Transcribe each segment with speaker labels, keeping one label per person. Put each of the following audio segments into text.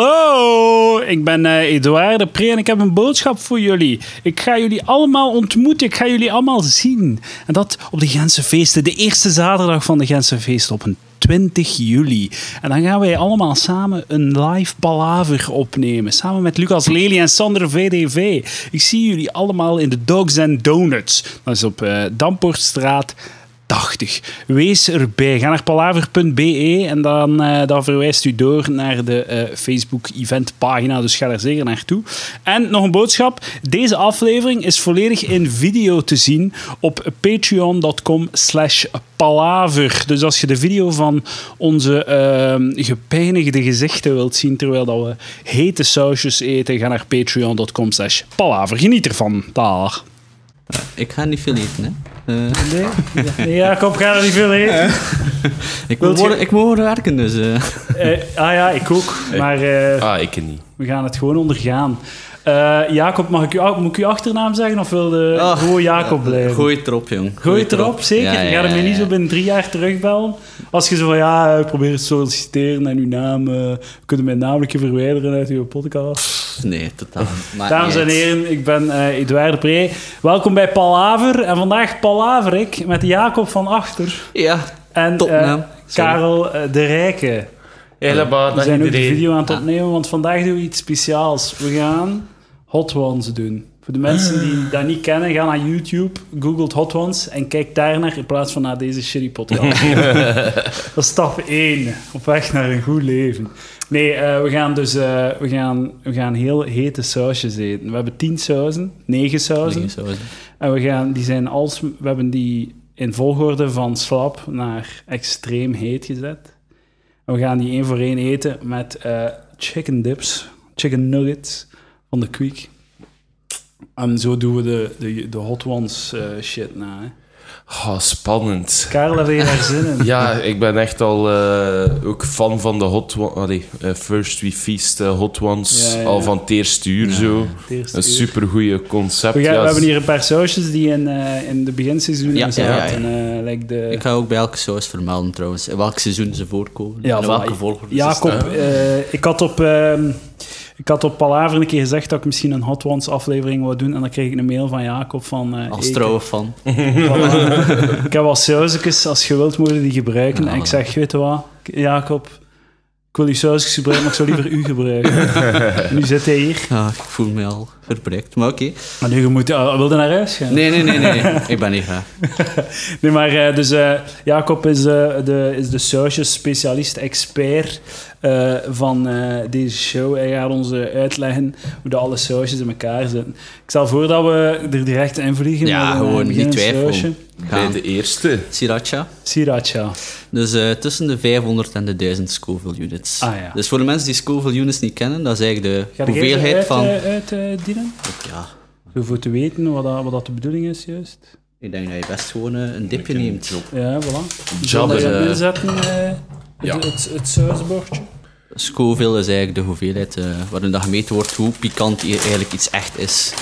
Speaker 1: Hallo, ik ben eh Edouard de Pre en ik heb een boodschap voor jullie. Ik ga jullie allemaal ontmoeten, ik ga jullie allemaal zien. En dat op de Gentse Feesten, de eerste zaterdag van de Gentse Feesten op een 20 juli. En dan gaan wij allemaal samen een live palaver opnemen. Samen met Lucas Lely en Sander VDV. Ik zie jullie allemaal in de Dogs and Donuts. Dat is op eh Damportstraat 80. Wees erbij. Ga naar palaver.be en dan, eh, dan verwijst u door naar de eh, Facebook event pagina. Dus ga daar zeker naartoe. En nog een boodschap. Deze aflevering is volledig in video te zien op patreon.com slash palaver. Dus als je de video van onze eh, gepijnigde gezichten wilt zien terwijl dat we hete sausjes eten, ga naar patreon.com slash palaver. Geniet ervan. Dag.
Speaker 2: Ik ga niet veel eten, hè. Eh,
Speaker 1: Nee, Jacob, ga er niet veel heen.
Speaker 2: ik,
Speaker 1: Wilt
Speaker 2: moet
Speaker 1: je-
Speaker 2: worden, ik moet worden werken, dus... eh.
Speaker 1: Eh, ah ja, ik ook. Maar eh,
Speaker 3: Ah, ik niet.
Speaker 1: we gaan het gewoon ondergaan. Eh, Jacob, mag ik u, moet ik uw achternaam zeggen of wilde
Speaker 2: Ah,
Speaker 1: gewoon Jacob blijven?
Speaker 2: Gooi het erop, jong.
Speaker 1: Gooi het erop, zeker.
Speaker 2: Ja, ja,
Speaker 1: Je gaat hem
Speaker 2: ja,
Speaker 1: niet
Speaker 2: ja.
Speaker 1: zo binnen drie jaar terugbellen. Als je zo van, ja, eh, probeer te solliciteren en uw naam... eh, we kunnen mijn namelijk verwijderen uit uw podcast.
Speaker 2: Nee, totaal. Maakt
Speaker 1: Dames
Speaker 2: Ah, niet
Speaker 1: en
Speaker 2: uit.
Speaker 1: heren, ik ben eh Edouard de Pre. Welkom bij Palaver. En vandaag palaver ik met Jacob van Achter
Speaker 2: Ja,
Speaker 1: en
Speaker 2: Topnaam.
Speaker 1: eh,
Speaker 2: Sorry.
Speaker 1: Karel eh, de Rijke.
Speaker 3: Helemaal,
Speaker 1: We
Speaker 3: dag
Speaker 1: zijn ook de
Speaker 3: iedereen.
Speaker 1: video aan het opnemen, want vandaag doen we iets speciaals. We gaan Hot Ones doen. Voor de mensen die dat niet kennen, ga naar YouTube, googelt Hot Ones en kijk daarnaar in plaats van naar deze shitty podcast. dat is stap 1, op weg naar een goed leven. Nee, eh, we gaan dus eh, we gaan, we gaan heel hete sausjes eten. We hebben 10 sauzen, 9 sauzen.
Speaker 2: Zo is het.
Speaker 1: En we, gaan, die zijn als, we hebben die in volgorde van slap naar extreem heet gezet. En we gaan die één voor één eten met eh, chicken dips, chicken nuggets van de Quick. En zo doen we de, de, de hot ones eh, shit na. Hè.
Speaker 3: Ah, spannend.
Speaker 1: Karel, heb je daar zin in?
Speaker 3: Ja, ik ben echt al eh, ook fan van de Hot Ones. First We Feast, eh, Hot Ones.
Speaker 1: Ja, ja.
Speaker 3: Al van het eerste uur zo.
Speaker 1: Het eerste
Speaker 3: Een
Speaker 1: uur.
Speaker 3: supergoeie concept.
Speaker 1: We, gaan-
Speaker 3: ja,
Speaker 1: we hebben
Speaker 3: s-
Speaker 1: hier een paar sausjes die in, eh, in de beginseizoenen
Speaker 2: Ja, ja,
Speaker 1: zaten. eh, like de,
Speaker 2: Ik ga ook bij elke saus vermelden, trouwens. In welk seizoen ze voorkomen.
Speaker 1: Ja,
Speaker 2: in
Speaker 1: voilà.
Speaker 2: welke volgorde ze
Speaker 1: Jacob,
Speaker 2: staan.
Speaker 1: eh, ik had op... ehm, ik had op Palaver een keer gezegd dat ik misschien een Hot Ones aflevering wou doen. En dan kreeg ik een mail van Jacob van... eh,
Speaker 2: Als
Speaker 1: hey,
Speaker 2: trouwe fan.
Speaker 1: Ik, voilà. ik heb wat sausjes, als je wilt, mogen die gebruiken.
Speaker 2: Ja,
Speaker 1: en ik
Speaker 2: voilà.
Speaker 1: zeg, weet je wat, Jacob, ik wil die sausjes gebruiken, maar ik zou liever u gebruiken. En nu zit hij hier.
Speaker 2: Ja, ik voel me al verbruikt, maar oké.
Speaker 1: Maar nu, je moet, ah, wil je naar huis gaan?
Speaker 2: Nee, nee, nee, nee. ik ben niet graag.
Speaker 1: Nee, maar eh, dus eh, Jacob is, eh, de, is de sausjes specialist, expert eh, van eh, deze show. Hij gaat ons eh, uitleggen hoe de alle sausjes in elkaar zitten. Ik stel voor dat we er direct in vliegen.
Speaker 2: Ja,
Speaker 1: met een, eh,
Speaker 2: gewoon, niet
Speaker 1: beginnend
Speaker 2: twijfelen.
Speaker 1: sausje.
Speaker 3: Bij
Speaker 2: Gaan.
Speaker 3: de eerste.
Speaker 2: Sriracha.
Speaker 1: Sriracha.
Speaker 2: Dus eh, tussen de 500 en de 1000 Scoville units.
Speaker 1: Ah, ja.
Speaker 2: Dus voor de mensen die Scoville units niet kennen, dat is eigenlijk de
Speaker 1: Ga jij
Speaker 2: hoeveelheid
Speaker 1: eruit,
Speaker 2: van...
Speaker 1: eh, uit, eh, dienen?
Speaker 2: Ja,
Speaker 1: Zo voor te weten wat dat, wat dat de bedoeling is, juist.
Speaker 2: ik denk dat je best gewoon eh, een dipje neemt.
Speaker 1: Ja, voilà.
Speaker 3: Jabber.
Speaker 1: Zullen we dat
Speaker 3: eh,
Speaker 1: inzetten, eh,
Speaker 3: ja.
Speaker 1: het, het, het sausbordje?
Speaker 2: Scoville is eigenlijk de hoeveelheid eh, waarin dat gemeten wordt hoe pikant i- eigenlijk iets echt is.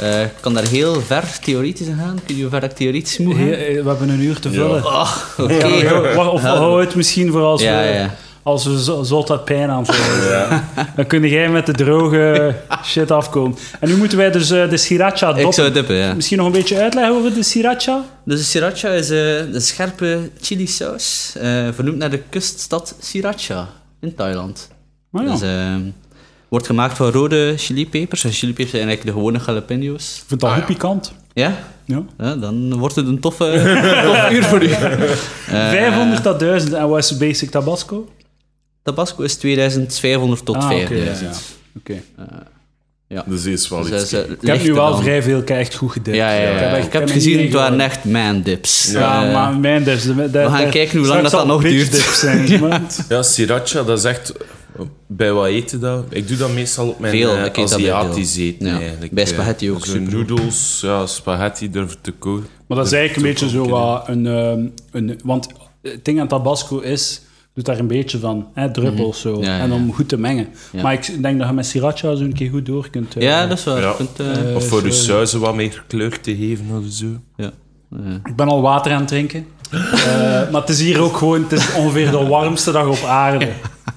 Speaker 2: Eh, ik kan daar heel ver theoretisch in gaan. Kun je hoe ver ik theoretisch moet gaan?
Speaker 1: Hey, eh, We hebben een uur te vullen.
Speaker 2: Ah, oké.
Speaker 1: Ja, maar hou- wacht, Of
Speaker 2: Ja.
Speaker 1: hou het misschien voor als
Speaker 2: Ja,
Speaker 1: we,
Speaker 2: ja.
Speaker 1: Als we zo- zot uit pijn aanvallen. Dan kun jij met de droge shit afkomen. En nu moeten wij dus eh, de sriracha doppen.
Speaker 2: Ik zou dippen, ja.
Speaker 1: Misschien nog een beetje uitleggen over de sriracha?
Speaker 2: Dus de sriracha is eh, een scherpe chilisaus, eh vernoemd naar de kuststad Sriracha in Thailand.
Speaker 1: Maar Oh, ja,
Speaker 2: Dus, eh, wordt gemaakt van rode chilipepers. En chilipepers zijn eigenlijk de gewone jalapeno's.
Speaker 1: ik vind dat goed pikant.
Speaker 2: Ja?
Speaker 1: Ja.
Speaker 2: Ja, dan wordt het een toffe, tof uur voor u. Eh,
Speaker 1: 500 tot 1000 en wat is basic tabasco?
Speaker 2: Tabasco is 2500 tot
Speaker 1: Ah, oké,
Speaker 2: 5000.
Speaker 1: ja, ja. Oké.
Speaker 3: Dus die is wel
Speaker 2: Dus dat
Speaker 3: iets.
Speaker 2: is, eh,
Speaker 1: Ik heb nu
Speaker 2: lichter
Speaker 1: wel
Speaker 2: dan.
Speaker 1: vrij veel keer echt goed gedipt.
Speaker 2: Ja, ja, ja.
Speaker 1: echt-
Speaker 2: Ik heb
Speaker 1: me
Speaker 2: gezien,
Speaker 1: niet
Speaker 2: het waren
Speaker 1: ingehouden.
Speaker 2: echt man-dips.
Speaker 1: Ja,
Speaker 2: Eh,
Speaker 1: maar mijn dus, de- de- de-
Speaker 2: gaan kijken hoe lang
Speaker 1: straks
Speaker 2: dat dat
Speaker 1: zal
Speaker 2: nog
Speaker 1: bitch
Speaker 2: duurt.
Speaker 1: dip Zijn, maar-
Speaker 3: Ja, sriracha, dat is echt... eh, Bij wat eten dat? Ik doe dat meestal op mijn
Speaker 2: Veel,
Speaker 3: eh,
Speaker 2: ik eet dat bij veel.
Speaker 3: Aziatisch eten
Speaker 2: Ja,
Speaker 3: eigenlijk.
Speaker 2: bij
Speaker 3: eh.
Speaker 2: spaghetti ook
Speaker 3: Zo
Speaker 2: super.
Speaker 3: noedels, ja, spaghetti durf te koken.
Speaker 1: Maar dat is eigenlijk een beetje zo wat een, ehm, een... Want het ding aan tabasco is... doet daar een beetje van, hè, druppels zo.
Speaker 2: Mhm. Ja, ja,
Speaker 1: En om
Speaker 2: ja.
Speaker 1: goed te mengen.
Speaker 2: Ja.
Speaker 1: Maar ik denk dat je met sriracha zo een keer goed door kunt... eh,
Speaker 2: ja, dat is waar.
Speaker 3: Ja.
Speaker 2: Je kunt, eh,
Speaker 3: Of voor de
Speaker 1: zo-
Speaker 3: suizen wat meer kleur te geven of zo.
Speaker 2: ja. Eh,
Speaker 1: Ik ben al water aan het drinken. Eh, maar het is hier ook gewoon... Het is ongeveer de warmste dag op aarde.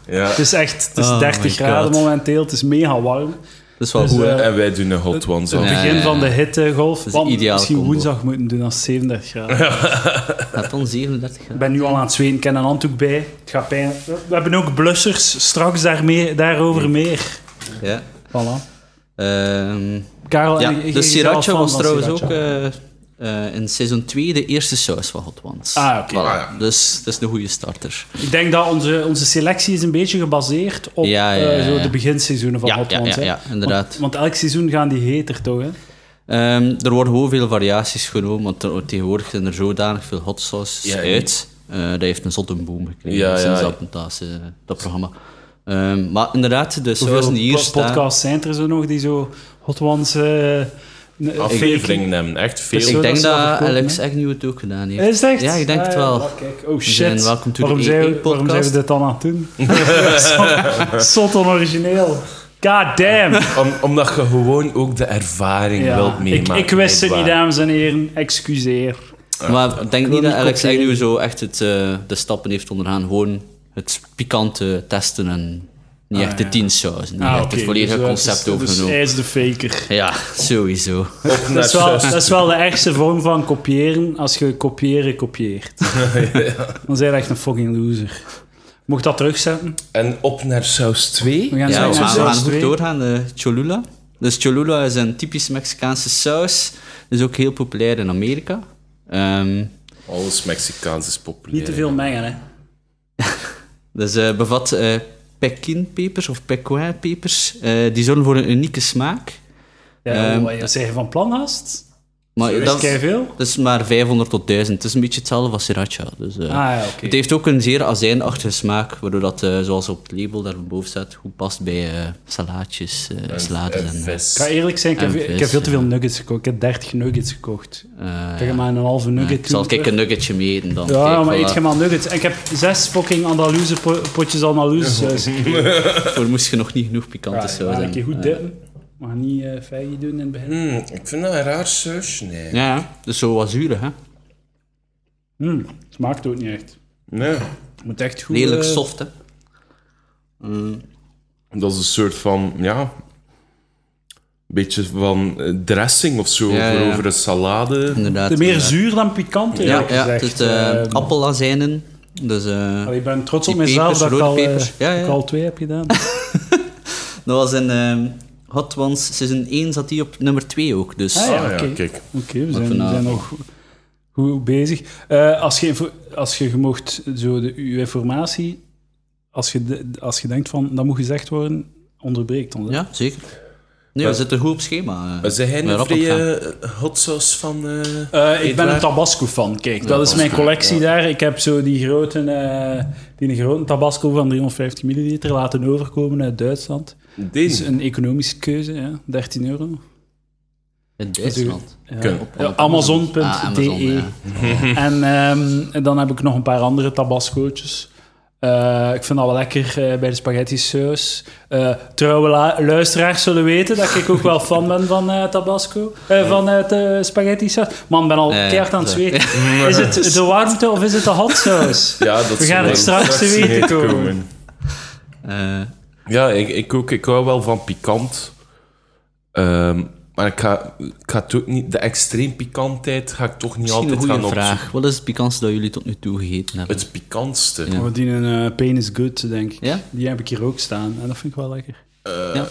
Speaker 3: Ja.
Speaker 1: Het is echt het is
Speaker 2: Oh
Speaker 1: 30
Speaker 2: my
Speaker 1: graden
Speaker 2: God.
Speaker 1: momenteel. Het is mega warm.
Speaker 2: Dat is wel
Speaker 1: Dus,
Speaker 2: goed. hè.
Speaker 1: eh,
Speaker 3: En wij doen een hot one zo.
Speaker 1: Het
Speaker 2: Ja,
Speaker 1: begin
Speaker 2: ja,
Speaker 1: van
Speaker 2: ja.
Speaker 1: de hittegolf.
Speaker 2: is
Speaker 1: Want
Speaker 2: een ideale
Speaker 1: misschien
Speaker 2: combo.
Speaker 1: woensdag moeten doen als het 37 graden. eh,
Speaker 2: Gaat dan 37
Speaker 1: Ik
Speaker 2: graden.
Speaker 1: ben nu al aan het zweten. Ik heb een handdoek bij. Het gaat pijn. We hebben ook blussers. Straks daar mee, daarover meer.
Speaker 2: Ja.
Speaker 1: Voilà.
Speaker 2: Ehm,
Speaker 1: Karel,
Speaker 2: ja.
Speaker 1: Oh, en je- je-
Speaker 2: De
Speaker 1: je bent
Speaker 2: sriracha
Speaker 1: fan
Speaker 2: was
Speaker 1: van
Speaker 2: trouwens ook
Speaker 1: sriracha.
Speaker 2: eh, eh, in seizoen 2 de eerste saus van Hot Ones.
Speaker 1: Ah, oké.
Speaker 2: Voilà. Dus dat is een goede starter.
Speaker 1: Ik denk dat onze, onze selectie is een beetje gebaseerd op
Speaker 2: Ja, ja,
Speaker 1: eh,
Speaker 2: ja,
Speaker 1: zo
Speaker 2: ja.
Speaker 1: de beginseizoenen van
Speaker 2: Ja,
Speaker 1: Hot
Speaker 2: ja,
Speaker 1: Ones,
Speaker 2: ja,
Speaker 1: hè.
Speaker 2: ja, inderdaad.
Speaker 1: Want, want elk seizoen gaan die heter, toch? Hè?
Speaker 2: Ehm, er worden gewoon veel variaties genomen, want er- tegenwoordig zijn er zodanig veel hot sauces
Speaker 3: Ja, ja.
Speaker 2: uit. eh, dat heeft een zotte boom gekregen
Speaker 3: Ja, ja,
Speaker 2: sinds
Speaker 3: ja.
Speaker 2: dat, dat, eh, dat programma. Ehm, maar inderdaad, de
Speaker 1: Hoeveel
Speaker 2: sausen die hier
Speaker 1: po-
Speaker 2: staan...
Speaker 1: podcasts zijn er zo nog die zo Hot Ones... eh, n- faken?
Speaker 3: Aflevering nemen, echt
Speaker 1: Dus
Speaker 3: veel.
Speaker 1: zo
Speaker 2: Ik denk
Speaker 1: dat ze
Speaker 2: dat
Speaker 1: dat verkopen,
Speaker 2: Alex
Speaker 1: hè?
Speaker 2: Agnew het ook gedaan heeft.
Speaker 1: Is het echt?
Speaker 2: Ja, ik denk
Speaker 1: Ah,
Speaker 2: het wel.
Speaker 1: maar kijk, Oh shit.
Speaker 2: zijn welkom to the
Speaker 1: waarom, zijn we,
Speaker 2: AA
Speaker 1: waarom zijn we
Speaker 2: podcast.
Speaker 1: dit dan aan het doen? Zot onorigineel. God damn.
Speaker 3: Om- omdat je gewoon ook de ervaring
Speaker 1: Ja.
Speaker 3: wilt
Speaker 1: ik,
Speaker 3: meemaken.
Speaker 1: ik wist het niet,
Speaker 3: nietwaar?
Speaker 1: dames en heren. Excuseer.
Speaker 2: Maar ik denk
Speaker 1: wil
Speaker 2: niet dat
Speaker 1: niet
Speaker 2: Alex
Speaker 1: kopiëren.
Speaker 2: Agnew zo echt het, eh, de stappen heeft ondergaan. Gewoon het pikante testen en niet
Speaker 1: Ah,
Speaker 2: echt de
Speaker 1: ja.
Speaker 2: tien sausen. Niet
Speaker 1: Ah,
Speaker 2: echt
Speaker 1: oké,
Speaker 2: het volledige
Speaker 1: dus, eh,
Speaker 2: concept
Speaker 1: dus- eh- Dus
Speaker 2: overgenomen.
Speaker 1: hij is de faker.
Speaker 2: Ja, sowieso.
Speaker 3: Op naar
Speaker 1: Dat is, wel,
Speaker 3: zes.
Speaker 1: dat is wel de ergste vorm van kopiëren als je kopiëren kopieert. Dan zijn we echt een fucking loser. Mocht dat terugzetten?
Speaker 3: En op naar saus 2.
Speaker 1: We gaan
Speaker 2: Ja,
Speaker 1: zo
Speaker 2: we
Speaker 1: naar
Speaker 2: gaan, we
Speaker 1: saus
Speaker 2: gaan goed
Speaker 1: twee.
Speaker 2: doorgaan. eh, Cholula. Dus Cholula is een typisch Mexicaanse saus. Is ook heel populair in Amerika. Ehm,
Speaker 3: Alles Mexicaans is populair.
Speaker 1: Niet te veel mengen, hè.
Speaker 2: dus eh, bevat eh pekinpepers of pequinpepers. Eh die zorgen voor een unieke smaak.
Speaker 1: Ja, oh,
Speaker 2: Ehm,
Speaker 1: wat je zeggen van plan haast?
Speaker 2: Maar
Speaker 1: Dat is veel.
Speaker 2: dat is maar 500 tot 1000. Het is een beetje hetzelfde als sriracha. Dus, eh,
Speaker 1: Ah, ja, oké.
Speaker 2: Het heeft ook een zeer azijnachtige smaak, waardoor dat, eh, zoals op het label daarboven staat, goed past bij eh salaatjes, eh, salades
Speaker 3: En
Speaker 2: en...
Speaker 3: vis.
Speaker 1: Ik ga eerlijk zijn, ik heb,
Speaker 2: En
Speaker 1: ik
Speaker 2: vis,
Speaker 1: heb veel te
Speaker 2: ja.
Speaker 1: veel nuggets gekocht. Ik heb 30 nuggets gekocht.
Speaker 2: eh,
Speaker 1: Ik heb maar een halve nugget.
Speaker 2: zal ik
Speaker 1: doen.
Speaker 2: een nuggetje mee eten dan?
Speaker 1: Ja,
Speaker 2: Kijk,
Speaker 1: maar
Speaker 2: voilà.
Speaker 1: eet je maar nuggets. En ik heb zes fucking Andalouse po- potjes Andalouse saus gekregen.
Speaker 2: Voor moest je nog niet genoeg pikante
Speaker 1: Ja,
Speaker 2: saus
Speaker 1: maar een
Speaker 2: hebben.
Speaker 1: keer goed
Speaker 2: Ja.
Speaker 1: dippen. Mag niet eh feitje doen in het begin.
Speaker 3: Hmm, ik vind dat een raar sausje, nee.
Speaker 2: Ja, ja. dus zo wat zuurig, hè?
Speaker 1: Mm, smaakt ook niet echt.
Speaker 3: Nee.
Speaker 1: Het moet echt goed...
Speaker 2: Redelijk
Speaker 1: eh,
Speaker 2: soft, hè?
Speaker 3: Dat is een soort van, ja... Beetje van eh, dressing of zo,
Speaker 2: Ja,
Speaker 3: voor
Speaker 2: ja.
Speaker 3: over een salade.
Speaker 2: Inderdaad.
Speaker 1: te meer
Speaker 2: inderdaad.
Speaker 1: zuur dan pikant,
Speaker 2: eh, Ja,
Speaker 1: eerlijk
Speaker 2: ja,
Speaker 1: gezegd.
Speaker 2: het is eh,
Speaker 1: Ehm,
Speaker 2: appelazijnen. Dus, eh,
Speaker 1: allee, ik ben trots op
Speaker 2: die
Speaker 1: mezelf
Speaker 2: pepers,
Speaker 1: dat ik
Speaker 2: rode
Speaker 1: al, eh,
Speaker 2: pepers. Ja,
Speaker 1: dat
Speaker 2: ja.
Speaker 1: ik al twee heb gedaan.
Speaker 2: dat was in ehm, Hot Ones seizoen 1 zat die op nummer 2 ook. Dus
Speaker 1: Ah,
Speaker 3: Ah ja,
Speaker 1: oké.
Speaker 3: kijk.
Speaker 1: Oké, we zijn, we
Speaker 2: vanavond.
Speaker 1: zijn nog goed- goed bezig. Eh, als je, info- als je mocht, zo de, uw informatie, als je, de- als je denkt van dat moet gezegd worden, onderbreekt ons. hè.
Speaker 2: Ja, zeker. Nee, we
Speaker 3: Maar-
Speaker 2: zitten goed op schema. eh.
Speaker 3: Maar Zijn jij
Speaker 2: Maar
Speaker 3: een
Speaker 2: rap op gaan.
Speaker 3: vrije hot sauce van... eh,
Speaker 1: Eh, ik ben
Speaker 3: Eetwaar?
Speaker 1: een Tabasco fan. Kijk, dat is mijn collectie daar. Ik heb zo die grote, eh, die grote Tabasco van 350 milliliter laten overkomen uit Duitsland. Dat is
Speaker 3: Deze.
Speaker 1: een economische keuze, ja. 13 euro.
Speaker 2: In Duitsland.
Speaker 1: Ja.
Speaker 3: Kun-
Speaker 1: Ja, Amazon.de.
Speaker 2: Ah, Amazon, ja.
Speaker 1: En ehm, E. en dan heb ik nog een paar andere tabascootjes. Eh, ik vind dat wel lekker eh, bij de spaghetti saus. Eh, trouwe la- luisteraars zullen weten dat ik ook wel fan ben van eh, tabasco. Eh, van eh, de spaghetti saus. Man, ik ben al
Speaker 2: Eh,
Speaker 1: keihard aan het
Speaker 2: zo.
Speaker 1: zweten. Is het de warmte of is het de hot saus?
Speaker 3: Ja, dat
Speaker 1: We gaan
Speaker 3: zal
Speaker 1: het straks te weten
Speaker 3: niet
Speaker 1: komen.
Speaker 2: Eh,
Speaker 3: Ja, ik, ik ook. Ik hou wel van pikant. Ehm, maar ik ga, ik ga het ook niet... De extreem pikantheid ga ik toch niet
Speaker 2: Misschien een
Speaker 3: altijd gaan
Speaker 2: goede
Speaker 3: opzoeken.
Speaker 2: vraag. Wat is het pikantste dat jullie tot nu toe gegeten hebben?
Speaker 3: Het pikantste.
Speaker 2: Ja.
Speaker 1: We dienen eh Pain is Good, denk ik.
Speaker 2: Ja?
Speaker 1: Die heb ik hier ook staan. En dat vind ik wel lekker.
Speaker 2: ja.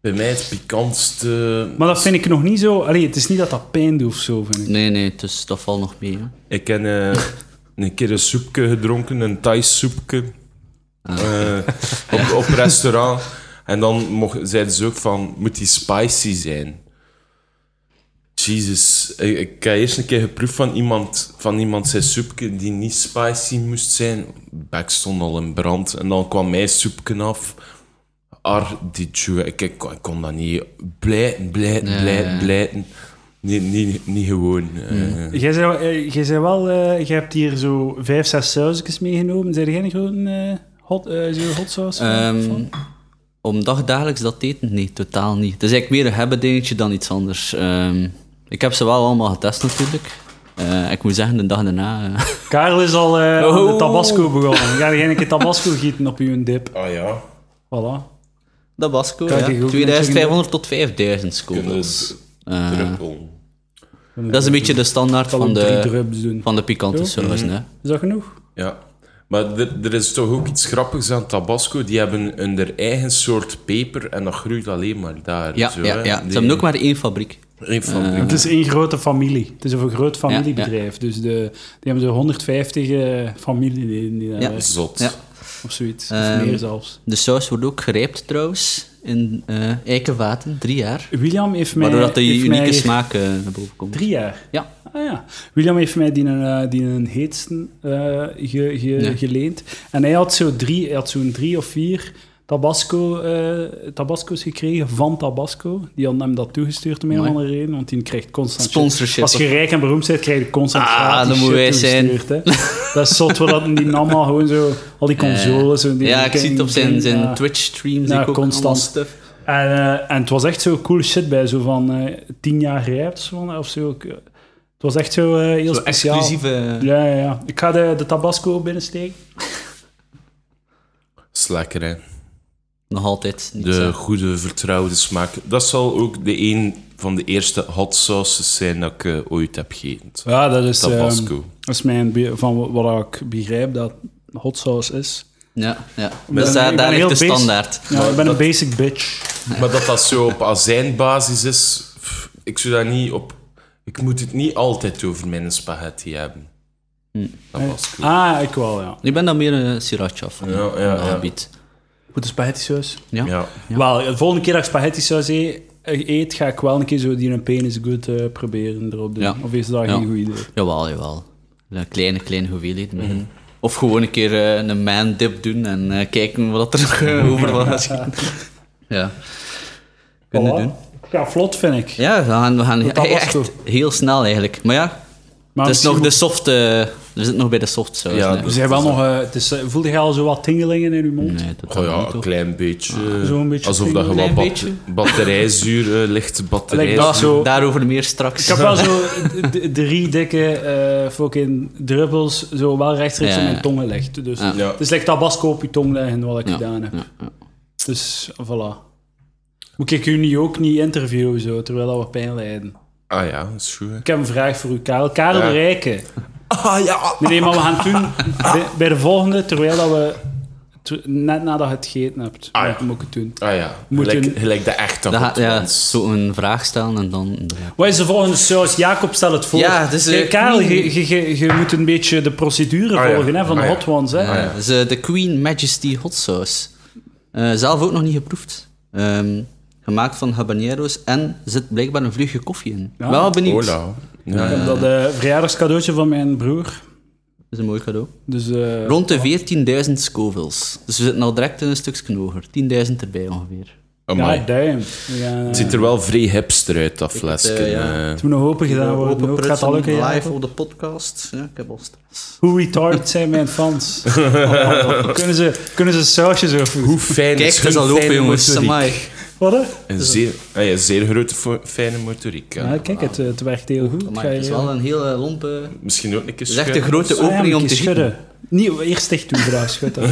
Speaker 3: Bij mij het pikantste...
Speaker 1: Maar dat vind ik nog niet zo... Allee, het is niet dat dat pijn doet of zo, vind ik.
Speaker 2: Nee, nee, dus dat valt nog mee. Hè.
Speaker 3: Ik heb eh, een keer een soepje gedronken, een Thais soepje. eh, op, op restaurant. En dan mocht, zeiden ze ook van, moet die spicy zijn? Jezus, ik, ik heb eerst een keer geproefd van iemand, van iemand zijn soepje die niet spicy moest zijn. Bek stond al in brand. En dan kwam mijn soepje af. Ar, die tjoe, ik, ik, kon- ik kon dat niet. Blijten, blijten,
Speaker 2: Ja.
Speaker 3: blijten, blijten. Niet, niet, niet gewoon. eh.
Speaker 1: Jij, zei, eh, jij zei wel, eh, jij hebt hier zo vijf, zes sausjes meegenomen. Zijn jij een grote eh, hot, eh, zo hot sauce? fan?
Speaker 2: Ehm,
Speaker 1: Fan?
Speaker 2: om dagdagelijks dat te eten? Nee, totaal niet. Het is eigenlijk meer een hebben dingetje dan iets anders. Ehm, ik heb ze wel allemaal getest natuurlijk. Eh, ik moet zeggen, de dag daarna... eh,
Speaker 1: Karel is al eh, aan de
Speaker 2: Oh.
Speaker 1: tabasco begonnen. Ga je een keer tabasco gieten op je dip.
Speaker 3: Ah ja.
Speaker 1: Voilà.
Speaker 2: dat was cool,
Speaker 1: Kan je
Speaker 2: ja.
Speaker 1: die goed
Speaker 2: 2500 tot 5000 scovels.
Speaker 3: Dus
Speaker 2: Ah.
Speaker 3: druppel.
Speaker 2: Dat is een beetje de standaard
Speaker 1: Kan
Speaker 2: van
Speaker 1: ook drie
Speaker 2: de,
Speaker 1: drups doen.
Speaker 2: van de pikante
Speaker 1: Ja.
Speaker 2: saus,
Speaker 3: Mhm.
Speaker 2: hè.
Speaker 1: Is dat genoeg?
Speaker 3: Ja. Maar er, er is toch ook iets grappigs aan Tabasco. Die hebben hun der eigen soort peper en dat groeit alleen maar daar.
Speaker 2: Ja,
Speaker 3: zo,
Speaker 2: ja,
Speaker 3: hè.
Speaker 2: ja.
Speaker 3: Die-
Speaker 2: Ze hebben ook Eh, maar één fabriek.
Speaker 3: Een van die-
Speaker 1: Het is één grote familie. Het is een groot familiebedrijf. Dus de, die hebben zo'n 150 eh familieleden die daar
Speaker 2: Ja.
Speaker 1: werken,
Speaker 3: Zot.
Speaker 2: Ja.
Speaker 1: of zoiets. of
Speaker 2: Ehm.
Speaker 1: meer zelfs.
Speaker 2: De saus wordt ook gerijpt trouwens, in eh eikenvaten, drie jaar.
Speaker 1: William heeft mij...
Speaker 2: Waardoor dat die
Speaker 1: heeft
Speaker 2: unieke
Speaker 1: mij-
Speaker 2: smaak eh, naar boven komt.
Speaker 1: Drie jaar.
Speaker 2: Ja.
Speaker 1: Ah ja. William heeft mij die een, eh, die een heetste eh, ge- ge-
Speaker 2: Ja.
Speaker 1: geleend. En hij had zo'n drie, hij had zo'n drie of vier tabasco, eh, tabasco's gekregen van Tabasco. Die hadden hem dat toegestuurd om een of
Speaker 2: Mooi.
Speaker 1: andere reden, want die krijgt constant shit.
Speaker 2: Sponsorship.
Speaker 1: Als je rijk en beroemd bent, krijg je constant
Speaker 2: Ah,
Speaker 1: gratis
Speaker 2: dat
Speaker 1: shit
Speaker 2: moet wij zijn.
Speaker 1: toegestuurd, Hè. Dat is zot, wat dat die nam al gewoon zo, al die consoles. zo, die
Speaker 2: Eh, ja, ik zie het op zijn, zijn
Speaker 1: Ja.
Speaker 2: Twitch-streams.
Speaker 1: Ja,
Speaker 2: ik ook
Speaker 1: constant.
Speaker 2: allemaal stuff.
Speaker 1: En, eh, en het was echt zo cool shit bij, zo van eh, tien jaar rijp of zo. Of zo. Ik- Het was echt zo eh, heel
Speaker 2: Zo
Speaker 1: speciaal.
Speaker 2: exclusieve...
Speaker 1: Ja, ja, ja. Ik ga de, de tabasco binnensteken.
Speaker 3: is lekker, hè.
Speaker 2: Nog altijd. niet
Speaker 3: De
Speaker 2: zo.
Speaker 3: goede, vertrouwde smaak. Dat zal ook de een van de eerste hot sauces zijn dat ik eh, ooit heb gegeten.
Speaker 1: Ja, dat is, ehm,
Speaker 3: Tabasco.
Speaker 1: dat is mijn, be- van wat ik begrijp dat hot sauce is.
Speaker 2: Ja, ja.
Speaker 1: ben-
Speaker 2: Dus
Speaker 1: ik
Speaker 2: daar,
Speaker 1: ben
Speaker 2: daar
Speaker 1: heel
Speaker 2: ligt de
Speaker 1: basic.
Speaker 2: standaard.
Speaker 1: Ja, ik ben een basic bitch.
Speaker 3: Maar dat dat zo op azijnbasis is, pff, ik zou daar niet op... Ik moet het niet altijd over mijn spaghetti hebben.
Speaker 2: Hm.
Speaker 3: Tabasco.
Speaker 1: Ah, ik wel, ja.
Speaker 2: Ik ben dan meer een sriracha van
Speaker 3: Ja, ja, ja.
Speaker 2: aanbiedt.
Speaker 1: Goede spaghetti saus.
Speaker 2: Ja.
Speaker 3: Ja.
Speaker 1: Wel, de volgende keer dat ik spaghetti saus e- eet, ga ik wel een keer zo die een penis good eh, proberen erop doen.
Speaker 2: Ja.
Speaker 1: Of is dat
Speaker 2: Ja.
Speaker 1: geen goed idee?
Speaker 2: Jawel, jawel. Een kleine, kleine hoeveelheid. maar-
Speaker 1: Mhm.
Speaker 2: Of gewoon een keer eh, een man-dip doen en eh, kijken wat er nog eh, over wat schiet. Ja. Kunnen
Speaker 1: Voilà.
Speaker 2: doen.
Speaker 1: Ja, vlot vind ik.
Speaker 2: Ja, we gaan, we gaan
Speaker 1: Met tabasco.
Speaker 2: echt heel snel eigenlijk. Maar ja,
Speaker 1: Maar
Speaker 2: het is nog
Speaker 1: misschien-
Speaker 2: de soft... eh, we zitten nog bij de soft saus.
Speaker 3: Ja,
Speaker 2: hè.
Speaker 1: We
Speaker 3: dus-
Speaker 1: zijn wel nog... eh, het is, eh, voelde je al zo wat tingelingen in je mond?
Speaker 2: Nee, dat
Speaker 3: Oh
Speaker 2: dat
Speaker 3: ja,
Speaker 2: niet,
Speaker 3: een
Speaker 2: hoor.
Speaker 3: klein beetje.
Speaker 2: Ah.
Speaker 3: eh,
Speaker 1: Zo'n beetje
Speaker 3: Alsof dat je
Speaker 2: Klein
Speaker 3: wat bat-
Speaker 2: beetje.
Speaker 3: batterijzuur, eh, licht batterij. Ah,
Speaker 1: Lijkt dat zo-
Speaker 2: Daarover meer straks.
Speaker 1: Ik heb wel zo d- d- drie dikke eh fucking druppels zo wel rechtstreeks
Speaker 2: Ja,
Speaker 1: op
Speaker 2: ja.
Speaker 1: mijn tong gelegd. Dus
Speaker 2: Ja.
Speaker 3: Ja.
Speaker 1: het is like tabasco op je tong leggen wat ik
Speaker 2: Ja,
Speaker 1: gedaan heb.
Speaker 2: ja, ja.
Speaker 1: Dus voilà. Moet ik u nu ook niet interviewen zo, terwijl dat we pijn lijden?
Speaker 3: Ah ja, dat is goed. hè.
Speaker 1: Ik heb een vraag voor u, Karel. Karel
Speaker 3: Ja.
Speaker 1: Rijken.
Speaker 3: Ah ja!
Speaker 1: Nee, nee, maar we gaan het doen bij, bij de volgende, terwijl dat we... ter- net nadat je het gegeten hebt,
Speaker 3: Ah, ja.
Speaker 1: moet ik het doen.
Speaker 3: Ah ja,
Speaker 1: Moet
Speaker 3: gelijk,
Speaker 1: je-
Speaker 3: gelijk de echte
Speaker 2: Dan ga-
Speaker 3: hot
Speaker 2: ja,
Speaker 3: ones.
Speaker 2: zo een vraag stellen en dan...
Speaker 1: Wat is de volgende saus? Jacob, stel het voor.
Speaker 2: Ja, het is, eh,
Speaker 1: Eh, Karel,
Speaker 2: Queen.
Speaker 1: je, je- je- je moet een beetje de procedure
Speaker 3: Ah, ja.
Speaker 1: volgen hè, van
Speaker 3: Ah,
Speaker 1: de
Speaker 3: ja.
Speaker 1: Hot Ones. Hè.
Speaker 2: Ja,
Speaker 3: ja.
Speaker 2: dus, eh, de Queen Majesty Hot Sauce. Eh, zelf ook nog niet geproefd. Ehm, gemaakt van habaneros en zit blijkbaar een vleugje koffie in.
Speaker 1: Ja.
Speaker 2: Wel benieuwd. Dat
Speaker 3: Hola. Ja.
Speaker 1: Ik heb dat eh, verjaardagscadeautje van mijn broer.
Speaker 2: is een mooi cadeau.
Speaker 1: Dus eh,
Speaker 2: Rond de 14.000 Scovilles. Dus we zitten al direct in een stuk knoger. 10.000 erbij ongeveer.
Speaker 3: Amai.
Speaker 1: ja, damn. We gaan,
Speaker 3: Het
Speaker 1: eh,
Speaker 3: ziet er wel vrij hipster uit, dat flesje.
Speaker 2: eh, ja.
Speaker 3: eh.
Speaker 1: het moet nog open gedaan worden. ook. Gaat dat lukken,
Speaker 2: live
Speaker 1: Jacob?
Speaker 2: op de podcast. Ja, ik heb al stress.
Speaker 1: Hoe retarded zijn mijn fans? Oh, oh, oh. kunnen, ze, kunnen ze sausjes over?
Speaker 3: Hoe fijn
Speaker 2: Kijk,
Speaker 3: is
Speaker 2: het
Speaker 3: hun
Speaker 2: is al open,
Speaker 3: fijne
Speaker 2: jongens.
Speaker 3: motoriek?
Speaker 2: Amai.
Speaker 1: Wat? hè?
Speaker 3: Een zeer, ah ja, zeer grote fo- fijne motoriek. ja.
Speaker 1: Ja, kijk, het, het werkt heel goed.
Speaker 2: Amai,
Speaker 1: Ga je-
Speaker 2: Het is wel een hele lompe...
Speaker 3: Misschien ook een keer
Speaker 2: Het is echt een
Speaker 3: schuiven.
Speaker 2: grote
Speaker 1: Ah, ja,
Speaker 2: opening
Speaker 1: een
Speaker 2: om
Speaker 1: keer
Speaker 2: te schieten.
Speaker 1: schudden. Niet, eerst dicht doen, vrouw. Schud dat.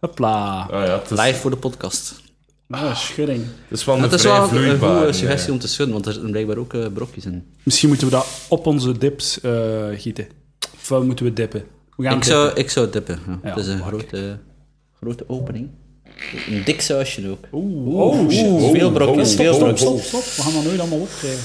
Speaker 1: Hopla.
Speaker 3: Ah ja, het is,
Speaker 2: Live voor de podcast.
Speaker 1: Ah, schudding.
Speaker 3: het is wel een
Speaker 2: Maar het is
Speaker 3: vrij
Speaker 2: wel een
Speaker 3: vloeibare,
Speaker 2: goede
Speaker 3: ja.
Speaker 2: suggestie om te schudden, want er zijn blijkbaar ook eh, brokjes in.
Speaker 1: Misschien moeten we dat op onze dips eh, gieten. Of wel moeten we dippen? We gaan
Speaker 2: Ik
Speaker 1: dippen.
Speaker 2: zou, ik zou dippen. Ja.
Speaker 1: Ja,
Speaker 2: het is een
Speaker 1: oké.
Speaker 2: grote, grote opening. Een dik sausje ook.
Speaker 1: Oh, shit.
Speaker 3: Oeh,
Speaker 2: Veel brokjes,
Speaker 3: oeh,
Speaker 2: veel
Speaker 3: oeh,
Speaker 2: brokjes.
Speaker 1: Stop,
Speaker 3: oeh.
Speaker 1: stop. We gaan dat nooit allemaal opkrijgen.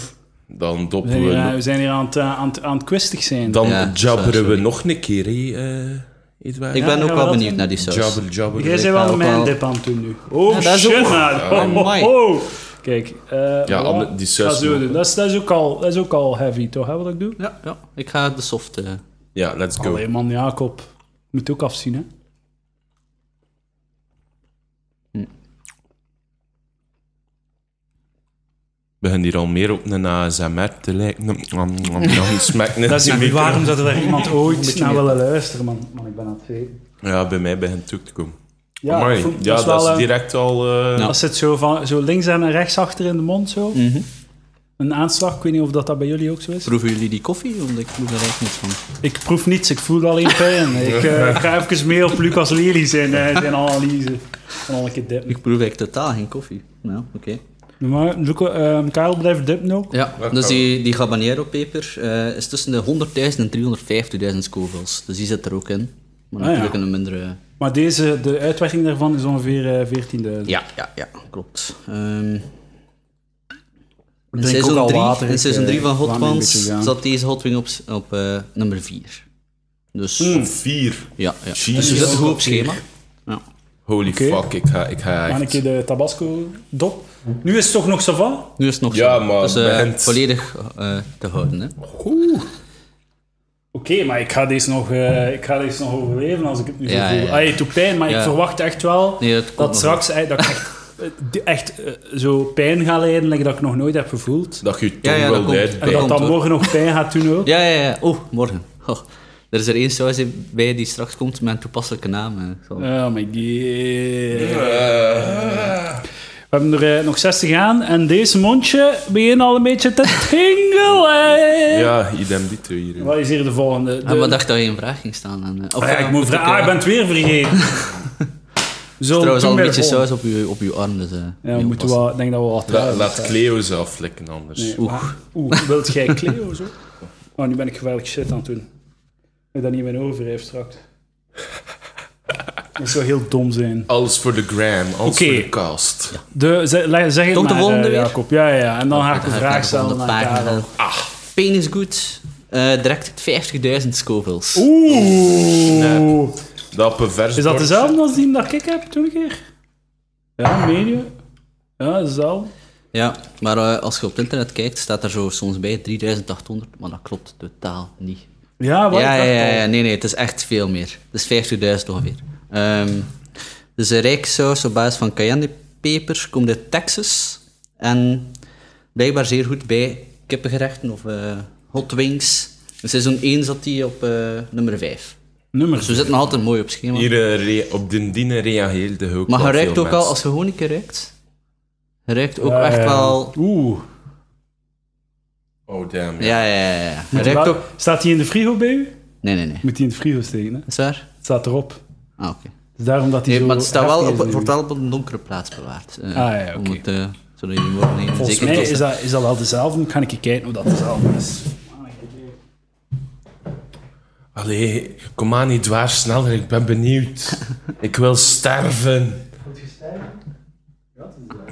Speaker 3: Dan
Speaker 1: We
Speaker 3: doppen
Speaker 1: zijn
Speaker 3: we...
Speaker 1: hier, eh,
Speaker 3: nog-
Speaker 1: we zijn hier aan, het, eh, aan, het, aan het kwistig zijn.
Speaker 3: Dan
Speaker 2: Ja,
Speaker 3: jabberen we
Speaker 2: sorry.
Speaker 3: nog een keer, hè, eh Edouard?
Speaker 2: Ik
Speaker 1: Ja,
Speaker 2: ben
Speaker 1: gaan
Speaker 2: ook
Speaker 1: we
Speaker 2: wel
Speaker 1: dat
Speaker 2: benieuwd
Speaker 1: doen?
Speaker 2: naar die saus.
Speaker 3: Jabber, jabber.
Speaker 1: Jij bent
Speaker 2: ik ga
Speaker 1: wel
Speaker 2: ook
Speaker 1: mijn
Speaker 2: wel-
Speaker 1: dip aan het doen nu. Oh,
Speaker 2: Ja, dat is
Speaker 1: shit,
Speaker 2: ook-
Speaker 1: man. Oh,
Speaker 2: amai.
Speaker 1: oh. Kijk. eh,
Speaker 3: Ja,
Speaker 1: voilà.
Speaker 3: ander- die
Speaker 1: Dat
Speaker 3: saus
Speaker 1: zullen we
Speaker 3: moet-
Speaker 1: doen. Dat is, dat, is ook al, dat is ook al heavy, toch? Hè, wat ik doe?
Speaker 2: Ja, ja, ik ga de soft... eh,
Speaker 3: Ja, let's go.
Speaker 1: Allee, man, Jacob. Moet ook afzien, hè?
Speaker 3: begint hier al meer op een ASMR te lijken. Nom, nom, nom, nom. Smaakt net
Speaker 1: Dat is
Speaker 3: niet
Speaker 1: niet
Speaker 3: meer.
Speaker 1: waarom zou er iemand ooit naar willen luisteren, man. Maar ik ben aan het veten.
Speaker 3: Ja, bij mij begint het ook te komen.
Speaker 1: Ja,
Speaker 3: Amai.
Speaker 1: ik vond-
Speaker 3: ja, dat is
Speaker 1: wel, eh,
Speaker 2: Nou.
Speaker 3: direct al... eh,
Speaker 1: Mhm. Als het zo, van, zo links en rechts achter in de mond zo. Een aanslag, ik weet niet of dat, dat bij jullie ook zo is.
Speaker 2: Proeven jullie die koffie? Want ik proef daar eigenlijk niks van.
Speaker 1: Ik proef niets, ik voel alleen pijn. Ik eh, ga even meer op Lucas Lely zijn, eh, zijn analyse. En al een keer dippen.
Speaker 2: Ik proef eigenlijk totaal geen koffie. Nou, oké.
Speaker 1: Maar Luca, ehm Karel blijft dippen ook.
Speaker 2: Ja, dus die, die habanero-peper eh, is tussen de 100.000 en 350.000 scovilles. Dus die zit er ook in. Maar
Speaker 1: Ah,
Speaker 2: natuurlijk
Speaker 1: ja.
Speaker 2: een mindere...
Speaker 1: Maar deze, de uitwerking daarvan is ongeveer eh, 14.000.
Speaker 2: Ja, ja, ja, klopt. Ehm in
Speaker 1: drink ook al
Speaker 2: seizoen 3,
Speaker 1: water,
Speaker 2: in
Speaker 1: ik,
Speaker 2: seizoen
Speaker 1: eh,
Speaker 2: drie van Hot
Speaker 1: laat me een
Speaker 2: Ones
Speaker 1: beetje gaan.
Speaker 2: zat deze Hot Wing op, s- op eh, nummer 4. Dus
Speaker 1: Hmm.
Speaker 3: Zo'n mm, vier.
Speaker 2: ja, ja. Dus we
Speaker 3: Jezus.
Speaker 2: zitten goed op schema. Ja.
Speaker 3: Holy
Speaker 1: Oké.
Speaker 3: fuck, ik ga, ik ga
Speaker 1: Maar een
Speaker 3: echt...
Speaker 1: keer de Tabasco dop. Nu is het toch nog Savan?
Speaker 2: Nu is het nog
Speaker 3: Ja,
Speaker 2: zo.
Speaker 3: maar
Speaker 2: dus eh,
Speaker 3: begint-
Speaker 2: volledig eh, te houden. Hè.
Speaker 1: Oké, maar ik ga, deze nog, eh, ik ga deze nog overleven als ik het nu zo
Speaker 2: Ja,
Speaker 1: voel.
Speaker 2: ja, ja.
Speaker 1: Ah, het doet pijn, maar
Speaker 2: Ja.
Speaker 1: ik verwacht echt wel
Speaker 2: Nee, dat komt
Speaker 1: dat
Speaker 2: nog
Speaker 1: straks eh, dat ik echt, eh, die- echt eh, zo pijn ga lijden like dat ik nog nooit heb gevoeld.
Speaker 3: Dat je je
Speaker 2: Ja,
Speaker 3: tong
Speaker 2: ja, dat
Speaker 3: wel
Speaker 2: komt.
Speaker 3: duidt
Speaker 1: En
Speaker 3: bij.
Speaker 1: dat
Speaker 2: komt
Speaker 1: dat
Speaker 2: hoor.
Speaker 1: morgen nog pijn gaat doen ook.
Speaker 2: Ja, ja, ja. Oeh, morgen. Oh, er is er één saus bij die straks komt met een toepasselijke naam. eh. Ik zal-
Speaker 1: Oh my god. We hebben er eh, nog 60 aan en deze mondje begint al een beetje te tingelen.
Speaker 3: Ja, idem dit hier. hè.
Speaker 1: Wat is hier de volgende? De-
Speaker 2: Ah, maar dacht dat je een vraag ging staan. En, eh, of,
Speaker 1: Ah, ja,
Speaker 2: eh,
Speaker 1: ik moet vragen. Ah,
Speaker 2: eh,
Speaker 1: ik ben het weer vergeten. Zo,
Speaker 2: Trouwens,
Speaker 1: doe
Speaker 2: al een
Speaker 1: maar
Speaker 2: beetje
Speaker 1: de volgende.
Speaker 2: saus op je, op je arm. Dus, eh,
Speaker 1: Ja, we
Speaker 2: niet
Speaker 1: moeten
Speaker 2: oppassen.
Speaker 1: wel, ik denk dat we wat
Speaker 3: La-
Speaker 1: laten.
Speaker 3: laat Cleo zelf likken anders.
Speaker 1: Nee,
Speaker 2: Oeh.
Speaker 1: maar- Oeh, wilt jij Cleo zo? Oh, nu ben ik geweldig shit aan het doen. Dat ik dat niet meer over heeft straks. Dat zou heel dom zijn.
Speaker 3: Alles voor de gram, alles
Speaker 1: Oké.
Speaker 3: voor de cast.
Speaker 1: De, zeg, leg- zeg het
Speaker 2: Komt de
Speaker 1: maar,
Speaker 2: volgende
Speaker 1: eh,
Speaker 2: weer?
Speaker 1: Jacob. Ja, ja, ja. En dan ga ik
Speaker 2: Dan
Speaker 1: een
Speaker 2: ga naar
Speaker 1: vraag
Speaker 2: de
Speaker 1: stellen
Speaker 2: volgende
Speaker 1: aan
Speaker 2: pagina.
Speaker 1: Karel.
Speaker 2: Ah, pain is good. Eh, direct 50.000 scovels.
Speaker 1: Oeh.
Speaker 3: Dat op een vers
Speaker 1: Is dat
Speaker 3: bord-
Speaker 1: dezelfde als die dat ik heb toen een keer? Ja, media. Ja, dezelfde.
Speaker 2: Ja, maar eh, als je op het internet kijkt, staat er zo soms bij 3.800, maar dat klopt totaal niet.
Speaker 1: Ja, wat?
Speaker 2: Ja,
Speaker 1: Oh, Ik
Speaker 2: ja,
Speaker 1: dacht
Speaker 2: ja,
Speaker 1: al.
Speaker 2: ja, nee, nee, het is echt veel meer. Het is 50.000 ongeveer. Ehm dus een rijke saus op basis van cayennepeper komt uit Texas. En blijkbaar zeer goed bij kippengerechten of eh, hot wings. Dus In seizoen 1 zat die op eh, nummer 5.
Speaker 1: Nummer
Speaker 2: Dus we zitten nog altijd mooi op schema.
Speaker 3: Hier eh, rea- op den dine reageerde ook
Speaker 2: maar je
Speaker 3: wel
Speaker 2: ruikt
Speaker 3: veel
Speaker 2: ook al,
Speaker 3: mensen.
Speaker 2: als je gewoon een keer ruikt, je ruikt ook
Speaker 1: Ja,
Speaker 2: echt
Speaker 1: ja.
Speaker 2: wel...
Speaker 1: Eh, Oeh.
Speaker 3: Oh damn.
Speaker 2: Ja,
Speaker 3: ja.
Speaker 2: ja, ja. ja. Je ruikt ook...
Speaker 1: Staat die in de frigo bij u?
Speaker 2: Nee, nee, nee.
Speaker 1: Moet die in de frigo steken, hè?
Speaker 2: Is waar?
Speaker 1: Het staat erop.
Speaker 2: Ah, oké.
Speaker 1: Dus daarom dat hij
Speaker 2: Nee,
Speaker 1: zo
Speaker 2: maar het staat wel
Speaker 1: heftig
Speaker 2: op,
Speaker 1: is,
Speaker 2: het wordt
Speaker 1: denk ik.
Speaker 2: wel op een donkere plaats bewaard. Eh,
Speaker 1: Ah, ja,
Speaker 2: om
Speaker 1: oké.
Speaker 2: het, eh, zodat jullie morgen nemen.
Speaker 1: Volgens
Speaker 2: Zeker
Speaker 1: mij
Speaker 2: tot-
Speaker 1: is dat, is dat wel dezelfde. Dan ga ik kijken of dat dezelfde is.
Speaker 3: Allee, kom aan niet waar sneller, ik ben benieuwd. ik wil sterven.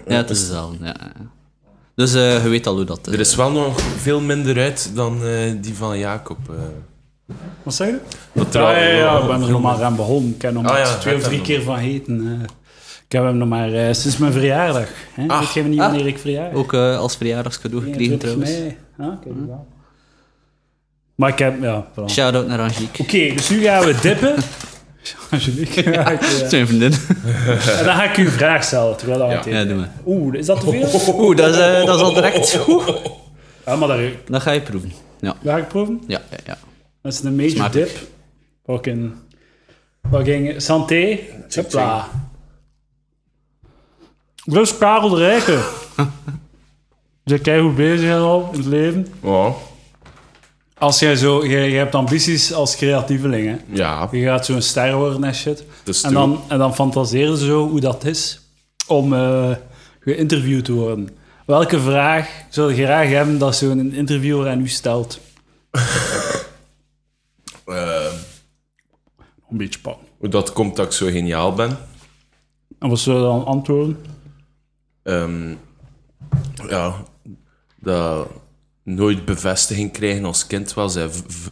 Speaker 2: Ja, het is dezelfde. Ja. ja. Dus eh, je weet al hoe dat
Speaker 3: Er is wel nog veel minder uit dan eh, die van Jacob. eh.
Speaker 1: Wat zei je?
Speaker 3: Dat er
Speaker 1: Ja,
Speaker 3: al-
Speaker 1: ja, ja, ik ben er
Speaker 3: veel
Speaker 1: nog maar aan begonnen. Ik heb nog maar
Speaker 3: Ah, ja,
Speaker 1: twee of
Speaker 3: dat
Speaker 1: drie
Speaker 3: dan.
Speaker 1: keer van heten. eh. ik heb hem nog maar eh, sinds mijn verjaardag. Hè?
Speaker 3: Ah.
Speaker 1: Ik geef niet
Speaker 2: Ah.
Speaker 1: wanneer ik verjaardag.
Speaker 2: Ook eh, als verjaardagscadeau gekregen
Speaker 1: 21
Speaker 2: trouwens.
Speaker 1: mei. Ah, kijk
Speaker 2: Hm.
Speaker 1: wel. Maar ik heb... Ja, voilà. Oké,
Speaker 2: Shout-out naar Angelique.
Speaker 1: dus nu gaan we dippen. Angelique. Ja, ik, eh,
Speaker 2: Zijn vriendin.
Speaker 1: en dan ga ik u een vraag stellen, terwijl dat aan het
Speaker 2: Ja,
Speaker 1: eten
Speaker 2: doe
Speaker 1: is.
Speaker 2: maar.
Speaker 1: Oeh, is dat te veel?
Speaker 2: Oeh, dat is, eh, dat is al direct. Oeh.
Speaker 1: Ja, maar daar,
Speaker 2: Dat ga je proeven. Ja,
Speaker 1: daar ga ik proeven.
Speaker 2: ja, ja. ja.
Speaker 1: Dat is een major
Speaker 2: Smakelijk.
Speaker 1: dip. Fucking. Fucking. Santé. Hopla. Dus Karel de Rijke. Je kijkt hoe bezig en al in het leven.
Speaker 3: Ja,
Speaker 1: Als jij zo, jij, jij hebt ambities als creatieveling, hè.
Speaker 3: ja.
Speaker 1: Je gaat zo'n ster worden en shit.
Speaker 3: Dat is
Speaker 1: En dan, en dan fantaseer ze zo hoe dat is om eh, geïnterviewd te worden. Welke vraag zou je graag hebben dat zo'n interviewer aan u stelt?
Speaker 3: Eh,
Speaker 1: Een beetje pak.
Speaker 3: hoe dat komt dat ik zo geniaal ben.
Speaker 1: En wat zou je dan antwoorden?
Speaker 3: Ehm, ja, dat nooit bevestiging krijgen als kind was, hij v- v-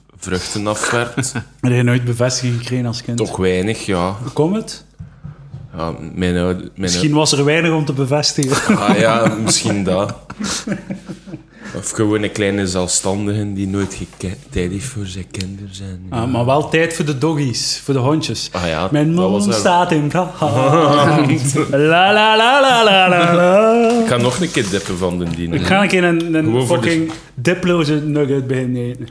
Speaker 3: vruchten afwerpt.
Speaker 1: Heb je nooit bevestiging gekregen als kind?
Speaker 3: Toch weinig, ja.
Speaker 1: Hoe komt het?
Speaker 3: ja mijn oude- mijn
Speaker 1: Misschien was er weinig om te bevestigen.
Speaker 3: Ah ja, misschien dat. Of gewoon een kleine zelfstandige die nooit getijdig voor zijn kinderen zijn.
Speaker 1: Ah, maar wel tijd voor de doggies, voor de hondjes.
Speaker 3: Ah ja,
Speaker 1: Mijn
Speaker 3: dat
Speaker 1: mond
Speaker 3: was er.
Speaker 1: staat in brand. la la la la la la la.
Speaker 3: Ik ga nog een keer dippen van de
Speaker 1: Ik
Speaker 3: dien.
Speaker 1: ga een keer een, een
Speaker 3: Gewoon voor de-
Speaker 1: fucking diploze nugget beginnen eten.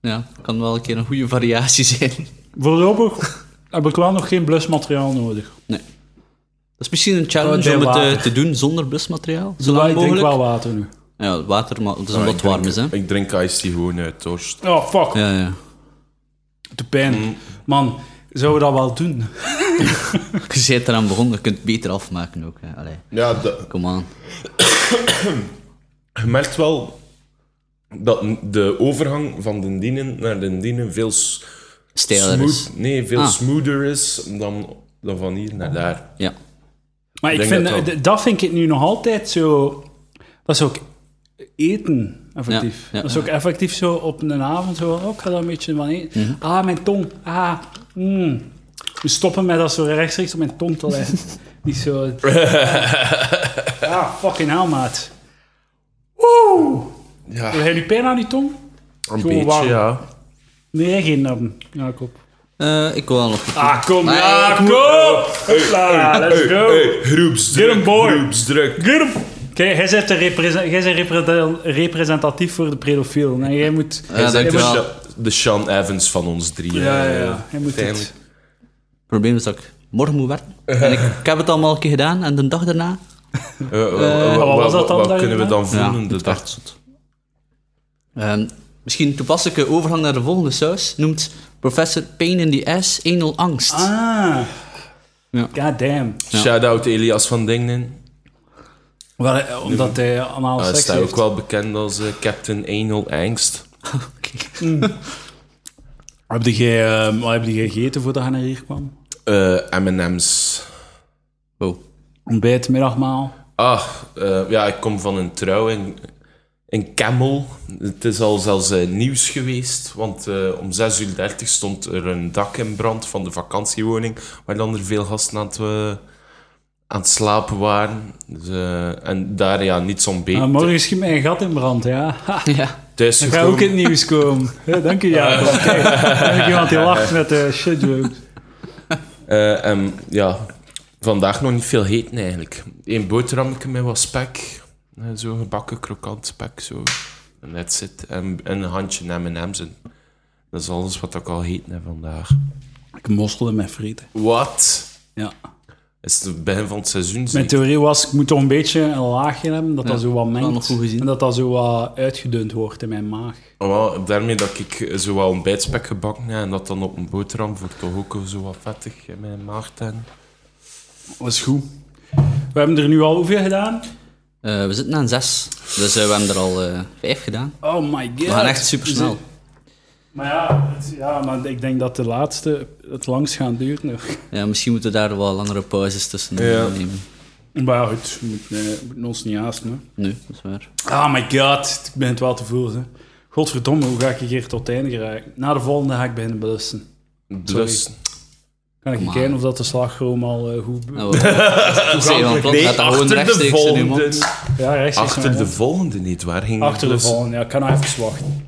Speaker 2: Ja, kan wel een keer een goede variatie zijn.
Speaker 1: Voorlopig heb ik wel nog geen blusmateriaal nodig.
Speaker 2: Dat is misschien een challenge
Speaker 1: Oh,
Speaker 2: om het eh,
Speaker 1: water.
Speaker 2: te doen zonder blusmateriaal. Zo
Speaker 1: Maar
Speaker 2: lang
Speaker 1: ik drink
Speaker 2: mogelijk.
Speaker 1: wel Oh, water nu.
Speaker 2: Ja, water, maar het is omdat het warm is, hè.
Speaker 3: Ik drink iced tea gewoon uit dorst.
Speaker 1: Oh, fuck.
Speaker 2: Ja, ja.
Speaker 1: De
Speaker 3: Mm.
Speaker 1: pijn. Man, zouden we dat wel doen?
Speaker 2: Je bent eraan begonnen, je kunt het beter afmaken ook. Hè. Allee,
Speaker 3: Ja, de-
Speaker 2: kom aan.
Speaker 3: je merkt wel dat de overgang van de dienen naar de dienen veel s-
Speaker 2: Stijler is.
Speaker 3: smooth- nee, veel
Speaker 2: Ah.
Speaker 3: smoother is dan, dan van hier naar daar.
Speaker 2: Ja.
Speaker 1: Maar ik,
Speaker 3: denk
Speaker 1: vind,
Speaker 3: dat
Speaker 1: dat,
Speaker 3: wel.
Speaker 1: dat vind ik het nu nog altijd zo... Dat is ook eten, effectief.
Speaker 2: Ja, ja,
Speaker 1: dat is ook effectief zo op een avond. Zo, oh, ik ga daar een beetje van eten.
Speaker 3: Mhm.
Speaker 1: Ah, mijn tong. Ah, mm. We stoppen met dat zo rechtstreeks op mijn tong te leggen. Niet zo... ah, fucking hell, maat. Woe!
Speaker 3: Ja,
Speaker 1: Wil jij nu pijn aan die tong?
Speaker 3: een
Speaker 1: Gewoon
Speaker 3: beetje,
Speaker 1: warm.
Speaker 3: ja.
Speaker 1: Nee, geen nappen, Jacob.
Speaker 2: Eh, ik wil wel nog...
Speaker 1: Ah, kom,
Speaker 2: Maar ik
Speaker 1: Jacob!
Speaker 2: moet-
Speaker 1: Oh, Hopla, let's go!
Speaker 3: Hey, groepsdruk,
Speaker 1: Get 'em, boy.
Speaker 3: groepsdruk.
Speaker 1: Get hem! Kijk, jij bent, de represen- jij bent repre- representatief voor de pedofiel. En jij moet...
Speaker 2: Ja,
Speaker 3: Hij is
Speaker 2: dankjewel.
Speaker 3: echt de, de Sean Evans van ons drie.
Speaker 1: Ja, ja,
Speaker 3: eh,
Speaker 1: ja. Hij moet
Speaker 3: uiteindelijk.
Speaker 1: dit.
Speaker 2: Het probleem is dat ik morgen moet werken.
Speaker 1: Uh-huh.
Speaker 2: En ik, ik heb het allemaal een keer gedaan en de dag daarna...
Speaker 3: Eh, eh, eh,
Speaker 1: wat was dat dan
Speaker 3: Wat
Speaker 1: daar
Speaker 3: kunnen we dan
Speaker 2: Ja,
Speaker 3: voelen? de
Speaker 2: het
Speaker 3: dag?
Speaker 2: werd zot. Ehm, misschien een toepasselijke overgang naar de volgende saus noemt professor Pain in the Ass anal angst.
Speaker 1: Ah!
Speaker 2: Ja.
Speaker 1: God damn.
Speaker 3: Shout-out Elias van Dingen.
Speaker 1: Wel, eh, omdat hij allemaal
Speaker 3: Hij
Speaker 1: seks
Speaker 3: staat
Speaker 1: heeft.
Speaker 3: ook wel bekend als eh, Captain Anal Angst.
Speaker 2: Oké.
Speaker 1: Heb jij, eh, wat heb je gegeten voordat je naar hier kwam?
Speaker 3: Eh, M&M's.
Speaker 2: Wow.
Speaker 1: Ontbijt, middagmaal.
Speaker 3: Ah, eh, ja, ik kom van een trouw in, in Camel. Het is al zelfs eh, nieuws geweest, want eh, om 6.30 uur stond er een dak in brand van de vakantiewoning, waar dan er veel gasten aan het, eh, aan het slapen waren. Dus, eh, en daar, ja, niets
Speaker 1: Ah,
Speaker 3: ontbeten.
Speaker 1: morgen schiet mij een gat in brand, ja. Ha,
Speaker 2: Ja.
Speaker 3: Thuis
Speaker 1: dan ga ook in
Speaker 3: gekomen.
Speaker 1: het nieuws komen. Ja, dank u, Jacob. Kijk, dank u, iemand die lacht met de shit jokes.
Speaker 3: Eh, en ja, vandaag nog niet veel heten eigenlijk. Eén boterhammetje met wat spek. Eh, Zo gebakken krokant spek, zo. En that's it. En, en een handje M&M's. En Dat is alles wat ik al heten heb vandaag.
Speaker 1: Ik mosselde met frieten.
Speaker 3: Wat?
Speaker 1: Ja.
Speaker 3: Is het het begin van het seizoen?
Speaker 1: Mijn
Speaker 3: zeker?
Speaker 1: theorie was, ik moet toch een beetje een laagje hebben, dat dat zo wat
Speaker 2: wel nog
Speaker 1: mengt.
Speaker 2: goed gezien.
Speaker 1: En dat dat zo wat uitgedund wordt in mijn maag.
Speaker 3: Ah, Wel, daarmee dat ik eh, zo wat ontbijtspek gebakken heb en dat dan op een boterham voor toch ook zo wat vettig eh, in mijn maag te hebben.
Speaker 1: Dat is goed. We hebben er nu al hoeveel gedaan?
Speaker 2: Eh, we zitten aan zes, dus eh, we hebben er al eh, vijf gedaan.
Speaker 1: Oh my god.
Speaker 2: We gaan echt super snel.
Speaker 1: Maar ja, het- ja maar ik denk dat de laatste het langst gaan duurt nog.
Speaker 2: Ja, misschien moeten we daar wel langere pauzes tussen eh,
Speaker 3: Ja.
Speaker 2: nemen.
Speaker 1: Maar ja, goed, we moeten, eh, we moeten ons niet haasten. hè.
Speaker 2: Nu, dat is waar.
Speaker 1: Oh my god, ik ben het wel te voelen. Hè. Godverdomme, hoe ga ik hier tot het einde geraken? Na de volgende ga ik beginnen belusten.
Speaker 3: Dus,
Speaker 1: Kan ik
Speaker 2: on.
Speaker 1: kijken of dat de slagroom al eh, goed...
Speaker 2: Nou, we- Dat zei je van plan, gaat dat gewoon rechtstreeks in uw mond.
Speaker 1: Ja, rechts is
Speaker 3: Achter
Speaker 1: mijn-
Speaker 3: de volgende, niet waar? Ging
Speaker 1: Achter de
Speaker 3: dus-
Speaker 1: volgende, ja, ik kan nog even wachten.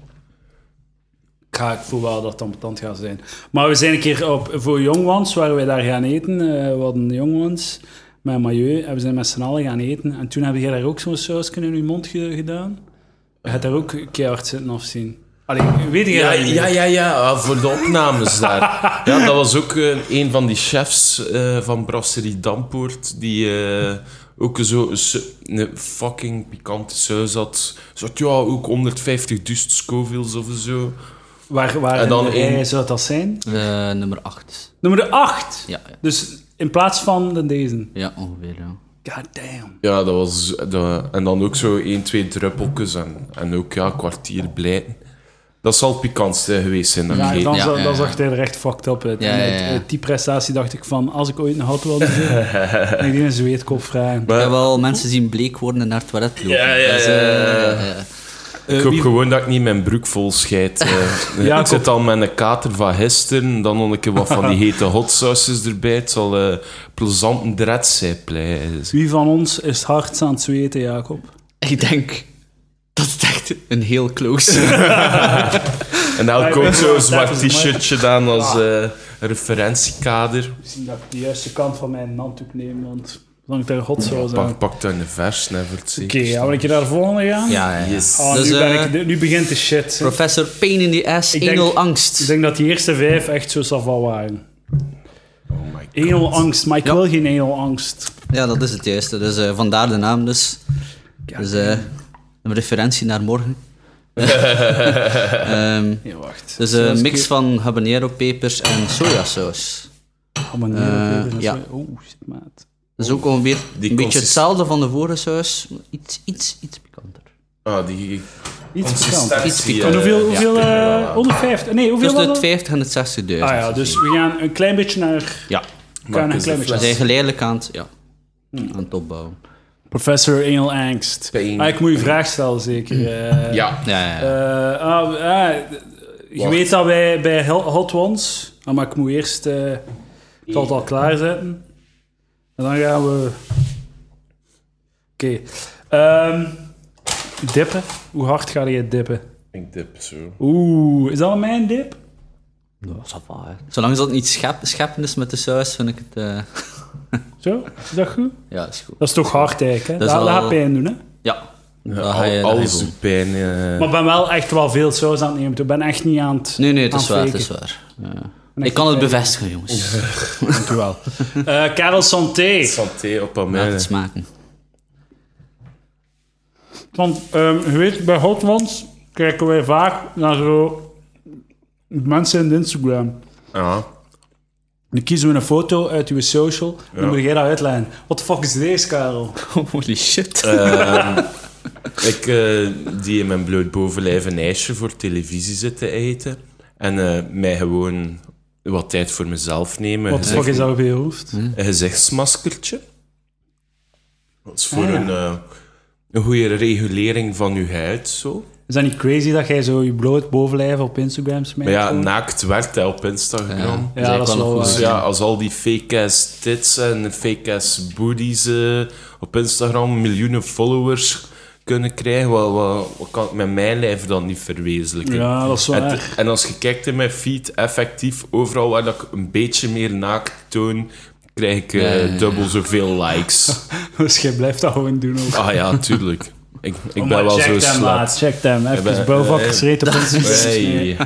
Speaker 1: Ik, ga, ik voel wel dat het ambetant gaat zijn. Maar we zijn een keer op, voor Young Ones, waar wij daar gaan eten. eh we hadden Young Ones met Mailleu en we zijn met z'n allen gaan eten. En toen heb jij daar ook zo'n saus in je mond ge- gedaan. Je hebt daar ook keihard zitten afzien. Allee, weet jij
Speaker 3: Ja,
Speaker 1: dat niet?
Speaker 3: ja, ja, ja, ah, voor de opnames daar. Ja, dat was ook eh, een van die chefs eh, van Brasserie Dampoort, die eh, ook zo een su- een fucking pikante saus had. Ze had ja, ook 150 dust Scovilles of zo.
Speaker 1: Waar, waar
Speaker 3: En dan
Speaker 1: in de rij
Speaker 3: één.
Speaker 1: zou dat zijn?
Speaker 2: Eh, nummer acht.
Speaker 1: Nummer 8!
Speaker 2: Ja, ja.
Speaker 1: Dus in plaats van de deze.
Speaker 2: ja, ongeveer. Ja.
Speaker 1: God damn.
Speaker 3: Ja, dat was... dat- en dan ook zo 1, 2 druppeltjes en, en ook, ja, kwartier blijten. Dat zal het pikantste geweest zijn dat ik
Speaker 1: Ja,
Speaker 3: gegeten
Speaker 1: dan,
Speaker 2: Ja,
Speaker 1: zag-
Speaker 2: ja,
Speaker 1: dan
Speaker 2: ja.
Speaker 1: zag hij er echt fucked up uit.
Speaker 2: Ja,
Speaker 1: En
Speaker 2: ja,
Speaker 1: uit-
Speaker 2: ja.
Speaker 1: uit die prestatie dacht ik van, als ik ooit een hout wil doen, ik die een zweetkop vragen.
Speaker 2: Ik heb wel mensen zien bleek worden en naar het toilet lopen.
Speaker 3: Ja, ja,
Speaker 2: Dus,
Speaker 3: ja,
Speaker 2: eh,
Speaker 3: ja,
Speaker 2: ja, ja.
Speaker 1: Eh,
Speaker 3: ik hoop gewoon dat ik niet mijn broek vol scheid. eh.
Speaker 1: Jacob.
Speaker 3: ik zit al met een kater van gisteren, dan nog een keer wat van die hete hot sauces erbij. Het zal eh, plezant een dret zijn, pleis.
Speaker 1: Wie van ons is het hardst aan het zweten, Jacob?
Speaker 2: Ik denk dat het echt een heel close.
Speaker 3: En dan ook zo'n zwart
Speaker 1: Dat is Ah.
Speaker 3: t-shirtje dan als eh, referentiekader.
Speaker 1: Misschien dat ik de juiste kant van mijn handdoek neem, want lang ik daar hot zou zijn.
Speaker 3: Pak,
Speaker 1: Oké,
Speaker 3: pak dat in de vers, never
Speaker 1: ja, wil ik je daar volgende gaan?
Speaker 2: ja, ja.
Speaker 3: Yes.
Speaker 1: Oh,
Speaker 2: Dus,
Speaker 1: nu, ben
Speaker 2: eh,
Speaker 1: ik, de- nu begint de shit.
Speaker 2: Professor Pain in the Ass,
Speaker 1: Ik denk-
Speaker 2: anal angst.
Speaker 1: Ik denk dat die eerste vijf echt zo saval waren.
Speaker 3: Oh my god.
Speaker 1: Engelangst, maar ik wil geen engelangst.
Speaker 2: Ja, dat is het juiste. Dus eh, vandaar de naam dus. dus eh, Een referentie naar morgen. Ehm,
Speaker 1: Ja, wacht.
Speaker 2: dus een mix van habanero-pepers en sojasaus.
Speaker 1: Oh, Habanero,
Speaker 2: eh,
Speaker 1: ja.
Speaker 2: ja.
Speaker 1: Oeh, Oh, shit, maat.
Speaker 2: Dat is ook ongeveer een beetje
Speaker 3: consist-
Speaker 2: hetzelfde van de vorige saus, maar iets, iets, iets pikanter.
Speaker 3: Ah, die
Speaker 1: Iets pikant.
Speaker 3: consistentie.
Speaker 2: Iets pikant.
Speaker 3: eh,
Speaker 1: En hoeveel, hoeveel
Speaker 3: ja. Dus
Speaker 1: eh, 150? Nee, hoeveel
Speaker 2: Tussen de
Speaker 1: was dat?
Speaker 2: 50 en het 60.000.
Speaker 1: Ah ja, dus we gaan een klein beetje naar...
Speaker 2: Ja,
Speaker 1: Gaan een
Speaker 3: eens de
Speaker 1: klein beetje
Speaker 2: we
Speaker 3: fles.
Speaker 1: naar.
Speaker 2: zijn geleidelijk aan het, ja,
Speaker 1: Hmm.
Speaker 2: aan het opbouwen.
Speaker 1: Professor Engel Angst.
Speaker 3: Pain.
Speaker 1: Ah, ik moet je vraag stellen, zeker. eh.
Speaker 3: Ja.
Speaker 2: Ja, ja, ja.
Speaker 1: Eh, ah, ah, je
Speaker 3: Hmm. Wacht.
Speaker 1: weet dat wij bij Hel- Hot Ones... Ah, maar ik moet eerst eh, het al klaarzetten. En dan gaan we... Oké. Ehm, dippen. Hoe hard ga je dippen?
Speaker 3: Ik dip zo.
Speaker 1: Oeh, is dat mijn dip?
Speaker 2: Nou, ça va, hè. Zolang dat niet schep, scheppen is met de saus, vind ik het... eh,
Speaker 1: Zo, is dat goed?
Speaker 2: ja, is goed.
Speaker 1: Dat is toch hard eigenlijk, hè? Dat,
Speaker 2: Dat is
Speaker 1: dat
Speaker 2: wel-
Speaker 1: gaat pijn doen, hè?
Speaker 2: Ja,
Speaker 3: Ja,
Speaker 2: dat ga je,
Speaker 3: al-
Speaker 2: dat ga je
Speaker 3: alles
Speaker 2: voelen.
Speaker 3: doet pijn. eh.
Speaker 1: Maar ik ben wel echt wel veel saus aan het nemen. Ik ben echt niet aan het
Speaker 2: Nee, nee, het
Speaker 1: aan
Speaker 2: is waar, het
Speaker 1: faken.
Speaker 2: is waar. Ja. Ik kan het bevestigen, jongens.
Speaker 1: Dank u wel. Eh, Karel Santé.
Speaker 3: Santé op aan
Speaker 2: Laat
Speaker 3: mij.
Speaker 2: het smaken.
Speaker 1: Want ehm, je weet, bij Hot Ones kijken wij vaak naar zo mensen in de Instagram.
Speaker 3: Ah.
Speaker 1: Dan kiezen we een foto uit uw social en dan moet jij dat uitleggen. Wat de fuck is deze, Karel?
Speaker 2: Holy shit.
Speaker 3: Ehm, ik eh, die in mijn bloot bovenlijf een ijsje voor televisie zit te eten. En eh, mij gewoon wat tijd voor mezelf nemen.
Speaker 1: Wat de fuck is
Speaker 3: Gezicht-
Speaker 1: dat op je hoofd?
Speaker 3: Een gezichtsmaskertje. Dat is voor
Speaker 1: Ah, ja.
Speaker 3: een, eh, een goede regulering van je huid, zo.
Speaker 1: Is dat niet crazy dat jij zo je bloot bovenlijf op Instagram smijt?
Speaker 3: Maar ja,
Speaker 1: Zo?
Speaker 3: naakt werkt hij op Instagram.
Speaker 1: Ah, Ja, dat is wel
Speaker 3: Dus
Speaker 1: waar.
Speaker 3: ja, als al die fake-ass tits en fake-ass booties eh, op Instagram miljoenen followers kunnen krijgen, wat, wat, wat kan ik met mijn lijf dan niet verwezenlijken?
Speaker 1: Ja, dat is waar.
Speaker 3: En, en als je kijkt in mijn feed, effectief, overal waar dat ik een beetje meer naakt toon, krijg ik eh,
Speaker 2: Ja, ja, ja.
Speaker 3: dubbel zoveel likes.
Speaker 1: Dus jij blijft dat gewoon doen ook.
Speaker 3: Ah ja, tuurlijk. Ik, ik
Speaker 1: Oh,
Speaker 3: ben
Speaker 1: maar
Speaker 3: wel
Speaker 1: check
Speaker 3: zo
Speaker 1: them,
Speaker 3: slap.
Speaker 1: maat, Check them. Even
Speaker 3: ben-
Speaker 1: bouwvak
Speaker 3: eh,
Speaker 1: geschreven op Instagram. Nee.
Speaker 3: Hey.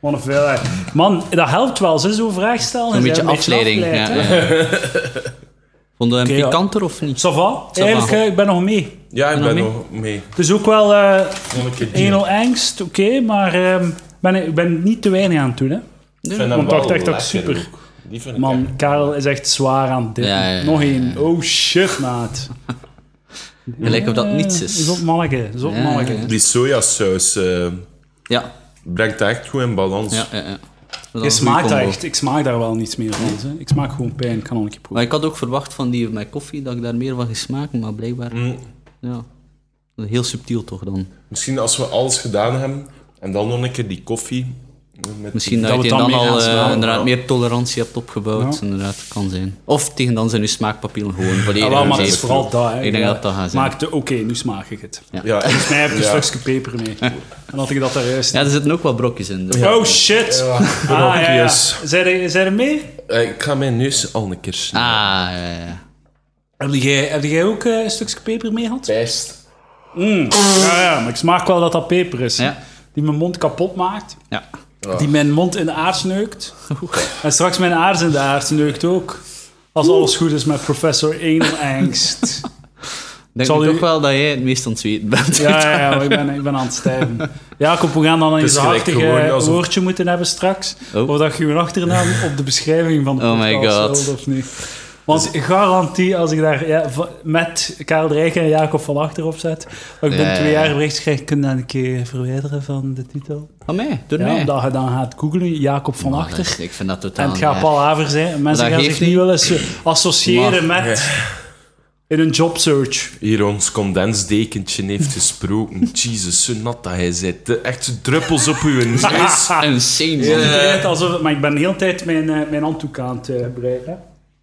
Speaker 1: Wat een veelheid. Man, dat helpt wel, ze zo'n vraag stellen.
Speaker 2: Een
Speaker 1: Ze
Speaker 2: beetje
Speaker 1: zijn
Speaker 2: afleiding.
Speaker 1: afgeleid,
Speaker 2: Ja,
Speaker 1: hè.
Speaker 2: ja. Vond je hem
Speaker 1: Oké, ja.
Speaker 2: pikanter of niet?
Speaker 1: Ça va? Eigenlijk, eh, ik ben nog mee.
Speaker 3: Ja, ik
Speaker 2: Nog
Speaker 3: ben
Speaker 2: mee?
Speaker 3: nog mee.
Speaker 1: Dus ook wel eh
Speaker 3: Nog een keer die.
Speaker 1: enel angst, oké, maar ehm, ben, ik ben niet te weinig aan het doen. Hè.
Speaker 3: Ik vind hem
Speaker 1: Want dat
Speaker 3: wel
Speaker 1: dacht ik
Speaker 3: lekker
Speaker 1: super.
Speaker 3: ook. Die vind ik echt-
Speaker 1: Man, Karel is echt zwaar aan dit.
Speaker 2: Ja, ja, ja,
Speaker 1: Nog
Speaker 2: ja,
Speaker 1: één. Oh shit, maat.
Speaker 2: Het lijkt of dat niets is.
Speaker 1: Zot manneke, zot
Speaker 2: Ja,
Speaker 1: manneke.
Speaker 2: ja.
Speaker 3: Die sojasaus eh,
Speaker 2: Ja,
Speaker 3: brengt dat echt goed in balans.
Speaker 2: ja, ja. ja. Dat
Speaker 1: Je
Speaker 2: is een goede
Speaker 1: smaakt daar
Speaker 2: combo.
Speaker 1: echt, ik smaak daar wel niets meer van. Hè. Ik smaak gewoon pijn, ik kan al een keer proeven.
Speaker 2: Maar ik had ook verwacht van die met koffie dat ik daar meer van ging smaken, maar blijkbaar. Ja. Heel subtiel toch dan?
Speaker 3: Misschien als we alles gedaan hebben en dan nog een keer die koffie. eh, Met
Speaker 2: Misschien dat,
Speaker 1: Dat we
Speaker 2: je
Speaker 1: het
Speaker 2: dan,
Speaker 1: dan mee
Speaker 2: al
Speaker 1: gaan
Speaker 2: eh,
Speaker 1: slaan,
Speaker 2: inderdaad
Speaker 3: ja.
Speaker 2: meer tolerantie hebt opgebouwd. Inderdaad, kan zijn. Of tegen dan zijn je smaakpapillen gewoon volledig.
Speaker 1: Ja, wel, maar het is
Speaker 2: zeven.
Speaker 1: vooral dat. Hè.
Speaker 2: Ik denk dat dat gaat zijn.
Speaker 1: Maakte, oké, nu smaak ik het.
Speaker 2: Ja.
Speaker 3: Ja,
Speaker 1: Volgens mij heb ik een
Speaker 3: Ja.
Speaker 1: stukje peper mee. En had ik dat daar juist.
Speaker 2: Ja, er zitten ook wel brokjes in. dus-
Speaker 1: Oh shit!
Speaker 3: Ja,
Speaker 1: ah, ja, ja.
Speaker 3: brokjes.
Speaker 1: Zijn er, zijn er meer?
Speaker 3: eh, ik ga mijn neus al een keer snijden.
Speaker 2: Ah, ja, ja, ja.
Speaker 1: Heb jij, heb jij ook eh, een stukje peper mee gehad?
Speaker 3: Best.
Speaker 1: Ja, ja, maar ik smaak wel dat dat peper is.
Speaker 2: Ja.
Speaker 1: Die mijn mond kapot maakt.
Speaker 2: ja.
Speaker 3: Oh.
Speaker 1: Die mijn mond in de aard neukt. En straks mijn aars in de aard neukt ook. Als alles goed is met professor Engel Angst.
Speaker 2: Ik denk
Speaker 1: Zal
Speaker 2: nu
Speaker 1: u-
Speaker 2: toch wel dat jij het meest aan het zweten bent.
Speaker 1: Ja, ja, ja maar ik, ben, ik ben aan het stijven. Jacob, we gaan dan een
Speaker 3: is
Speaker 1: eens
Speaker 3: gelijk
Speaker 1: hartig
Speaker 3: gewoon
Speaker 1: eh,
Speaker 3: alsof-
Speaker 1: woordje moeten hebben straks.
Speaker 2: Oh.
Speaker 1: Of dat je een achternaam op de beschrijving van de
Speaker 2: Oh my
Speaker 1: podcast
Speaker 2: God. Dus-
Speaker 1: wilt of niet. Want garantie, als ik daar ja, v- met Karel Rijken en Jacob van Achter op zet, dat ik
Speaker 2: Ja,
Speaker 1: binnen
Speaker 2: ja,
Speaker 1: twee
Speaker 2: ja.
Speaker 1: jaar bericht krijg, kun je dat een keer verwijderen van de titel?
Speaker 2: Van mij, door
Speaker 1: Ja,
Speaker 2: mij.
Speaker 1: omdat je dan gaat googlen, Jacob van
Speaker 2: Maar dat
Speaker 1: Achter.
Speaker 2: is- Ik vind dat totaal
Speaker 1: En het gaat
Speaker 2: niet
Speaker 1: palaver zijn. En mensen
Speaker 2: Dat
Speaker 1: gaan
Speaker 2: geeft
Speaker 1: zich niet
Speaker 2: niet.
Speaker 1: wel eens eh, associëren
Speaker 2: Maar-
Speaker 1: met... In een jobsearch.
Speaker 3: Hier ons condensdekentje heeft gesproken. Jesus, zo nat dat hij zit. De- Echt druppels op uw neus.
Speaker 1: Ah.
Speaker 2: erg. Insane, man.
Speaker 1: Ik weet het alsof, maar ik ben de hele tijd mijn, eh, mijn handdoek aan het eh, breiden.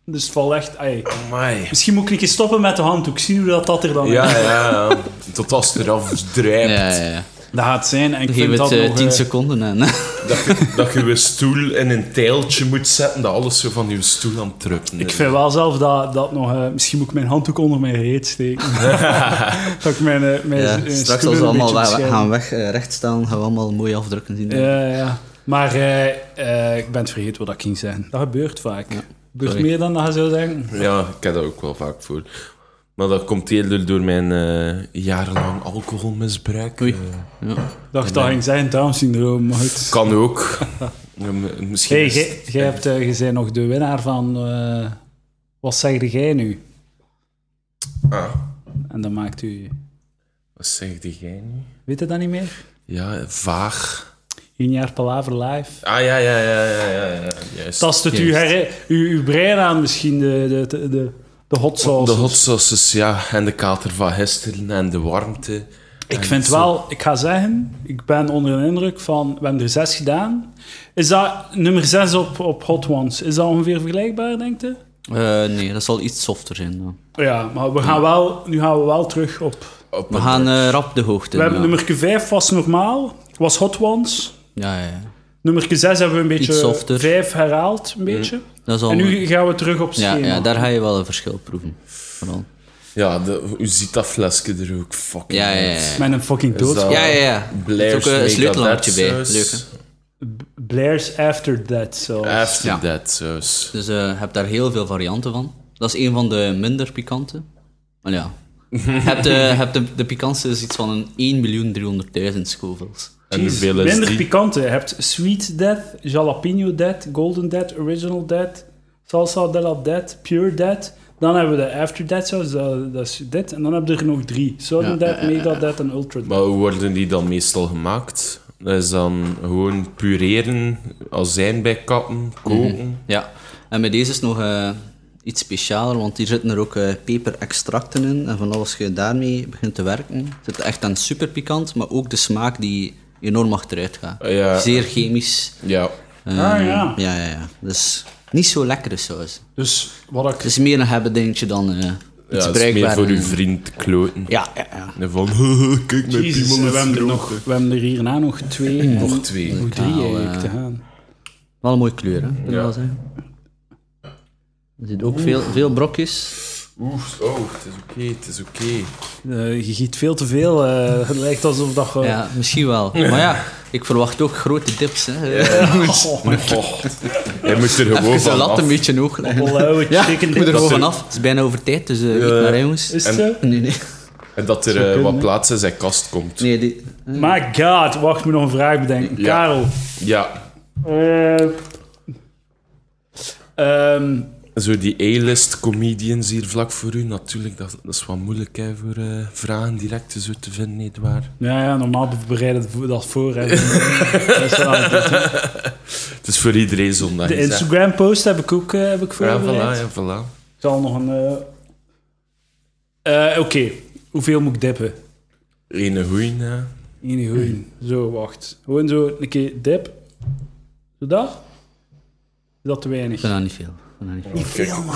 Speaker 1: Dus het valt echt... ai.
Speaker 3: Amai.
Speaker 1: Misschien moet ik een keer stoppen met de handdoek. Zien hoe dat, dat er dan
Speaker 3: Ja, ja, ja. Tot als het eraf drijft.
Speaker 2: Ja, ja, ja.
Speaker 1: Dat gaat zijn. En ik
Speaker 2: Geef
Speaker 1: vind
Speaker 2: het
Speaker 1: dat
Speaker 2: eh,
Speaker 1: nog,
Speaker 2: 10
Speaker 1: eh,
Speaker 2: seconden en...
Speaker 3: Dat je, dat je je stoel in een tijltje moet zetten, dat alles zo van je stoel aan het drukken
Speaker 1: Ik
Speaker 3: is.
Speaker 1: vind wel zelf dat, dat nog... eh, misschien moet ik mijn handdoek onder mijn reet steken. dat ik mijn, eh, mijn
Speaker 2: Ja,
Speaker 1: eh,
Speaker 2: straks
Speaker 1: stoel
Speaker 2: als
Speaker 1: een
Speaker 2: we allemaal
Speaker 1: beetje
Speaker 2: wa-
Speaker 1: bescherm.
Speaker 2: gaan weg, eh, rechtstaan, gaan we allemaal mooie afdrukken zien.
Speaker 1: Ja, ja. Maar eh, eh, ik ben het vergeten wat ik ging zeggen. Dat gebeurt vaak. gebeurt
Speaker 2: sorry.
Speaker 1: meer dan dat je zou zeggen.
Speaker 3: Ja, ik heb dat ook wel vaak voor. Maar dat komt eerder door mijn eh, jarenlang alcoholmisbruik.
Speaker 2: Oei.
Speaker 3: Eh,
Speaker 1: dacht dat ging zijn Down-syndroom, maar goed.
Speaker 3: kan ook. Ja, m- Misschien
Speaker 1: Hey,
Speaker 3: is het-
Speaker 1: jij- jij hebt, eh, je bent nog de winnaar van... eh, wat zegde jij nu?
Speaker 3: Ah,
Speaker 1: En dan maakt u...
Speaker 3: wat zegt jij nu?
Speaker 1: Weet je dat niet meer?
Speaker 3: Ja, vaag.
Speaker 1: Junior Palaver Live.
Speaker 3: Ah, ja, ja, ja, ja, ja. ja. Juist.
Speaker 1: Tast het uw,
Speaker 2: Juist.
Speaker 1: her- uw, uw brein aan misschien, de, de, de, de hot sauce.
Speaker 3: de hot sauces, ja. En de kater van gisteren en de warmte.
Speaker 1: Ik
Speaker 3: En
Speaker 1: vind
Speaker 3: zo.
Speaker 1: wel, ik ga zeggen, ik ben onder de indruk van, we hebben er zes gedaan. Is dat nummer zes op, op Hot Ones? Is dat ongeveer vergelijkbaar, denk je?
Speaker 2: Eh, nee, dat zal iets softer zijn. ja.
Speaker 1: Ja, maar we gaan wel, nu gaan we wel terug op.
Speaker 3: Op
Speaker 2: We
Speaker 3: een-
Speaker 2: gaan eh, rap de hoogte.
Speaker 1: We hebben
Speaker 2: ja.
Speaker 1: nummer 5 was normaal, was Hot Ones.
Speaker 2: Ja, ja, ja.
Speaker 1: Nummer 6 hebben we een beetje
Speaker 2: softer.
Speaker 1: vijf herhaald, een beetje.
Speaker 2: Dat zal
Speaker 1: En nu gaan we terug op
Speaker 2: ja,
Speaker 1: schema.
Speaker 2: ja, daar ga je wel een verschil proeven. Vooral.
Speaker 3: Ja, de, u ziet dat flesje er ook fucking
Speaker 2: Ja, ja,
Speaker 3: uit.
Speaker 2: ja.
Speaker 1: Met een fucking
Speaker 3: Is dat
Speaker 1: dood.
Speaker 2: Ja, ja, ja. Er
Speaker 3: Blair's
Speaker 2: is ook eh, een
Speaker 3: Mega
Speaker 2: sleutelhaartje
Speaker 3: Dead
Speaker 2: bij.
Speaker 3: Sauce.
Speaker 2: Leuk, hè?
Speaker 1: Blair's After That, zo.
Speaker 3: After
Speaker 2: Ja.
Speaker 3: that sauce.
Speaker 2: Dus eh, je hebt daar heel veel varianten van. Dat is een van de minder pikante. Maar ja. Je hebt, eh, je hebt de, de pikantste is iets van een 1.300.000 scovels.
Speaker 3: En
Speaker 1: Jeez,
Speaker 3: hoeveel is
Speaker 1: minder
Speaker 3: die?
Speaker 1: pikante. Je hebt Sweet Death, Jalapeno Death, Golden Death, Original Death, Salsa de la Death, Pure Death. Dan hebben we de After Death Sauce, dat, dat is dit. En dan heb je er nog drie. Sudden
Speaker 2: Ja,
Speaker 1: Death,
Speaker 2: ja, ja,
Speaker 1: Mega Death en Ultra
Speaker 3: Maar
Speaker 1: Death.
Speaker 3: hoe worden die dan meestal gemaakt? Dat is dan gewoon pureren, azijn bij kappen, koken.
Speaker 2: Ja. En met deze is nog eh, iets specialer, want hier zitten er ook eh, peperextracten in. En van alles je daarmee begint te werken, zit het echt aan super pikant, maar ook de smaak die enorm achteruit gaat.
Speaker 3: Ja.
Speaker 2: Zeer chemisch.
Speaker 3: Ja.
Speaker 2: Eh,
Speaker 1: Ah, ja.
Speaker 2: Ja, ja, ja. Dus niet zo lekkere saus.
Speaker 1: Dus wat
Speaker 2: Het
Speaker 1: ik...
Speaker 2: is meer een hebben dingetje dan eh
Speaker 3: Ja,
Speaker 2: iets
Speaker 3: het is meer
Speaker 2: bruikbaar.
Speaker 3: voor
Speaker 2: en-
Speaker 3: uw vriend te kloten.
Speaker 2: Ja, ja, ja.
Speaker 3: En van, kijk, mijn
Speaker 1: Jezus, we
Speaker 3: piemel is
Speaker 1: hebben, er
Speaker 3: rood.
Speaker 1: nog, we hebben er hierna nog twee. en
Speaker 3: Nog twee.
Speaker 1: nog drie eigenlijk te gaan.
Speaker 2: Wel een mooie kleur, hè? Kun je wel zeggen. Er zit ook veel, veel brokjes.
Speaker 3: Oeh, oh, het is oké, het is oké.
Speaker 1: Eh, je giet veel te veel. eh, het lijkt alsof dat... je-
Speaker 2: Ja, misschien wel. Maar ja, ik verwacht ook grote dips. Hè.
Speaker 1: Oh,
Speaker 3: Oh, hij moet er gewoon
Speaker 2: Even de
Speaker 3: van
Speaker 2: lat een
Speaker 3: af.
Speaker 2: beetje hoog leggen.
Speaker 1: Hallo,
Speaker 2: Ja, ik
Speaker 1: chicken
Speaker 2: moet er
Speaker 1: dip.
Speaker 2: gewoon vanaf. Het is bijna over tijd, dus eh, niet naar hè, jongens.
Speaker 1: Is het zo?
Speaker 2: Nee, nee.
Speaker 3: En dat er eh, wat plaats in zijn kast komt.
Speaker 2: nee die,
Speaker 1: My god, wacht, ik moet nog een vraag bedenken.
Speaker 3: Ja.
Speaker 1: Karel.
Speaker 3: Ja,
Speaker 1: Eh, ehm,
Speaker 3: zo die A-list comedians hier vlak voor u, natuurlijk, dat, dat is wat moeilijk hè, voor eh, vragen direct zo te vinden, nietwaar?
Speaker 1: ja, ja, normaal bereiden we dat voor. hè. Dat is wel een-
Speaker 3: Het is voor iedereen zondag.
Speaker 1: de
Speaker 3: is, hè.
Speaker 1: Instagram-post heb ik ook eh, heb ik
Speaker 3: Ja,
Speaker 1: voorbereid.
Speaker 3: voilà, ja, voilà.
Speaker 1: Ik zal nog een... eh, eh, Oké, hoeveel moet ik dippen?
Speaker 3: Ene goeie, hè.
Speaker 1: Eén goeie. Zo, wacht. Gewoon zo een keer dip. Zo dat? Is dat te weinig?
Speaker 2: ik vind dat niet veel. Ik vind dat niet veel.
Speaker 3: Kijk,
Speaker 2: Come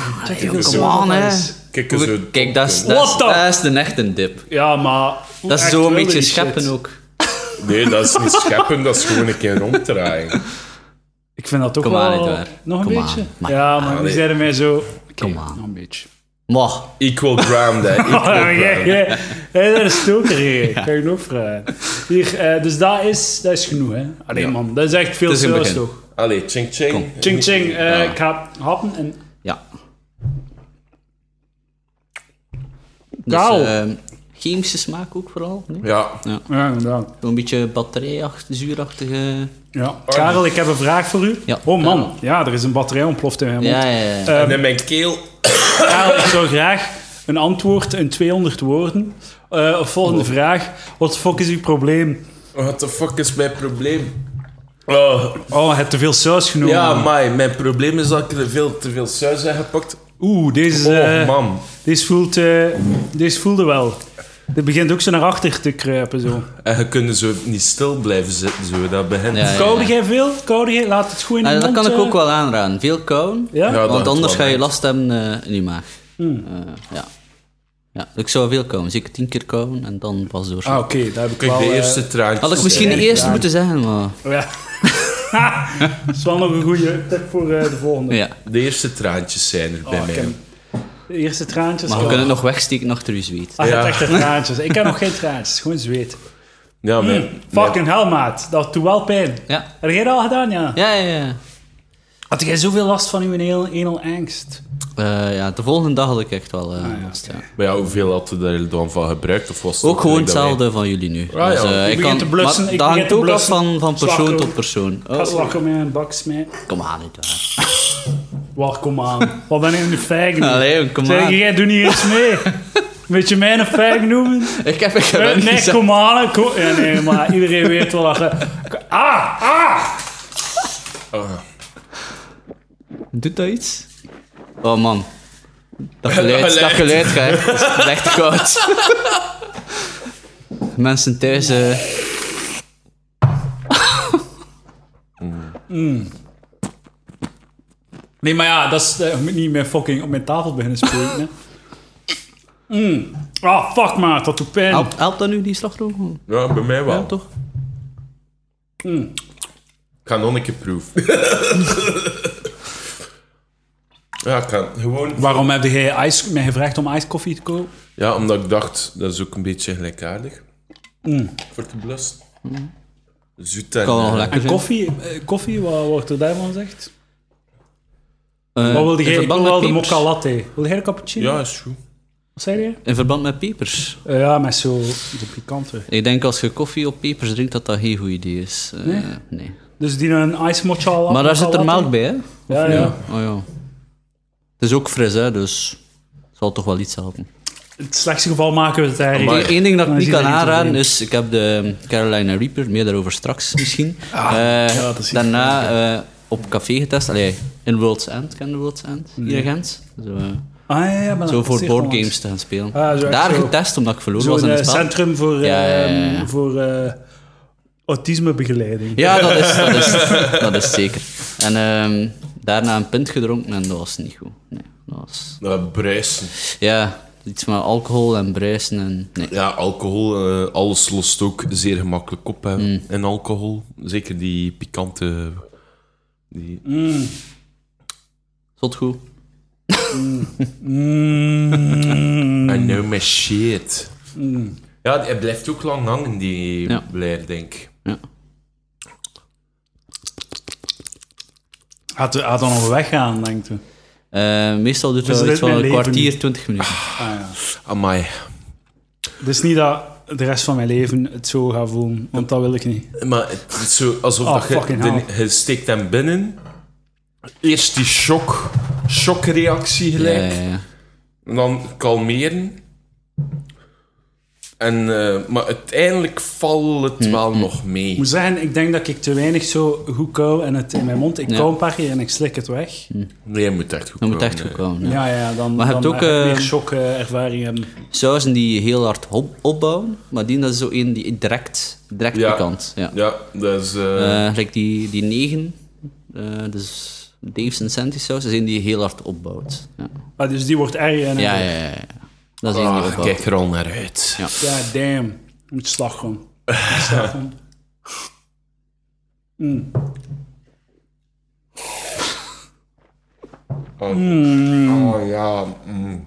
Speaker 2: on, hè.
Speaker 3: kijk eens zo.
Speaker 2: Kijk, dat is, dat,
Speaker 1: What
Speaker 2: is,
Speaker 1: the-
Speaker 2: dat is de echte dip.
Speaker 1: Ja, maar... hoe
Speaker 2: Dat is
Speaker 1: echt
Speaker 2: zo een
Speaker 1: wil
Speaker 2: beetje
Speaker 1: die
Speaker 2: scheppen
Speaker 1: shit?
Speaker 2: ook.
Speaker 3: Nee, dat is niet scheppen, dat is gewoon een keer ronddraaien.
Speaker 1: Ik vind dat toch
Speaker 2: Kom aan,
Speaker 1: wel...
Speaker 2: Edouard.
Speaker 1: Nog een
Speaker 2: Kom aan.
Speaker 1: beetje?
Speaker 2: Maar-
Speaker 1: ja, maar die
Speaker 3: Allee.
Speaker 1: zeiden mij zo... Kom
Speaker 2: Kom aan.
Speaker 1: Nog een beetje. Ah,
Speaker 2: Maar,
Speaker 3: Equal ground, hè. Equal
Speaker 1: Ja,
Speaker 3: ground.
Speaker 1: ja, ja. Hé, dat is stoker hier. Kan je nog vragen. Hier, eh, dus dat is, dat is genoeg, hè? Alleen
Speaker 3: Ja.
Speaker 1: man, dat is echt veel
Speaker 2: Het is een
Speaker 1: zelfs
Speaker 2: begin.
Speaker 1: toch?
Speaker 3: Allee, ching ching.
Speaker 1: Ching ching, eh, ik ga happen en...
Speaker 2: Ja.
Speaker 1: Kaal.
Speaker 2: Dus, ehm, chemische smaak ook vooral. nee?
Speaker 3: Ja,
Speaker 1: Ja, inderdaad.
Speaker 2: Zo'n beetje batterijachtig, zuurachtige...
Speaker 1: Ja. Karel, ik heb een vraag voor u.
Speaker 2: Ja.
Speaker 1: Oh man, ja, er is een batterij ontploft in mijn mond.
Speaker 2: Ja, ja, ja.
Speaker 1: Ehm.
Speaker 3: en in mijn keel.
Speaker 1: Karel, ik zou graag een antwoord in 200 woorden. Eh, volgende
Speaker 2: Oh.
Speaker 1: vraag. Wat fuck is uw probleem?
Speaker 3: What the fuck is mijn probleem? Oh,
Speaker 1: Oh, je hebt te veel saus genomen.
Speaker 3: ja, maar mijn probleem is dat ik er veel te veel saus heb gepakt.
Speaker 1: Oeh, deze is...
Speaker 3: Oh,
Speaker 1: eh,
Speaker 3: man.
Speaker 1: Deze, voelt, eh, deze voelde wel. Dit begint ook zo naar achter te kruipen. Zo.
Speaker 3: En je kunt zo niet stil blijven zitten, zo. Dat begint.
Speaker 2: Ja, ja.
Speaker 1: Koude jij veel? Koude jij? Laat het goed in de
Speaker 2: Ah, dat
Speaker 1: mond,
Speaker 2: kan ik
Speaker 1: eh.
Speaker 2: ook wel aanraden. Veel kouden,
Speaker 1: Ja?
Speaker 3: Ja, dat
Speaker 2: want anders
Speaker 3: wel,
Speaker 2: ga je
Speaker 3: hè.
Speaker 2: last hebben eh, in je maag.
Speaker 1: Hmm.
Speaker 2: Eh, ja. ja. dus Ik zou veel kouden, zeker tien keer kouden en dan pas door.
Speaker 1: Ah, oké. daar heb ik
Speaker 3: Kijk,
Speaker 1: wel...
Speaker 3: de
Speaker 1: eh,
Speaker 3: eerste traantjes.
Speaker 2: Had ik misschien de
Speaker 1: erg
Speaker 2: eerste
Speaker 1: aan.
Speaker 2: moeten zeggen, maar...
Speaker 1: ja. dat is wel nog een goede tip voor eh, de volgende.
Speaker 2: Ja.
Speaker 3: De eerste traantjes zijn er bij
Speaker 1: Oh, ik
Speaker 3: mij.
Speaker 1: heb de eerste traantjes.
Speaker 2: Maar we
Speaker 1: Oh.
Speaker 2: kunnen het nog wegsteken achter je zweet.
Speaker 1: Ah, je hebt
Speaker 3: Ja.
Speaker 1: echt de traantjes. Ik heb nog geen traantjes. Gewoon zweet.
Speaker 3: Ja, mijn, mijn-
Speaker 1: Hmm, Fucking hell, maat. Dat doet wel pijn.
Speaker 2: Ja.
Speaker 1: Heb jij dat al gedaan, ja?
Speaker 2: Ja, ja, ja.
Speaker 1: Had jij zoveel last van uw enel, enel angst?
Speaker 2: Eh, ja, de volgende dag had ik echt wel eh,
Speaker 1: Ah,
Speaker 2: last, ja.
Speaker 3: Maar ja, hoeveel had je daar dan van gebruikt? Of was het
Speaker 2: Ook gewoon
Speaker 3: gelijk dat wij-
Speaker 2: hetzelfde van jullie
Speaker 1: Ah,
Speaker 2: nu.
Speaker 3: ja,
Speaker 2: eh,
Speaker 3: ik
Speaker 1: begin te blussen,
Speaker 2: maar
Speaker 1: ik
Speaker 2: dat
Speaker 1: begin
Speaker 2: hangt
Speaker 1: te
Speaker 2: ook af
Speaker 1: blussen.
Speaker 2: van, van persoon
Speaker 1: Slagroom.
Speaker 2: tot persoon. Oh,
Speaker 1: Gaat lachen met een bak smijten.
Speaker 2: kom aan, niet waar.
Speaker 1: Waar, kom aan. Wat ben ik een feig nu?
Speaker 2: Allee, kom
Speaker 1: Zeg,
Speaker 2: aan.
Speaker 1: jij doet niet eens mee. Weet je mij een feig noemen?
Speaker 2: Ik heb ik heb
Speaker 1: Eh, Nee,
Speaker 2: het niet gezegd.
Speaker 1: kom aan. Kom. Ja, nee, maar iedereen weet wel dat je... Ah, ah!
Speaker 3: Ah.
Speaker 2: Doet dat iets? Oh man. Dat geluid,
Speaker 3: geluid.
Speaker 2: dat geluid, hè. Dat is echt koud. Mensen thuis... eh,
Speaker 1: Nee, maar ja, dat is... eh, je moet niet meer fucking op mijn tafel beginnen spelen. hè. Mm. Ah, fuck maat, dat doet pijn.
Speaker 2: helpt, helpt dat nu, die slagroom?
Speaker 3: Ja, bij mij wel.
Speaker 2: Ja, toch?
Speaker 3: Ik ga nog een keer proeven. ja, ik kan. Gewoon...
Speaker 1: Waarom heb jij ice, mij gevraagd om ijskoffie te kopen?
Speaker 3: Ja, omdat ik dacht, dat is ook een beetje gelijkaardig. Voor te blussen. Zoet en...
Speaker 2: Hmm. Kan wel
Speaker 3: eh,
Speaker 2: lekker
Speaker 1: En
Speaker 2: zijn.
Speaker 1: koffie, eh, koffie wat wordt er daarvan gezegd?
Speaker 2: Eh,
Speaker 1: Wat wilde
Speaker 2: in
Speaker 1: jij? Ik
Speaker 2: verband
Speaker 1: wil wel
Speaker 2: met
Speaker 1: de
Speaker 2: pepers.
Speaker 1: mocha latte. Wil jij de cappuccino?
Speaker 3: Ja, is goed.
Speaker 1: Wat zei je?
Speaker 2: In verband met pepers.
Speaker 1: Eh, ja, met zo de pikante.
Speaker 2: Ik denk als je koffie op pepers drinkt, dat dat geen goed idee is. Eh,
Speaker 1: Nee?
Speaker 2: nee.
Speaker 1: Dus die een ice mocha latte.
Speaker 2: Maar daar zit er melk bij, hè?
Speaker 1: Ja, ja.
Speaker 2: Oh ja. Het is ook fris, hè, dus het zal toch wel iets helpen.
Speaker 1: In het slechtste geval maken we het
Speaker 2: Eén
Speaker 1: eigenlijk.
Speaker 2: één ding dat ik
Speaker 1: Dan
Speaker 2: niet
Speaker 1: is
Speaker 2: kan
Speaker 1: iedereen
Speaker 2: aanraden
Speaker 1: tevreden.
Speaker 2: is, ik heb de Carolina Reaper, meer daarover straks misschien. Eh,
Speaker 1: Ah, ja, dat is iets
Speaker 2: daarna eh, op café getest, allee, in World's End, ken je World's End? Hier in Gent. Zo, eh,
Speaker 1: Ah, ja, ja, maar
Speaker 2: zo
Speaker 1: dat
Speaker 2: voor
Speaker 1: is
Speaker 2: boardgames
Speaker 1: echt
Speaker 2: te gaan spelen.
Speaker 1: Ah, zo echt
Speaker 2: Daar
Speaker 1: zo.
Speaker 2: getest, omdat ik verloren
Speaker 1: Zo'n
Speaker 2: was in
Speaker 1: eh,
Speaker 2: het spel.
Speaker 1: centrum voor,
Speaker 2: Ja, ja, ja, ja.
Speaker 1: ehm, voor eh, autismebegeleiding.
Speaker 2: Ja, dat is, dat is, dat is zeker. En ehm, daarna een pint gedronken en dat was niet goed. Nee, dat was...
Speaker 3: Eh, bruisen.
Speaker 2: Ja, iets met alcohol en bruisen en... Nee.
Speaker 3: Ja, alcohol, eh, alles lost ook zeer gemakkelijk op. Hè.
Speaker 2: Hmm.
Speaker 3: En alcohol, zeker die pikante. Die...
Speaker 2: Tot goed.
Speaker 1: Mm.
Speaker 3: I
Speaker 2: Mm.
Speaker 3: know my shit. Ja, hij blijft ook lang hangen, die
Speaker 2: Ja.
Speaker 3: blair, denk ik.
Speaker 2: Ja.
Speaker 1: Had, had dan nog weggaan, denkt u.
Speaker 2: Eh, meestal duurt
Speaker 1: Dus dat
Speaker 2: het wel
Speaker 1: is
Speaker 2: iets van
Speaker 1: mijn
Speaker 2: een
Speaker 1: leven
Speaker 2: kwartier, twintig minuten.
Speaker 3: Amai.
Speaker 1: Het is niet dat de rest van mijn leven het zo gaat voelen, want dat wil ik niet.
Speaker 3: Maar het is zo alsof
Speaker 2: Ah,
Speaker 1: Oh,
Speaker 3: dat je,
Speaker 1: fucking
Speaker 3: de,
Speaker 1: hell.
Speaker 3: je steekt hem binnen. Eerst die shock, shockreactie
Speaker 2: Ja,
Speaker 3: gelijk.
Speaker 2: ja, ja.
Speaker 3: En dan kalmeren. En, eh, maar uiteindelijk valt
Speaker 2: Mm,
Speaker 3: het wel nog mee.
Speaker 1: Ik moet zeggen, ik denk dat ik te weinig zo goed kou en het in mijn mond. Ik
Speaker 2: Ja.
Speaker 1: kou een paar keer en ik slik het weg.
Speaker 3: Nee, je moet echt goed
Speaker 2: Dat moet
Speaker 3: komen,
Speaker 2: echt goed
Speaker 3: hè.
Speaker 2: komen. ja.
Speaker 1: Ja, ja, dan,
Speaker 2: Maar je
Speaker 1: dan
Speaker 2: hebt ook,
Speaker 1: ga ik
Speaker 2: eh,
Speaker 1: meer shock-ervaring hebben.
Speaker 2: Sauzen die heel hard op- opbouwen, maar die dat is zo één die direct, direct
Speaker 3: Ja.
Speaker 2: pikant. Ja.
Speaker 3: Ja, dat is... eh,
Speaker 2: Eh, gelijk die, die negen, eh, dus Dave's Incentive saus, is één die heel hard opbouwt. Ja,
Speaker 1: Ah, dus die wordt erger en
Speaker 2: ja,
Speaker 1: erger.
Speaker 2: ja. ja, ja. Dat is één die
Speaker 3: ah, ik
Speaker 2: opbouwt.
Speaker 3: kijk er al naar uit.
Speaker 2: Ja.
Speaker 1: Ja, damn. Ik Moet slagroom. Ik moet slagroom.
Speaker 3: Oh ja. mm.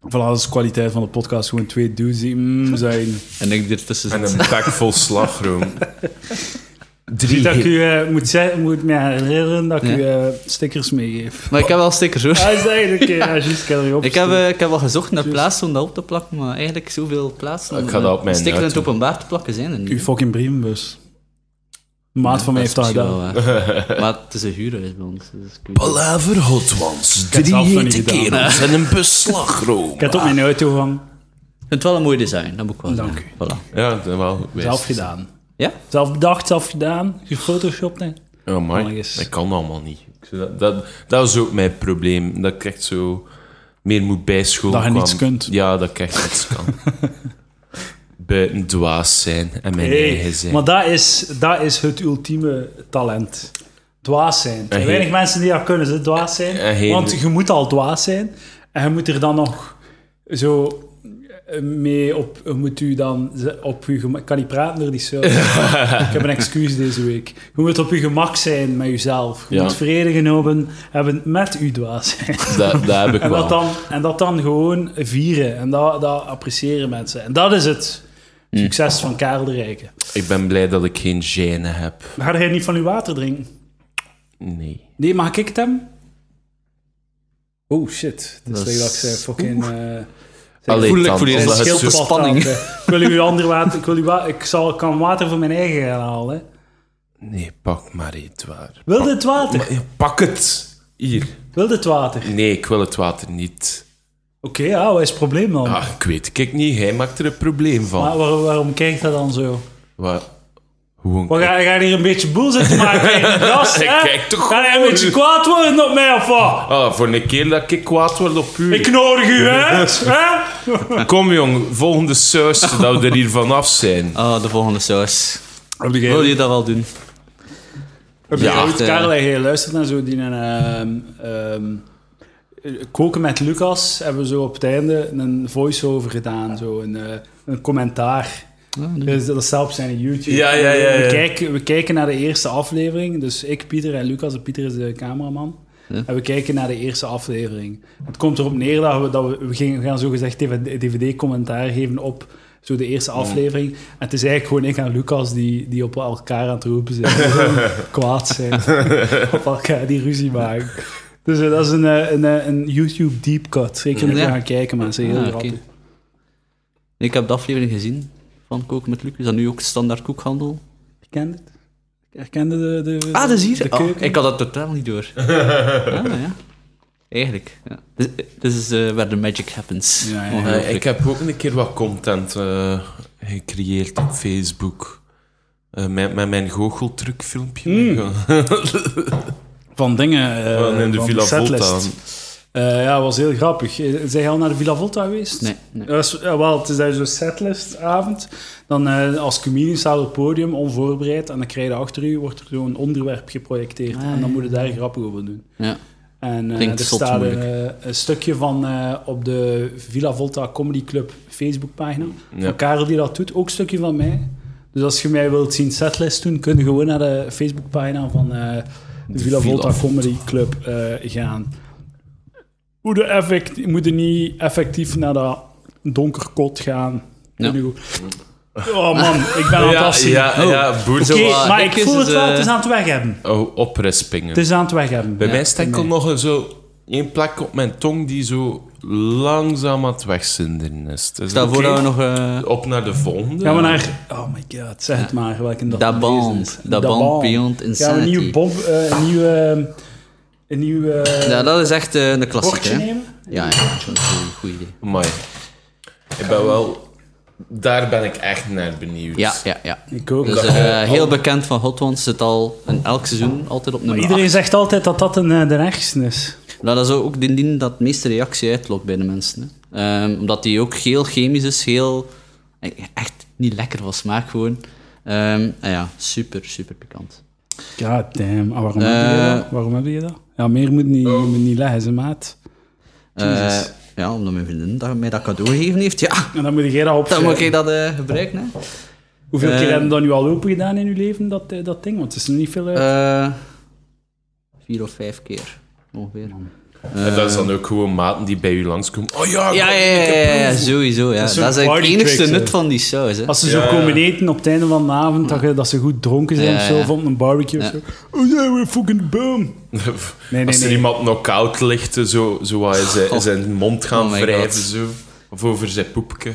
Speaker 1: Voilà, dat is de kwaliteit van de podcast. Gewoon twee dudes die mm, zijn.
Speaker 2: En ik ertussen
Speaker 3: En
Speaker 2: zit.
Speaker 3: een bek vol slagroom. Drie.
Speaker 1: Dat ik u eh, moet, zeggen, moet me herinneren dat ik u eh, stickers meegeef.
Speaker 2: Maar ik heb wel stickers
Speaker 3: Ah,
Speaker 2: hoor.
Speaker 1: Hij zei eigenlijk, eh, ja, juist, ik heb erop
Speaker 2: Ik heb,
Speaker 1: staan.
Speaker 2: eh, ik heb al gezocht naar plaatsen om dat op te plakken, maar eigenlijk zoveel plaatsen om
Speaker 3: Ik ga dat op
Speaker 2: eh,
Speaker 3: mijn
Speaker 2: sticker in het
Speaker 3: auto.
Speaker 2: openbaar te plakken zijn er niet.
Speaker 1: Uw fucking brievenbus. Een maat van mij heeft dat
Speaker 2: misschien
Speaker 1: gedaan.
Speaker 2: wel waar. maar het is een huurhuis bij ons. Dus ik weet niet.
Speaker 3: Palaver Hot Ones.
Speaker 1: heb het
Speaker 3: Drie
Speaker 1: zelf nog niet
Speaker 3: hete
Speaker 1: gedaan.
Speaker 3: kerels en een bus slagroom.
Speaker 1: Ik heb het op
Speaker 2: Ah.
Speaker 1: mijn auto van
Speaker 2: Ik vind het wel een mooi design, dat moet ik wel
Speaker 1: Dank
Speaker 2: zeggen. Voilà.
Speaker 3: Ja, dat is wel goed geweest.
Speaker 1: zelf gedaan.
Speaker 2: Ja?
Speaker 1: Zelf bedacht, zelf gedaan. Gefotoshopt, hè.
Speaker 3: Ja, maar
Speaker 1: Oh, yes.
Speaker 3: dat kan allemaal niet. Ik zeg Dat, dat, dat is ook mijn probleem. Dat ik echt zo meer moet bijscholen.
Speaker 1: Dat je
Speaker 3: kwam.
Speaker 1: niets kunt.
Speaker 3: Ja, dat ik echt niets kan. Buiten dwaas zijn en eh, mijn
Speaker 1: Hey,
Speaker 3: eigen zijn.
Speaker 1: maar dat is, dat is het ultieme talent. Dwaas zijn. Er zijn
Speaker 3: En
Speaker 1: weinig
Speaker 3: geen-
Speaker 1: mensen die dat kunnen, ze dwaas zijn.
Speaker 3: En geen-
Speaker 1: Want je moet al dwaas zijn. En je moet er dan nog zo eh, mee op... je Moet u dan ze- op uw gemak... Ik kan niet praten door die cel. Ik heb een excuus deze week. Je moet op je gemak zijn met jezelf. Je
Speaker 3: Ja.
Speaker 1: moet vrede genomen hebben met uw dwaas zijn.
Speaker 3: Dat, dat heb ik
Speaker 1: En
Speaker 3: wel.
Speaker 1: dat, dan, en dat dan gewoon vieren. En dat, dat appreciëren mensen. En dat is het
Speaker 3: Hm.
Speaker 1: succes van Karel de Rijke.
Speaker 3: Ik ben blij dat ik geen gene heb.
Speaker 1: Ga jij niet van uw water drinken?
Speaker 3: Nee.
Speaker 1: Nee, mag ik het hebben?
Speaker 4: Oh shit. Dus
Speaker 2: Dat
Speaker 4: dat je
Speaker 2: is-
Speaker 4: dacht, eh, fucking... eh,
Speaker 3: Allee,
Speaker 2: voel ik
Speaker 3: dan,
Speaker 2: voor die
Speaker 3: als
Speaker 2: zin
Speaker 3: dat het
Speaker 2: scheelt
Speaker 3: zo-
Speaker 2: pas. dus spanning.
Speaker 4: aan, eh.
Speaker 1: Ik wil u ander water. Ik, wil u wa- ik zal, kan water voor mijn eigen gaan halen. hè.
Speaker 3: Nee, pak maar het waar.
Speaker 1: Wil dit water?
Speaker 3: Maar, ja, Pak het! Hier.
Speaker 1: Wil dit water?
Speaker 3: Nee, ik wil het water niet.
Speaker 1: Oké, ja, wat is het probleem dan?
Speaker 3: Ah, ik weet kijk niet, hij maakt er een probleem
Speaker 1: Maar
Speaker 3: van.
Speaker 1: waar- waarom kijkt dat dan zo?
Speaker 3: Wat? Gewoon...
Speaker 1: We gaan, gaan hier een beetje boel zitten maken. hè, Gast, hè?
Speaker 3: Kijk toch
Speaker 1: Ga jij een
Speaker 3: gewoon.
Speaker 1: beetje kwaad worden op mij of wat?
Speaker 3: Ah, voor een keer dat ik kwaad word op u.
Speaker 1: Ik nodig u uit, hè?
Speaker 3: Kom jong, volgende saus, dat we er hier vanaf zijn.
Speaker 2: Ah, de volgende saus.
Speaker 1: Heb je
Speaker 2: Wil je dat wel doen?
Speaker 1: Heb je
Speaker 2: Ja,
Speaker 1: ooit,
Speaker 2: eh.
Speaker 1: Karel, heb je luistert naar zo die ehm, ehm, koken met Lucas, hebben we zo op het einde een voice-over gedaan, zo een, eh, een commentaar.
Speaker 2: Ah,
Speaker 1: Dus dat staat op zijn YouTube.
Speaker 3: Ja, ja, ja, ja.
Speaker 1: We, kijken, we kijken naar de eerste aflevering. Dus ik, Pieter en Lucas. en Pieter is de cameraman. En we kijken naar de eerste aflevering. Het komt erop neer dat we, dat we, we, gingen, we gaan zogezegd DVD-commentaar geven op zo de eerste aflevering. En het is eigenlijk gewoon ik en Lucas die, die op elkaar aan het roepen zijn. Gewoon kwaad zijn. op elkaar die ruzie maken. Dus eh, dat is een, eh, een, eh, een YouTube deep cut. Zeker moet je
Speaker 2: Ja.
Speaker 1: gaan kijken, mensen. Heel
Speaker 2: Ah, oké.
Speaker 1: grappig.
Speaker 2: Ik heb de aflevering gezien van Koken met Luc. Is dat nu ook standaard koekhandel?
Speaker 1: Herkende het? Herkende de, de...
Speaker 2: Ah, dat is hier.
Speaker 1: De
Speaker 2: Ah,
Speaker 1: keuken.
Speaker 2: ik had dat totaal niet door. ah, ja. Eigenlijk. Ja. This, this is eh, where the magic happens.
Speaker 1: Ja, ja, ja.
Speaker 2: Ongelooflijk.
Speaker 3: Eh, ik heb ook een keer wat content eh, gecreëerd op Facebook. Eh, met, met mijn goocheltruckfilmpje.
Speaker 1: Hmm, Van dingen. eh,
Speaker 3: Gewoon in de
Speaker 1: van
Speaker 3: Villa
Speaker 1: setlist.
Speaker 3: Volta.
Speaker 1: Eh, ja, was heel grappig. Eh, Zijn jij al naar de Villa Volta geweest?
Speaker 2: Nee, nee.
Speaker 1: Dat was- ja, wel, het is daar zo'n setlistavond. Dan eh, als comedian staat op het podium, onvoorbereid. En dan krijg je achter u, wordt er zo'n onderwerp geprojecteerd.
Speaker 2: Ah,
Speaker 1: en
Speaker 2: ja.
Speaker 1: dan moet je daar grappig over doen.
Speaker 2: Ja.
Speaker 1: En eh,
Speaker 2: Klinkt
Speaker 1: er
Speaker 2: zot
Speaker 1: staat een,
Speaker 2: moeilijk.
Speaker 1: eh, een stukje van eh, op de Villa Volta Comedy Club Facebookpagina.
Speaker 3: Ja.
Speaker 1: Van Karel die dat doet, ook een stukje van mij. Dus als je mij wilt zien setlist doen, kun je gewoon naar de Facebookpagina van eh, de, Villa
Speaker 3: Villa
Speaker 1: Volta
Speaker 3: Volta.
Speaker 1: Comedy Club eh, gaan. Moet je, effect, moet je niet effectief naar dat donkerkot gaan.
Speaker 2: Ja.
Speaker 1: Nu- Oh man, ik ben aan het
Speaker 3: Ja,
Speaker 1: afzien.
Speaker 3: ja, ja, boer.
Speaker 1: Oh, Oké,
Speaker 2: Zo, eh,
Speaker 1: maar
Speaker 2: ik
Speaker 1: ik
Speaker 2: is
Speaker 1: voel
Speaker 2: het,
Speaker 1: het wel,
Speaker 2: eh,
Speaker 1: het is aan het weghebben.
Speaker 3: Oh, oprespingen.
Speaker 1: Het is aan het weghebben.
Speaker 3: Bij
Speaker 2: Ja,
Speaker 3: mij stekkel
Speaker 1: Dus- nee.
Speaker 3: nog een zo één plek op mijn tong die zo langzaam aan het wegzinderen is. Dus
Speaker 2: Stel voor
Speaker 3: oké,
Speaker 2: dat we nog... eh
Speaker 3: Op naar de volgende.
Speaker 1: Gaan we naar... Oh my god, zeg het maar. Welke dat
Speaker 2: Da
Speaker 1: geweest
Speaker 2: Bond.
Speaker 1: is.
Speaker 2: Da Bond Beyond
Speaker 1: Gaan we een
Speaker 2: Insanity.
Speaker 1: nieuw Bob... eh, een nieuw... eh, een nieuw... eh,
Speaker 2: ja, dat is echt eh, een klassieker.
Speaker 1: bordje
Speaker 2: hè.
Speaker 1: nemen?
Speaker 2: Ja, ja, dat is een goed idee.
Speaker 3: Amai. Ik ben wel... Daar ben ik echt naar benieuwd.
Speaker 2: Ja, ja, ja.
Speaker 1: Ik ook.
Speaker 2: Dus
Speaker 3: Dat
Speaker 2: eh,
Speaker 3: al- al-
Speaker 2: heel bekend van Hot Ones zit al in elk seizoen altijd op nummer
Speaker 1: Iedereen zegt altijd dat dat een, eh, de ergste is.
Speaker 2: acht. Nou, dat is ook de ding dat het meeste reactie uitlokt bij de mensen. Hè. Ehm, omdat die ook heel chemisch is, heel... eh, Echt niet lekker van smaak gewoon. Ehm, en ja, super, super pikant.
Speaker 1: God damn. Ah, waarom,
Speaker 2: Eh.
Speaker 1: heb je dat? waarom heb je dat? Ja, meer moet niet, moet niet leggen, ze maat.
Speaker 2: Eh,
Speaker 1: Jezus.
Speaker 2: ja, omdat mijn vriendin dat, mij dat cadeau gegeven heeft. Ja,
Speaker 1: En dan moet je dat
Speaker 2: dan moet
Speaker 1: opschrijven.
Speaker 2: ik dat eh, gebruiken. Hè.
Speaker 1: Hoeveel
Speaker 2: Eh.
Speaker 1: keer hebben we dat nu al open gedaan in uw leven, dat, eh, dat ding? Want het is nog niet veel... eh,
Speaker 2: Eh, vier of vijf keer, ongeveer.
Speaker 3: En dat is dan ook gewoon maten die bij u langskomen. Oh ja,
Speaker 2: Ja,
Speaker 3: kom,
Speaker 2: ja, ja,
Speaker 3: ik heb
Speaker 2: ja,
Speaker 3: proeven.
Speaker 2: ja, sowieso. Ja.
Speaker 1: Dat is
Speaker 2: Dat,
Speaker 1: zo'n
Speaker 2: is het
Speaker 1: party
Speaker 2: enigste
Speaker 1: trick,
Speaker 2: nut
Speaker 1: hè.
Speaker 2: van die saus. Hè.
Speaker 1: Als ze
Speaker 3: Ja.
Speaker 1: zo komen eten op het einde van de avond, dat, je- dat ze goed dronken zijn
Speaker 2: Ja,
Speaker 1: of zo,
Speaker 2: ja.
Speaker 1: van een barbecue of
Speaker 2: Ja.
Speaker 1: zo. Oh ja, we're fucking boom. Nee, nee,
Speaker 3: Als er
Speaker 1: nee.
Speaker 3: iemand knock-out ligt, eh, zo, zo wat in zijn, in zijn mond gaan
Speaker 2: Oh my
Speaker 3: wrijven.
Speaker 2: God.
Speaker 3: Zo. Of over zijn poepje.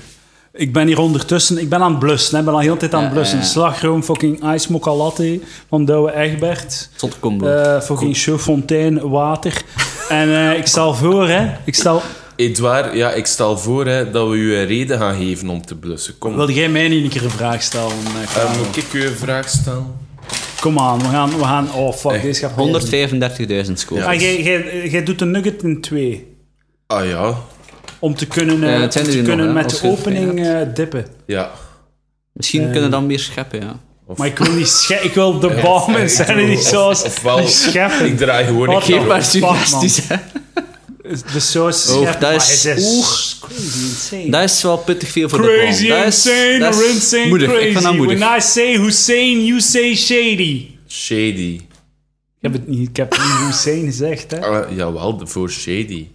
Speaker 1: Ik ben hier ondertussen, ik ben aan het blussen. hè. Ik ben al heel de tijd aan het
Speaker 2: Ja,
Speaker 1: blussen.
Speaker 2: ja, ja.
Speaker 1: Slagroom, fucking ice mocha latte van Douwe Egbert.
Speaker 2: Tot combo.
Speaker 1: Eh, fucking Chauffontein water. en eh, ik stel voor, hè. Ik stel...
Speaker 3: Edouard, ja, ik stel voor hè, dat we u een reden gaan geven om te blussen. Kom,
Speaker 1: Wilde jij mij niet een keer een vraag stellen? eh,
Speaker 3: Eh,
Speaker 1: Karel?
Speaker 2: Ehm,
Speaker 3: moet ik u een vraag stellen?
Speaker 1: Kom aan, we gaan... We gaan oh, fuck, deze gaat...
Speaker 2: 135.000 scores.
Speaker 1: Ah, jij- jij- jij doet een nugget in twee.
Speaker 3: Ah ja,
Speaker 1: Om te kunnen, eh,
Speaker 2: Ja, het zijn
Speaker 1: te
Speaker 2: er hier nog,
Speaker 1: kunnen
Speaker 2: hè,
Speaker 1: met
Speaker 2: als
Speaker 1: de
Speaker 2: je het
Speaker 1: opening
Speaker 2: fijn
Speaker 1: eh, dippen.
Speaker 3: ja.
Speaker 2: Misschien
Speaker 1: Eh.
Speaker 2: kunnen we dan meer scheppen, ja.
Speaker 1: Maar ik wil niet sche- Ik wil de bal in Sanity Sauce
Speaker 3: ofwel-
Speaker 1: niet scheppen.
Speaker 3: Ik draai gewoon een
Speaker 1: Wat
Speaker 3: keer
Speaker 2: Oh.
Speaker 1: dan?
Speaker 3: op.
Speaker 1: maar suggesties,
Speaker 2: Dat
Speaker 1: De sauce
Speaker 2: Oh,
Speaker 1: scheppen,
Speaker 2: dat
Speaker 1: maar
Speaker 2: is-
Speaker 1: het
Speaker 2: oeh.
Speaker 1: crazy insane.
Speaker 2: is wel pittig veel voor
Speaker 1: crazy
Speaker 2: de bal. Dat is,
Speaker 1: insane
Speaker 2: dat
Speaker 1: or
Speaker 2: is
Speaker 1: insane
Speaker 2: moedig. Ik vind dat
Speaker 1: crazy.
Speaker 2: moedig.
Speaker 1: When I say Hussein, you say shady.
Speaker 3: Shady.
Speaker 1: Ik heb het niet, ik heb niet Hussein gezegd, hè.
Speaker 3: Ah, jawel, de- voor Shady.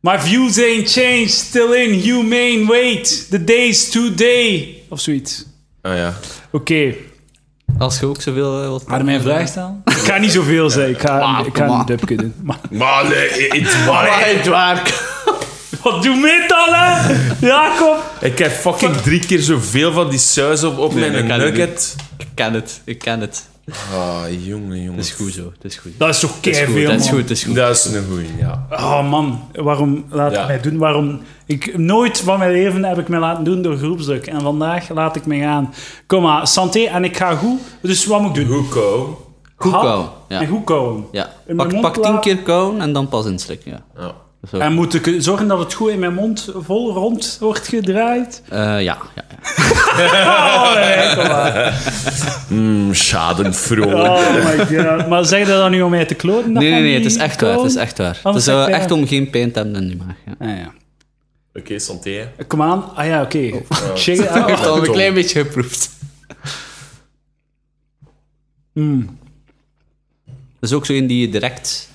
Speaker 1: My views ain't changed, still in humane wait. The day's today. Of zoiets.
Speaker 3: Ah ja.
Speaker 1: Oké.
Speaker 2: Als je ook zoveel eh, wilt...
Speaker 4: Maar mijn vraag stellen?
Speaker 1: Ik ga niet zoveel zeggen. Ik ga, ik ga een dubje doen. Maar,
Speaker 3: Maar nee,
Speaker 2: Maar
Speaker 3: het maar-
Speaker 2: het waar.
Speaker 1: wat doe met dan, hè? Jacob!
Speaker 3: Ik heb fucking drie keer zoveel van die saus op, op mijn
Speaker 2: dat kan ik
Speaker 3: nugget.
Speaker 2: Ik ken het, ik ken het.
Speaker 3: Ah, jongen, jongen.
Speaker 2: Het is goed zo, het is goed.
Speaker 1: Dat is toch
Speaker 2: Het is goed,
Speaker 1: keiveel,
Speaker 2: het
Speaker 1: man.
Speaker 2: is goed, het is goed.
Speaker 3: Dat is een goeie, ja.
Speaker 1: Oh man, waarom laat
Speaker 3: Ja.
Speaker 1: ik mij doen? Waarom? Ik, nooit van mijn leven heb ik mij laten doen door groepsdruk. En vandaag laat ik me gaan. Kom maar, santé en ik ga goed. Dus wat moet ik doen?
Speaker 3: Hoeko.
Speaker 2: Goed
Speaker 1: Hap
Speaker 2: kauwen, ja.
Speaker 1: En goed komen.
Speaker 2: Ja,
Speaker 1: In mijn
Speaker 2: pak,
Speaker 1: mond
Speaker 2: pak tien
Speaker 1: laten.
Speaker 2: keer kauwen en dan pas inslikken, ja.
Speaker 3: Ja.
Speaker 2: Zo.
Speaker 1: En moet ik zorgen dat het goed in mijn mond vol rond wordt gedraaid?
Speaker 2: Eh, ja, ja, ja.
Speaker 1: Oh, nee, kom maar.
Speaker 3: Mm, schadenfreude.
Speaker 1: oh my god. Maar zeg je dat dan nu om mij te kloten? dat
Speaker 2: Nee, nee,
Speaker 1: van
Speaker 2: nee, het
Speaker 1: die
Speaker 2: is echt waar, het is echt waar. Het is
Speaker 1: zeg
Speaker 2: eh,
Speaker 1: jij
Speaker 2: echt
Speaker 1: dat?
Speaker 2: om geen pijn te hebben in je maag, ja.
Speaker 1: Ah, ja.
Speaker 3: Oké, santé.
Speaker 1: Kom aan. Ah ja,
Speaker 2: Oh,
Speaker 1: oké. ah, Check it
Speaker 2: Ik
Speaker 1: out.
Speaker 2: heb al een
Speaker 3: Tom.
Speaker 2: klein beetje geproefd. Dat is ook zo in die je direct...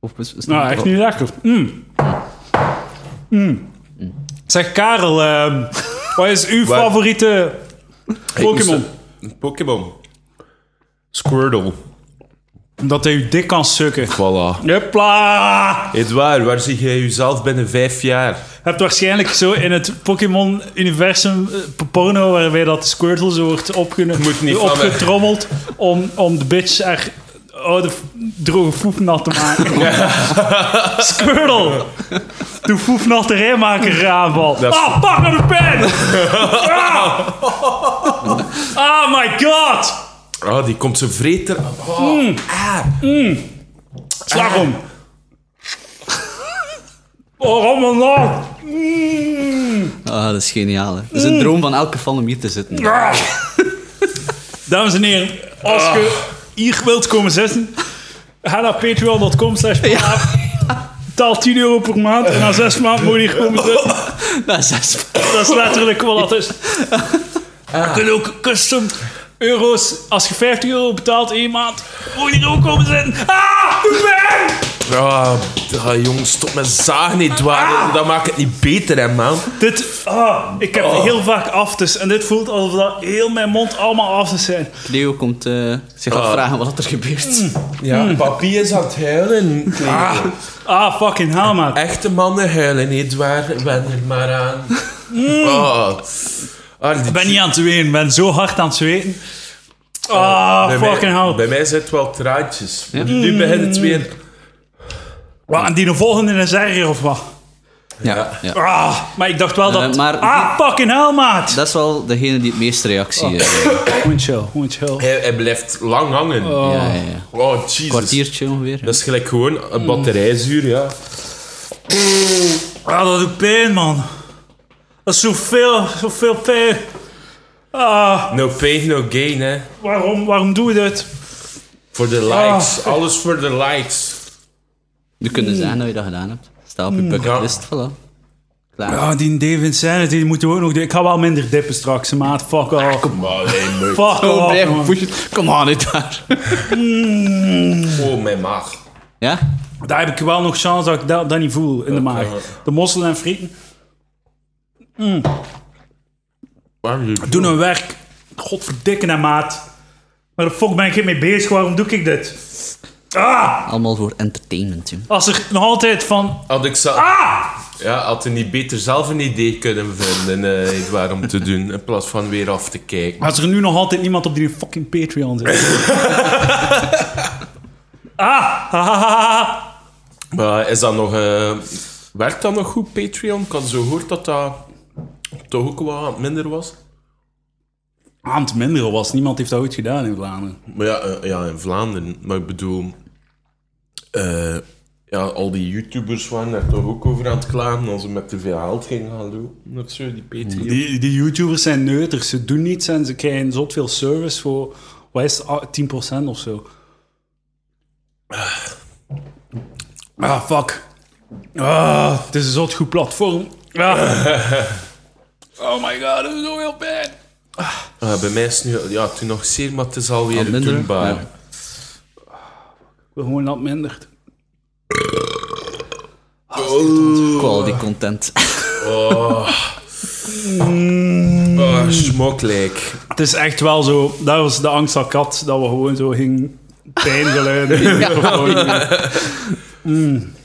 Speaker 2: Of, is- is-
Speaker 1: Nou, echt niet lekker. Mm. Mm. Zeg, Karel, ehm, wat is uw
Speaker 3: Wat?
Speaker 1: favoriete Pokémon?
Speaker 3: Een Pokémon. Squirtle.
Speaker 1: Omdat hij u dik kan sukken.
Speaker 3: Voilà.
Speaker 1: Hupla!
Speaker 3: Edouard, waar zie jij jezelf binnen vijf jaar?
Speaker 1: Je hebt waarschijnlijk zo in het Pokémon-universum eh, porno waarbij dat Squirtle zo wordt opgeno-
Speaker 3: Moet niet van me.
Speaker 1: opgetrommeld om, om de bitch er oude f- droge foef nat te maken. Squirtle! Doe foefnatterij maken aanval.
Speaker 3: Dat is-
Speaker 1: Ah, pak me de pen! Ah! Ah, my god!
Speaker 3: Ah, die komt zo vreter. Oh,
Speaker 1: Slag om.
Speaker 3: Ah.
Speaker 1: Oh, rommel nog!
Speaker 2: Ah, dat is geniaal, hè. Dat is een droom van elke fan om hier te zitten.
Speaker 1: Ah. Dames en heren, als je hier wilt komen zitten, ga naar patreon.com slash praat. Betaal 10 euro per maand en na 6 maanden moet je hier komen zitten.
Speaker 2: Dat is zes...
Speaker 1: Dat is letterlijk wat dat is. Je kunt ook custom euro's, als je 50 euro betaalt één maand, moet je hier ook komen zitten. Ah, doe mij!
Speaker 3: ah, ah, jong, stop met zagen, Edouard. Dat maakt het niet beter, hè, man.
Speaker 1: Dit, ah, ik heb heel vaak aftes en dit voelt alsof dat heel mijn mond allemaal aftes zijn.
Speaker 2: Cleo komt eh, zich afvragen wat er gebeurt.
Speaker 3: Ja, papi is aan het huilen. Ah.
Speaker 1: Ah, fucking hell, man.
Speaker 3: Echte mannen huilen, Edouard. Wen er maar aan. Ah. Ah, die
Speaker 1: Hmm. Ik ben niet aan het wenen, ik ben zo hard aan het zweten. Ah,
Speaker 3: Bij mij-
Speaker 1: fucking hell.
Speaker 3: Bij mij zit wel traantjes. Nu begint
Speaker 1: Hmm.
Speaker 3: het weer.
Speaker 1: Wat, en die volgende is erger of wat?
Speaker 2: Ja, ja.
Speaker 1: Ah, maar ik dacht wel dat...
Speaker 2: Eh, maar-
Speaker 1: ah, fucking hell, maat!
Speaker 2: Dat is wel degene die het meeste reactie heeft.
Speaker 1: Gewoon chill, gewoon chill.
Speaker 3: Hij, hij blijft lang hangen. Oh,
Speaker 2: Ja, ja, ja.
Speaker 3: Jesus.
Speaker 2: Kwartiertje ongeveer. ja.
Speaker 3: Dat is gelijk gewoon
Speaker 1: Hmm.
Speaker 3: een batterijzuur, ja.
Speaker 1: Ah, dat doet pijn, man. Dat is zoveel, zoveel pijn. Ah,
Speaker 3: No pain, no gain, hè.
Speaker 1: waarom, waarom doe je dit?
Speaker 3: Voor
Speaker 1: Ah.
Speaker 3: de likes. Alles voor de likes.
Speaker 2: Je kunt dus zeggen dat je dat gedaan hebt. Sta op je bucketlist, voilà. Klaar.
Speaker 1: Ah, die David Sennett, die moeten we ook nog doen. Ik ga wel minder dippen straks, maat. Fuck off.
Speaker 3: Maar nee, maar-
Speaker 1: Fuck
Speaker 2: Oh,
Speaker 1: off,
Speaker 2: blijven
Speaker 1: man.
Speaker 2: pushen. Kom aan, niet daar.
Speaker 3: Oh, mijn maag.
Speaker 2: Ja?
Speaker 1: Daar heb ik wel nog chance dat ik dat, dat niet voel in de maag.
Speaker 3: ja.
Speaker 1: De mosselen en frieten
Speaker 3: Waar is
Speaker 1: doen hun werk. Godverdikke, hè, maat. Maar de fuck ben ik hier mee bezig? Waarom doe ik dit? Ah!
Speaker 2: Allemaal voor entertainment, joh.
Speaker 1: Als er nog altijd van.
Speaker 3: Had ik zo...
Speaker 1: Ah!
Speaker 3: Ja, had hij niet beter zelf een idee kunnen vinden, eh Edouard, om te doen, in plaats van weer af te kijken.
Speaker 1: Als er nu nog altijd niemand op die fucking Patreon zit. ah! Hahaha.
Speaker 3: Maar is dat nog... eh, werkt dat nog goed, Patreon? Ik had zo gehoord dat dat toch ook wel wat minder was.
Speaker 1: Aan het minderen was. Niemand heeft dat ooit gedaan in Vlaanderen.
Speaker 3: Maar ja, eh, ja in Vlaanderen. Maar ik bedoel... eh, ja, al die YouTubers waren daar toch ook over aan het klagen als ze met te veel geld gingen gaan doen. Of zo, die Patreon.
Speaker 1: Die, die YouTubers zijn neuters. Ze doen niets en ze krijgen zot veel service voor. Wat is het? Ah, 10% of zo? Ah, fuck. Ah, het is een zot goed platform. Ah. Oh my god, dat is zoveel pijn.
Speaker 3: Ah, bij mij is het nu... Ja, toen nog zeer, maar het is
Speaker 2: Al
Speaker 3: alweer
Speaker 2: minder,
Speaker 3: doenbaar.
Speaker 2: ja.
Speaker 1: Ik wil gewoon dat het mindert.
Speaker 2: Quality content.
Speaker 3: Ah, smoklijk.
Speaker 1: Het is echt wel zo. Dat was de angst dat ik had, dat we gewoon zo gingen pijngeluiden. in de microfoon.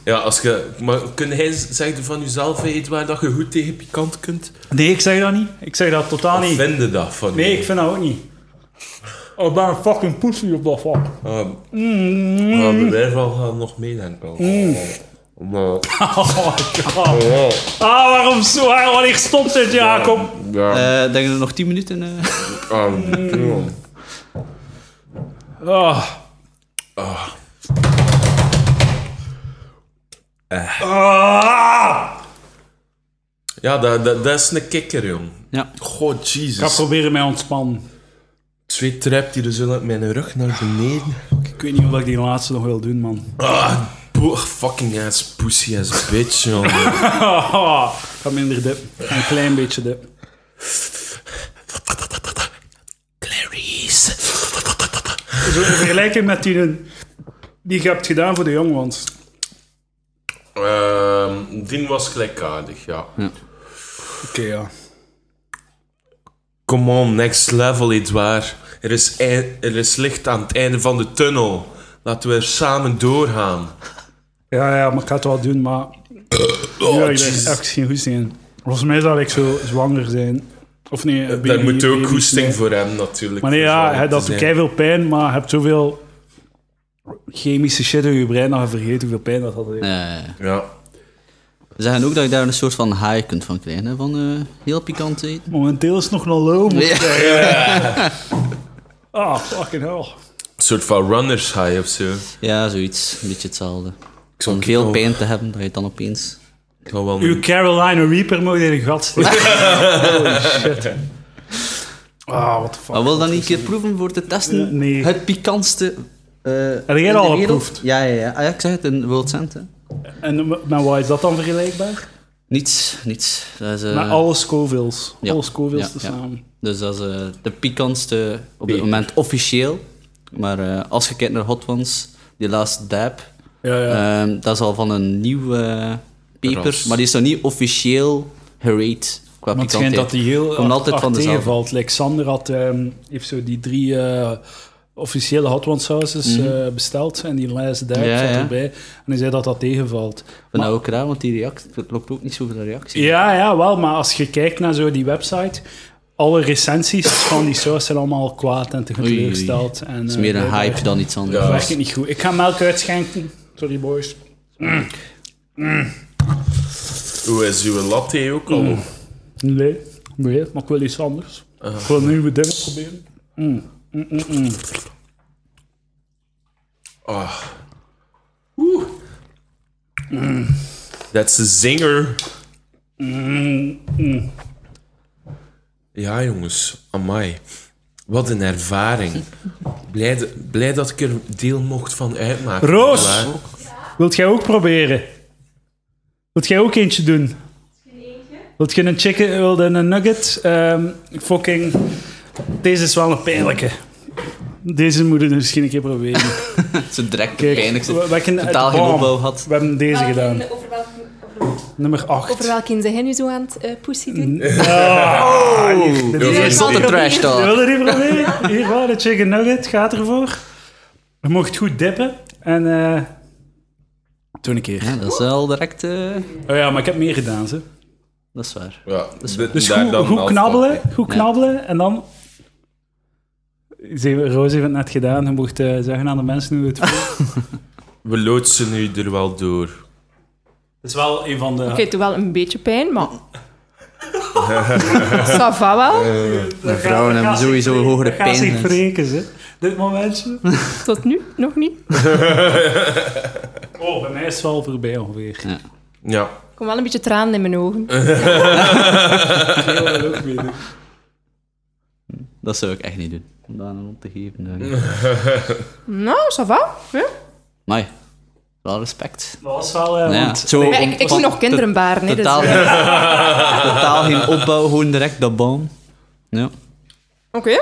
Speaker 3: Ja, als je... Maar kun jij zeggen van jezelf, hey, Edouard, dat je goed tegen pikant kunt?
Speaker 1: Nee, ik zeg dat niet. Ik zeg dat totaal
Speaker 3: Of
Speaker 1: niet.
Speaker 3: vind je dat van
Speaker 1: Ah, Nee,
Speaker 3: je?
Speaker 1: ik vind dat ook niet. Oh, ik ben een fucking pussy op dat vak.
Speaker 3: Ah, maar bij mij wel gaan nog meedenken. Mm. Maar...
Speaker 1: Oh, God. Ah, waarom zo? waar- Wanneer stopt dit, Jacob?
Speaker 3: Ja,
Speaker 2: Eh, denk je dat nog 10 minuten? eh?
Speaker 3: ah, ja.
Speaker 1: Ah. Ah.
Speaker 3: Ja, dat, dat, dat is een kikker, jong.
Speaker 2: Ja.
Speaker 3: Goh,
Speaker 1: Ik ga
Speaker 3: Jesus.
Speaker 1: proberen mij ontspannen.
Speaker 3: Twee trapt die er zo uit mijn rug naar beneden.
Speaker 1: Ik weet niet of ik die laatste nog wil doen, man.
Speaker 3: Ah, bo- fucking ass pussy ass bitch, jong.
Speaker 1: Ah, ik ga minder dip. Ik ga Een klein beetje dip.
Speaker 3: Clarice.
Speaker 1: Zo in vergelijking met die, die je hebt gedaan voor de jongwans.
Speaker 3: Ehm, die was gelijkaardig, ja.
Speaker 1: Oké, ja.
Speaker 3: Come on, next level, Edouard. Er is, ei- er is licht aan het einde van de tunnel. Laten we er samen doorgaan.
Speaker 1: Ja, ja, maar ik ga het wel doen, maar...
Speaker 3: Oh,
Speaker 1: ja, ik
Speaker 3: Jesus.
Speaker 1: ben echt geen goesting in. Volgens mij zal ik zo zwanger zijn. Of nee, een
Speaker 3: Daar
Speaker 1: baby-
Speaker 3: moet ook
Speaker 1: baby
Speaker 3: goesting
Speaker 1: zijn.
Speaker 3: voor hem, natuurlijk.
Speaker 1: Maar nee, ja,
Speaker 3: Om
Speaker 1: hè,
Speaker 3: te
Speaker 1: dat doet
Speaker 3: zijn.
Speaker 1: veel pijn, maar je hebt zoveel chemische shit in je brein dat je vergeet hoeveel pijn dat had.
Speaker 2: Eh,
Speaker 3: Ja.
Speaker 2: Ze zeggen ook dat je daar een soort van high kunt van krijgen, hè? van eh, heel pikant eten.
Speaker 1: Momenteel is het nog een low. maar-
Speaker 2: Ja.
Speaker 1: Ah, fucking hell.
Speaker 3: Een soort van runners high of zo.
Speaker 2: Ja, zoiets. Een beetje hetzelfde.
Speaker 3: Ik
Speaker 2: Om veel pijn te hebben, dat je het dan opeens...
Speaker 3: Ik wou wel
Speaker 1: Uw
Speaker 3: een-
Speaker 1: Carolina Reaper moet in een gat steken. Holy shit. Ah, wat fuck.
Speaker 2: Maar wil je dat niet een keer proeven voor te testen?
Speaker 1: Eh, Nee.
Speaker 2: Het pikantste... eh,
Speaker 1: jij
Speaker 2: in
Speaker 1: dat
Speaker 2: de
Speaker 1: al
Speaker 2: wereld?
Speaker 1: geproefd?
Speaker 2: Ja, ja, ja. Ah, ja, ik zeg het, in World Cent, hè.
Speaker 1: En met wat is dat dan vergelijkbaar?
Speaker 2: Niets, niets. Dat is, eh,
Speaker 1: Met alle Scovilles.
Speaker 2: ja.
Speaker 1: Alle Scovilles
Speaker 2: Ja, ja.
Speaker 1: tezamen.
Speaker 2: Dus dat is eh, de pikantste op dit
Speaker 3: Peper.
Speaker 2: moment officieel. Maar eh, als je kijkt naar Hot Ones, die laatste dab,
Speaker 1: Ja, ja.
Speaker 2: Ehm, dat is al van een nieuw eh, peper,
Speaker 3: Ras.
Speaker 2: maar die is nog niet officieel gerate qua
Speaker 1: Maar het schijnt dat
Speaker 2: pikantheid.
Speaker 1: die heel
Speaker 2: Komt
Speaker 1: hard-
Speaker 2: altijd
Speaker 1: hard
Speaker 2: van dezelfde.
Speaker 1: tegenvalt. Alexander had, ehm, heeft zo die drie eh, officiële hot one sauces eh, besteld. En die lijst daar
Speaker 2: Mhm. Ja,
Speaker 1: zat
Speaker 2: ja.
Speaker 1: erbij. En hij zei dat dat tegenvalt.
Speaker 2: Van nou ook raar, want die reactie er loopt ook niet zoveel reactie.
Speaker 1: Ja, ja, wel. Maar als je kijkt naar zo die website... Alle recensies van die saus zijn allemaal kwaad en
Speaker 2: Oei, oei.
Speaker 1: teleurgesteld. En, eh,
Speaker 2: Het is meer een hype dan iets anders.
Speaker 3: Ja.
Speaker 1: Werkt het niet goed. Ik ga melk uitschenken. Sorry, boys.
Speaker 3: Hoe is uw latte ook al?
Speaker 1: Nee, nee, maar ik wil iets anders.
Speaker 2: Uh-huh.
Speaker 1: Ik wil nieuwe dingen proberen.
Speaker 3: Ah. Oeh. That's a zinger. Ja, jongens. Amai. Wat een ervaring. Blij, d- blij dat ik er deel mocht van uitmaken.
Speaker 1: Roos!
Speaker 3: Waar?
Speaker 1: Wilt jij ook proberen? Wilt jij ook eentje doen? Wilt je een chicken, wilde een nugget? Ehm, fucking. Deze is wel een pijnlijke. Deze moeten we misschien een keer proberen.
Speaker 2: Ze direct de
Speaker 1: Kijk,
Speaker 2: pijnlijkste.
Speaker 1: we- we kunnen-
Speaker 2: Totaal geen
Speaker 1: bam.
Speaker 2: opbouw had.
Speaker 1: We hebben deze gedaan.
Speaker 4: Over welke, over,
Speaker 1: Nummer
Speaker 4: over
Speaker 1: 8.
Speaker 4: welke zijn jij nu zo aan het eh pussy doen?
Speaker 3: Dit is
Speaker 2: Zonder trash
Speaker 4: wel proberen.
Speaker 1: Je
Speaker 2: talk.
Speaker 1: wil er die proberen? Hier, waar, de chicken nugget gaat ervoor. Je mocht goed dippen. En eh toen een keer.
Speaker 2: Ja, dat is wel direct... eh,
Speaker 1: Oh ja, maar ik heb meer gedaan, ze.
Speaker 2: dat is waar.
Speaker 3: Ja, dit-
Speaker 1: Dus
Speaker 3: daar
Speaker 1: goed,
Speaker 3: dan
Speaker 1: goed
Speaker 3: af.
Speaker 1: knabbelen, goed knabbelen en dan... Ze- Roos heeft het net gedaan, je mocht eh, zeggen aan de mensen hoe het voelt.
Speaker 3: We loodsen nu er wel door.
Speaker 1: Dat is wel een van de...
Speaker 4: Oké, het doet wel een beetje pijn, maar... Ça va wel,
Speaker 2: vrouwen hebben sowieso hogere
Speaker 1: Dat gaat zich
Speaker 2: pijngrens.
Speaker 1: wreken, ze. Dit moment, ze.
Speaker 4: tot nu nog niet.
Speaker 1: Oh, bij mij is het wel voorbij ongeveer.
Speaker 3: Ja.
Speaker 4: Er komen wel een beetje tranen in mijn ogen.
Speaker 2: Dat zou ik echt niet doen. Om daar een op te geven. denk ik.
Speaker 4: Nou, ça va. Ja.
Speaker 2: Maar ja, wel respect.
Speaker 1: Dat was wel... eh,
Speaker 2: Ja,
Speaker 1: want-
Speaker 2: zo
Speaker 4: Ja,
Speaker 2: om-
Speaker 4: ik, ik
Speaker 2: van-
Speaker 4: moet nog kinderen baren, hè, dus,
Speaker 2: Totaal,
Speaker 4: eh,
Speaker 2: totaal geen opbouw, gewoon direct dat bal. Ja.
Speaker 4: Oké.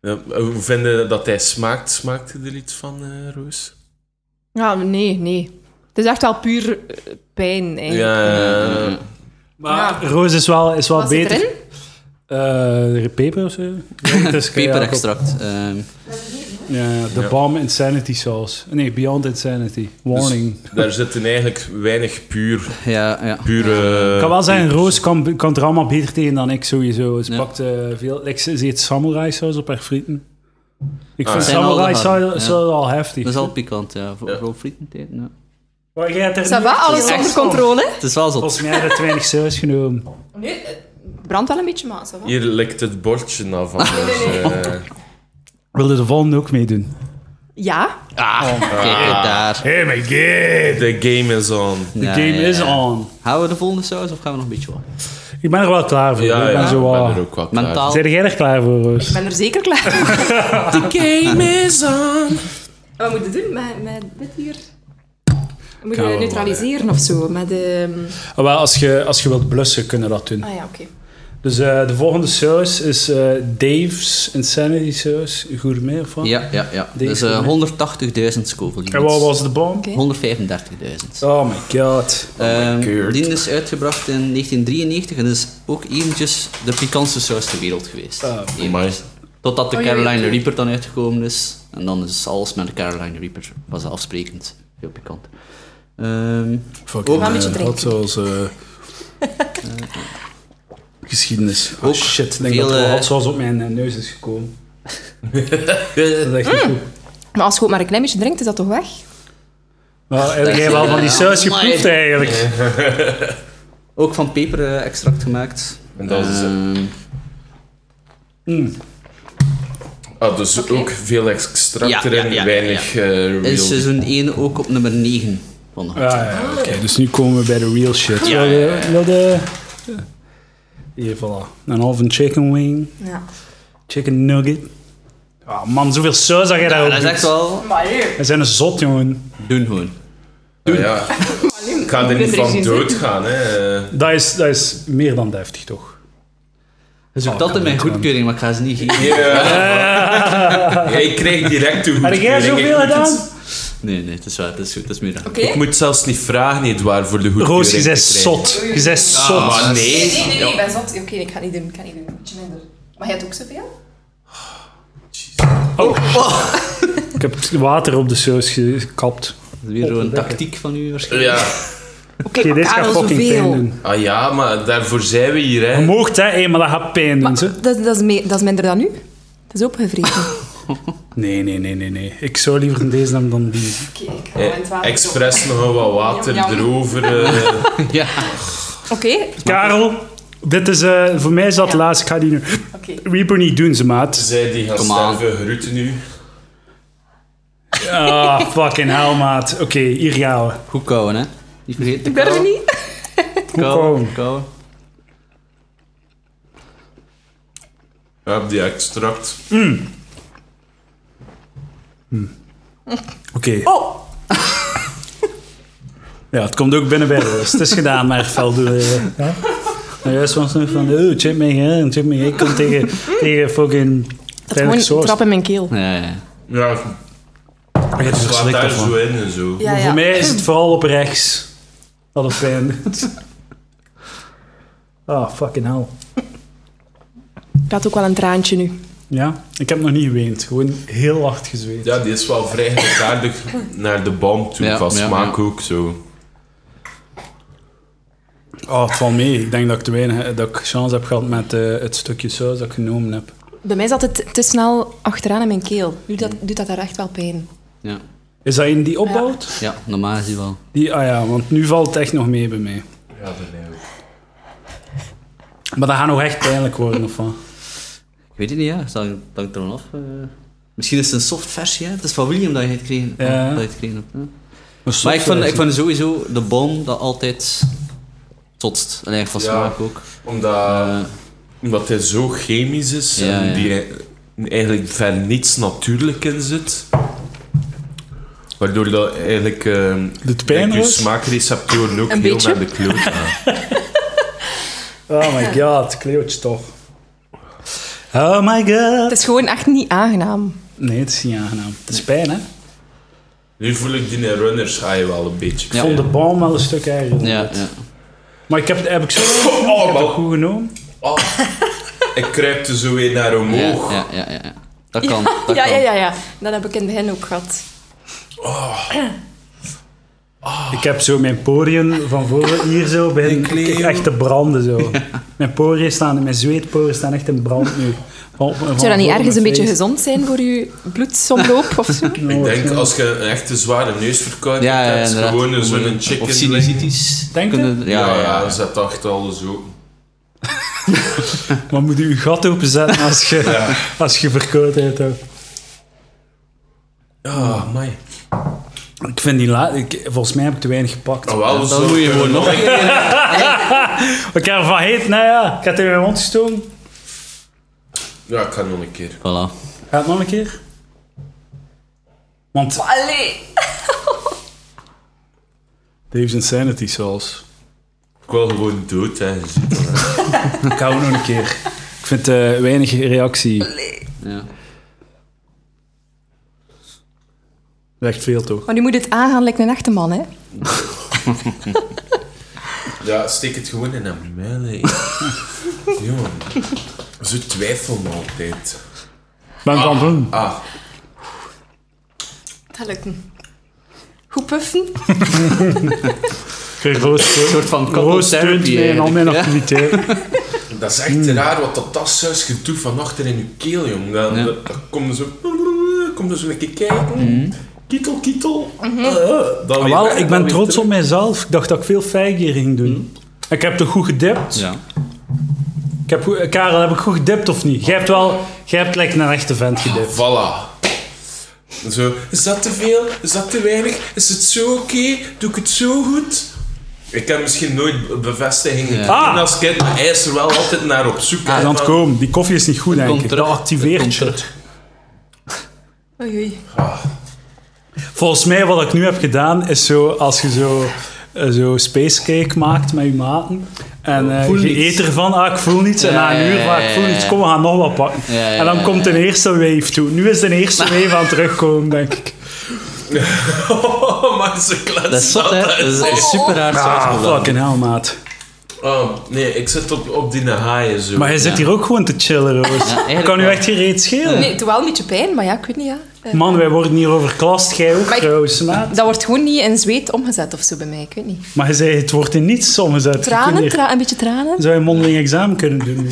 Speaker 3: Ja, Hoe vinden we dat hij smaakt? Smaakt hij er iets van, eh, Roos?
Speaker 4: Ja, nee, nee. Het is echt wel puur eh, pijn, eigenlijk.
Speaker 3: Ja, eh,
Speaker 1: Maar Roos is wel, is wel
Speaker 4: Wat zit
Speaker 1: beter.
Speaker 4: erin?
Speaker 1: Eh, peper of zo? Ja, het is
Speaker 2: Peperextract. ehm,
Speaker 1: Ja, de
Speaker 3: Ja.
Speaker 1: Bomb Insanity Sauce. Nee, Beyond Insanity. Warning.
Speaker 3: Daar zitten eigenlijk weinig puur,
Speaker 2: ja, ja.
Speaker 3: pure...
Speaker 1: Ik kan wel zeggen, Roos kan, kan er allemaal beter tegen dan ik sowieso. Ze
Speaker 2: Ja.
Speaker 1: pakt eh, veel... Ik, ze eet samurai saus op haar frieten. Ik
Speaker 3: Ah,
Speaker 1: vind
Speaker 2: zijn al
Speaker 1: samurai
Speaker 2: de
Speaker 1: saus
Speaker 2: harde, ja.
Speaker 1: saus al heftig.
Speaker 2: Dat is al pikant, ja. Voor,
Speaker 3: Ja.
Speaker 2: voor frieten eten, ja.
Speaker 1: Maar jij hebt er
Speaker 4: Ça
Speaker 1: niet
Speaker 4: va,
Speaker 1: echt
Speaker 4: alles
Speaker 1: veel
Speaker 4: onder
Speaker 1: last van.
Speaker 4: controle?
Speaker 2: Het is wel zot.
Speaker 1: Volgens mij heb je te weinig saus genomen.
Speaker 4: Nee, het brandt wel een beetje, maar ça va.
Speaker 3: Hier lekt het bordje af. Anders, eh.
Speaker 1: Wilde de volgende ook meedoen?
Speaker 4: Ja,
Speaker 2: Ah, kijk daar.
Speaker 1: Hey, my god!
Speaker 3: The game is on.
Speaker 1: The game is on.
Speaker 2: Gaan we de volgende saus of gaan we nog een beetje wat?
Speaker 1: Ik ben er wel klaar voor.
Speaker 3: Ja,
Speaker 1: ik ben
Speaker 3: ja,
Speaker 1: zo
Speaker 3: ik
Speaker 1: wel-
Speaker 3: ben er ook wel klaar.
Speaker 2: Mentaal.
Speaker 1: Zijn jij er klaar voor, Roos?
Speaker 4: ik ben er zeker klaar voor.
Speaker 3: The game is on.
Speaker 4: Wat moeten we doen met, met dit hier? Moeten
Speaker 1: Kan
Speaker 4: we
Speaker 1: wel,
Speaker 4: neutraliseren of zo? Met, ehm,
Speaker 1: Ah, Wel, als je, als je wilt blussen, kunnen we dat doen.
Speaker 4: Ah ja, oké.
Speaker 1: Dus eh, de volgende saus is eh, Dave's Insanity Saus. Gourmet of wat?
Speaker 2: Ja, ja, ja.
Speaker 1: Deze
Speaker 2: Dus eh,
Speaker 1: voor
Speaker 2: 180.000 scovel.
Speaker 1: En wat was de bom?
Speaker 4: Oké.
Speaker 2: 135.000.
Speaker 1: Oh my god.
Speaker 2: Ehm,
Speaker 3: God.
Speaker 2: die is uitgebracht in 1993 en is ook eventjes de pikantste saus ter wereld geweest. Eventjes.
Speaker 3: Amai.
Speaker 2: Totdat de
Speaker 4: Oh, ja,
Speaker 2: Caroline
Speaker 4: ja.
Speaker 2: Reaper dan uitgekomen is. En dan is alles met de Caroline Reaper vanzelfsprekend heel pikant. Ehm,
Speaker 1: Fucking,
Speaker 4: Wel een beetje
Speaker 1: eh,
Speaker 4: drinken.
Speaker 1: Wat zoals... eh, geschiedenis. Oh
Speaker 2: Ook
Speaker 1: shit, ik denk
Speaker 2: veel,
Speaker 1: dat er
Speaker 2: eh,
Speaker 1: wat zoals op mijn eh, neus is gekomen. Dat is echt
Speaker 2: Mm.
Speaker 1: niet goed.
Speaker 4: Maar als je ook maar een klein beetje drinkt, is dat toch weg?
Speaker 1: Nou, heb jij wel van die saus
Speaker 2: Amai.
Speaker 1: geproefd eigenlijk?
Speaker 2: ook van peperextract gemaakt.
Speaker 3: En dat is het.
Speaker 2: Ehm,
Speaker 3: Ah, dus ook veel extract
Speaker 2: Ja, ja,
Speaker 3: erin,
Speaker 2: ja, ja,
Speaker 3: weinig eh real.
Speaker 2: in seizoen 1 ook op nummer 9 van de
Speaker 1: Ah, ja, oké. Dus nu komen we bij de real shit. Wil je- wil je- Hier, voilà. Een halve chicken wing.
Speaker 4: Ja.
Speaker 1: Chicken nugget. Ah man, zoveel saus dat jij daarop
Speaker 2: Dat is
Speaker 1: doet.
Speaker 2: echt wel...
Speaker 4: Maar hier.
Speaker 1: We zijn een zot, jongen.
Speaker 2: Doen gewoon.
Speaker 3: Ah, ja. Ik ga er niet van doodgaan, hè.
Speaker 1: Dat is, dat is meer dan deftig, toch?
Speaker 2: Je zoekt
Speaker 1: Oh,
Speaker 2: altijd mijn
Speaker 1: kan
Speaker 2: goedkeuring, maar ik ga ze niet geven.
Speaker 3: Jij kreeg direct de
Speaker 1: Heb jij
Speaker 3: goedkeuring.
Speaker 1: zoveel
Speaker 3: Ik moet
Speaker 1: gedaan?
Speaker 3: het-
Speaker 2: Nee, nee, het is waar, het is goed, het is meer dan
Speaker 4: Oké.
Speaker 3: Ik moet zelfs niet vragen, Edouard, voor de goedkeuring
Speaker 1: Roos, je
Speaker 3: te
Speaker 1: bent
Speaker 3: krijgen.
Speaker 1: zot. Je bent
Speaker 2: Oh,
Speaker 1: zot.
Speaker 2: Ah,
Speaker 3: Maar
Speaker 4: Nee,
Speaker 3: nee.
Speaker 4: nee, nee, ik ben zot. Oké, ik ga het niet doen, ik ga het niet doen. Beetje minder. Maar jij hebt ook zoveel?
Speaker 1: Ik heb water op de saus gekapt.
Speaker 2: Weer zo'n tactiek van u waarschijnlijk.
Speaker 3: Ja.
Speaker 4: Oké,
Speaker 1: Oké, dit gaat fucking pijn doen.
Speaker 3: Ah ja, maar daarvoor zijn we hier,
Speaker 1: Je
Speaker 3: hè.
Speaker 1: moogt, hè? Hé, maar dat gaat pijn doen, ze.
Speaker 4: Dat, dat, is me- dat is minder dan nu. Het is opgevreten.
Speaker 1: Nee, nee, nee, nee, nee. Ik zou liever een deze nemen dan die.
Speaker 4: Oké, ik ga
Speaker 3: Eh,
Speaker 4: het water doen.
Speaker 3: Expres nog wat water
Speaker 4: Jam, jam.
Speaker 3: erover. eh.
Speaker 2: Ja.
Speaker 4: Oké,
Speaker 1: Karel, dit is... eh, voor mij is dat de laatste. Ik ga die nu...
Speaker 4: oké.
Speaker 1: Reaper niet doen, ze maat.
Speaker 3: Zij die gaan
Speaker 2: Come on.
Speaker 3: sterven, groeten nu.
Speaker 1: Ah, fucking hell, maat. Oké, hier gaan we.
Speaker 2: Goed kouwen, hè. Niet vergeten te
Speaker 4: Ik durf het
Speaker 2: kouwen.
Speaker 4: niet.
Speaker 1: kouwen.
Speaker 2: kouwen.
Speaker 3: Ja, die extract.
Speaker 1: Oké.
Speaker 4: Oh,
Speaker 1: Ja, het komt ook binnen bij Roos. Het is gedaan, maar fel doen. Ja? Nou, juist was nog van, oh, chip me, hè, chip me. Ik kom tegen, tegen fucking...
Speaker 4: dat is gewoon
Speaker 1: source.
Speaker 4: een trap in mijn keel.
Speaker 2: Ja, ja.
Speaker 3: Ja,
Speaker 1: Ik heb er
Speaker 3: slaat
Speaker 1: verschrikt
Speaker 3: daar
Speaker 1: van.
Speaker 3: zo in en zo.
Speaker 4: Ja,
Speaker 1: Maar
Speaker 4: ja.
Speaker 1: Voor mij is het vooral op rechts. Dat het pijn doet. Ah, fucking hell.
Speaker 4: Ik had ook wel een traantje nu.
Speaker 1: Ja, ik heb nog niet geweend. Gewoon heel hard gezweet.
Speaker 3: Ja, die is wel vrij gelijkaardig naar de bom toe,
Speaker 2: Ja,
Speaker 3: van
Speaker 2: ja,
Speaker 3: smaak
Speaker 2: ja.
Speaker 3: ook zo.
Speaker 1: Oh, het valt mee. Ik denk dat ik te weinig dat ik chance heb gehad met eh, het stukje saus dat ik genomen heb.
Speaker 4: Bij mij zat het te snel achteraan in mijn keel. Nu dat, doet dat daar echt wel pijn.
Speaker 2: Ja.
Speaker 1: Is dat een die opbouwt?
Speaker 2: ja, normaal is die wel.
Speaker 1: Die, ah ja, want nu valt het echt nog mee bij mij.
Speaker 3: Ja, dat mij ook.
Speaker 1: Maar dat gaat nog echt pijnlijk worden, of wat?
Speaker 2: Ik weet het niet, ja. Het hangt het hangt ervan af. eh. Misschien is het een soft versie, hè. Het is van William dat je het kreeg.
Speaker 1: Ja.
Speaker 2: Dat je het gekregen hebt, hè. Maar ik vind, ik vind sowieso de bom dat altijd totst. En eigenlijk van
Speaker 3: Ja.
Speaker 2: smaak ook.
Speaker 3: Omdat,
Speaker 2: Eh,
Speaker 3: omdat hij zo chemisch is
Speaker 2: Ja,
Speaker 3: en
Speaker 2: ja.
Speaker 3: die e- eigenlijk ver niets natuurlijk in zit. Waardoor dat eigenlijk ehm,
Speaker 1: Doet pijn,
Speaker 3: denk je
Speaker 1: hoor.
Speaker 3: smaakreceptoren ook
Speaker 4: Een
Speaker 3: heel
Speaker 4: beetje.
Speaker 3: naar de kloot gaan.
Speaker 1: Oh my god, kleeuwtje toch. Oh my god.
Speaker 4: Het is gewoon echt niet aangenaam.
Speaker 1: Nee, het is niet aangenaam. Het is pijn, hè? Ik
Speaker 3: Nu voel ik die runners je wel een beetje.
Speaker 2: Ja.
Speaker 1: vond de boom wel een stuk erger.
Speaker 2: ja, ja.
Speaker 1: Maar ik heb, heb ik zo
Speaker 3: Oh,
Speaker 1: heb ik
Speaker 3: wel.
Speaker 1: goed genomen?
Speaker 3: Oh. en kruipte zo weer naar omhoog.
Speaker 2: Ja, ja, ja, ja. Dat kan. dat
Speaker 4: ja,
Speaker 2: kan.
Speaker 4: ja, ja, ja. Dat heb ik in het begin ook gehad.
Speaker 3: Ah.
Speaker 1: Ik heb zo mijn poriën van voren hier zo
Speaker 3: Ik
Speaker 1: begin
Speaker 3: leeuw.
Speaker 1: ik echt te branden. Zo. Mijn poriën staan, mijn zweetporiën staan echt in brand nu. Van- van
Speaker 4: Zou dat niet
Speaker 1: voor
Speaker 4: ergens
Speaker 1: mijn
Speaker 4: een beetje
Speaker 1: feest.
Speaker 4: gezond zijn voor je bloedsomloop of zo?
Speaker 1: Oh,
Speaker 3: Ik denk,
Speaker 1: ja.
Speaker 3: als je een echte zware neusverkoudheid
Speaker 2: Ja, ja,
Speaker 3: hebt,
Speaker 2: inderdaad.
Speaker 3: gewoon zo'n chicken
Speaker 2: Of
Speaker 3: leg.
Speaker 2: sinusitis.
Speaker 1: Denk je?
Speaker 2: Kunnen-
Speaker 3: Ja, ja,
Speaker 2: ja.
Speaker 3: zet echt alles open.
Speaker 1: Maar moet je je gat openzetten als je, als je verkoudheid hebt.
Speaker 3: Ja, mij.
Speaker 1: Ik vind die la- ik, volgens mij heb ik te weinig gepakt.
Speaker 3: Nou, wel,
Speaker 2: Dan
Speaker 3: zo
Speaker 2: moet je gewoon nog een keer...
Speaker 1: Ik heb ervan heet, nou ja, ik heb het in mijn mond gestoken.
Speaker 3: Ja, ik ga nog een keer.
Speaker 2: Voilà.
Speaker 1: Ga het nog een keer? Want
Speaker 4: Allee.
Speaker 1: Dave's Insanity zelfs.
Speaker 3: Ik wil gewoon dood, hè. je ziet het.
Speaker 1: Ik hou nog een keer. Ik vind eh, weinig reactie.
Speaker 2: Ja.
Speaker 1: Echt veel toch?
Speaker 4: Maar nu moet het aangaan lijkt een echte man, hè?
Speaker 3: Ja, steek het gewoon in een muil, hè. Jongen. Zo twijfel me altijd.
Speaker 1: Ben kampioen.
Speaker 3: Ah,
Speaker 4: Dat lukt niet. Goed puffen.
Speaker 1: Geen rood steun. Een
Speaker 2: soort van couple
Speaker 1: rood
Speaker 2: therapy
Speaker 1: steunt mij in al mijn
Speaker 2: eigenlijk, ja.
Speaker 1: activiteiten.
Speaker 3: dat is echt raar wat dat tassuis je doet van achter in je keel, jongen. Dat,
Speaker 2: Ja.
Speaker 3: dat, dat komt zo... Komt er zo een keer kijken. Kietel, kietel. Eh, dan weer
Speaker 1: Ah, Wel,
Speaker 3: weg,
Speaker 1: ik
Speaker 3: dan
Speaker 1: ben
Speaker 3: weer
Speaker 1: trots op
Speaker 3: terug.
Speaker 1: mijzelf. Ik dacht dat ik veel feigier ging doen. Ik heb toch goed gedipt?
Speaker 2: Ja.
Speaker 1: Ik heb goed- Karel, heb ik goed gedipt of niet? Jij hebt wel... Jij hebt lekker naar echte vent gedipt.
Speaker 3: Voilà. Zo, is dat te veel? Is dat te weinig? Is het zo oké? Doe ik het zo goed? Ik heb misschien nooit be- bevestiging gekregen
Speaker 1: Ah.
Speaker 3: als kind, maar hij is er wel altijd naar op zoek.
Speaker 2: Ah,
Speaker 1: Hij is
Speaker 3: hè,
Speaker 1: aan het
Speaker 3: van-
Speaker 1: komen. Die koffie is niet goed, denk
Speaker 2: komt
Speaker 1: ik.
Speaker 2: terug.
Speaker 1: Dat activeert
Speaker 2: komt
Speaker 1: je.
Speaker 4: Oei, oei.
Speaker 1: Volgens mij wat ik nu heb gedaan is zo als je zo, eh, zo spacecake maakt met je maten. En eh,
Speaker 2: Voel
Speaker 1: je
Speaker 2: niets.
Speaker 1: eet ervan, ah, ik voel niets. En
Speaker 2: Ja,
Speaker 1: na een
Speaker 2: ja,
Speaker 1: uur,
Speaker 2: ja,
Speaker 1: ah, ik
Speaker 2: ja,
Speaker 1: voel
Speaker 2: ja,
Speaker 1: niets.
Speaker 2: ja.
Speaker 1: Kom, we gaan nog wat pakken.
Speaker 2: Ja, ja,
Speaker 1: en dan
Speaker 2: ja,
Speaker 1: komt
Speaker 2: ja.
Speaker 1: een eerste wave toe. Nu is de eerste wave aan het terugkomen, denk ik.
Speaker 3: Oh, maar ze kletsen
Speaker 2: Dat is zot, hè. Dat is echt super raar.
Speaker 1: Ah,
Speaker 2: zelfs.
Speaker 1: fucking hell, maat.
Speaker 3: Oh, nee, ik zit op, op die haaien zo.
Speaker 1: Maar hij zit hier ook gewoon te chillen, Roos.
Speaker 2: eigenlijk
Speaker 1: kan u
Speaker 2: wel.
Speaker 1: echt geen reet schelen.
Speaker 4: Nee, het doet wel een beetje pijn, maar ja, ik weet niet, ja. Eh,
Speaker 1: Man, wij worden hier overklast. Jij ook,
Speaker 4: Maar ik-
Speaker 1: Roos, maat.
Speaker 4: Dat wordt gewoon niet in zweet omgezet of zo bij mij, ik weet niet.
Speaker 1: Maar hij zei, het wordt in niets omgezet. Je kunt
Speaker 4: Tranen,
Speaker 1: hier-
Speaker 4: tra een beetje tranen.
Speaker 1: Zou je een mondeling examen kunnen doen?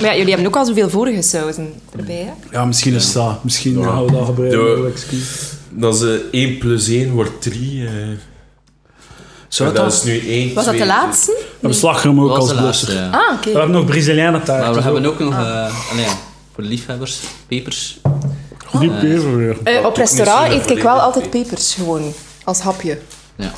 Speaker 4: Maar ja, jullie hebben ook al zoveel vorige sauzen erbij, hè?
Speaker 1: Ja, misschien is dat. Misschien gaan we dat
Speaker 3: Doe.
Speaker 1: gebruiken. excuus.
Speaker 3: Dat is eh, 1 plus 1 wordt 3.
Speaker 1: Zou
Speaker 3: dat
Speaker 1: dat-
Speaker 3: is nu 1,
Speaker 4: Was dat de laatste?
Speaker 1: We hebben slagroom ook
Speaker 2: Dat was
Speaker 1: als
Speaker 2: de laatste,
Speaker 1: blusser.
Speaker 2: ja.
Speaker 4: Ah, oké.
Speaker 1: We hebben nog Brazilianen
Speaker 2: Maar
Speaker 1: taart.
Speaker 2: we hebben ook nog... eh, allee, ja, voor de liefhebbers, pepers.
Speaker 1: Die pepervrucht.
Speaker 4: Eh, op
Speaker 3: ook niet
Speaker 4: restaurant
Speaker 3: zo
Speaker 4: eet ik wel
Speaker 3: volledig.
Speaker 4: altijd pepers, gewoon. Als hapje.
Speaker 1: Ik
Speaker 2: Ja.
Speaker 1: ben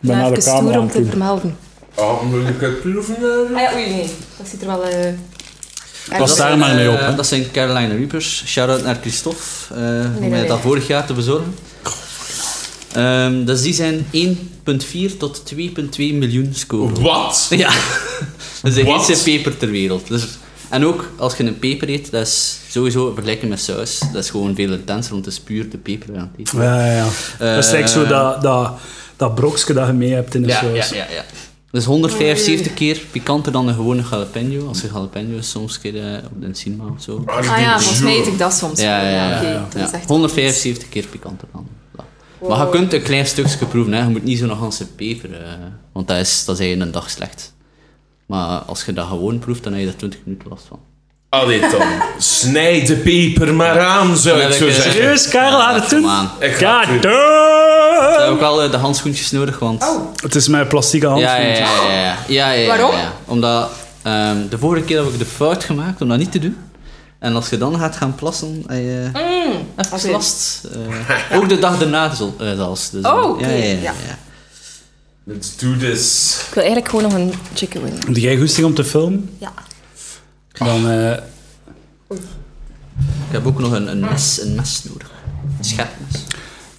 Speaker 4: Maar
Speaker 1: naar de
Speaker 4: even stoer
Speaker 1: camera aan
Speaker 4: om
Speaker 1: het
Speaker 4: te
Speaker 1: doen.
Speaker 4: vermelden.
Speaker 3: Oh, moet ik het proeven?
Speaker 4: Ah ja, oei, nee. Dat ziet er wel... eh
Speaker 1: Was daar
Speaker 2: zijn,
Speaker 1: maar mee
Speaker 2: eh,
Speaker 1: op, hè.
Speaker 2: Dat zijn Carolina Reapers. Shout-out naar Christophe, eh, om mij
Speaker 4: nee,
Speaker 2: dat
Speaker 4: nee.
Speaker 2: vorig jaar te bezorgen. Ehm, dus die zijn 1,4 tot 2,2 miljoen scoren.
Speaker 3: Wat?
Speaker 2: Ja, dat is de
Speaker 3: Wat?
Speaker 2: heetste peper ter wereld. Dus, en ook als je een peper eet, dat is sowieso vergelijken met saus. Dat is gewoon veel intenser, want het is puur de peper aan het eten.
Speaker 1: Ja, ja, ja. dat is eigenlijk zo dat, dat, dat brokje dat je mee hebt in de
Speaker 2: Eh. Ja, ja,
Speaker 1: saus.
Speaker 2: ja, ja. Dus 175 keer pikanter dan een gewone jalapeno. Als je jalapeno's soms keer eh, op de cinema of zo.
Speaker 3: Ah,
Speaker 4: Ah ja, volgens mij eet ik dat soms.
Speaker 2: Ja, ja, ja.
Speaker 4: oké,
Speaker 2: ja.
Speaker 4: dat is echt-
Speaker 2: 175 keer pikanter dan. Ja. Maar je kunt een klein stukje proeven, hè. je moet niet zo'n ganse peper, eh, want dat is, dat is eigenlijk een dag slecht. Maar als je dat gewoon proeft, dan heb je er 20 minuten last van.
Speaker 3: Allee dan. Snijd de peper maar aan, zou
Speaker 2: Dan
Speaker 3: ik
Speaker 2: heb
Speaker 3: zo
Speaker 2: ik, eh,
Speaker 3: zeggen.
Speaker 1: Serieus, Karel,
Speaker 2: Ja,
Speaker 1: had het toen?
Speaker 2: kom aan.
Speaker 3: Ik ga het
Speaker 1: God
Speaker 3: doen.
Speaker 2: We
Speaker 1: damn!
Speaker 4: Ehm,
Speaker 2: hebben ook wel eh, de handschoentjes nodig, want...
Speaker 4: Oh,
Speaker 1: Het is mijn plastieke hand.
Speaker 2: ja, ja, ja, ja, ja, ja, ja, ja, ja.
Speaker 4: Waarom?
Speaker 2: Omdat ehm, de vorige keer heb ik de fout gemaakt om dat niet te doen. En als je dan gaat gaan plassen, heb je even
Speaker 4: Mm. oké.
Speaker 2: last. Eh, ook de dag daarna zo- eh, zelfs. Dus, eh,
Speaker 4: Oh, oké, ja.
Speaker 3: Let's do this.
Speaker 4: Ik wil eigenlijk gewoon nog een chicken wing.
Speaker 1: Heb jij goesting om te filmen?
Speaker 4: Ja.
Speaker 1: Dan, eh,
Speaker 2: Ik heb ook nog een, een, mes, een mes nodig. Een schepmes.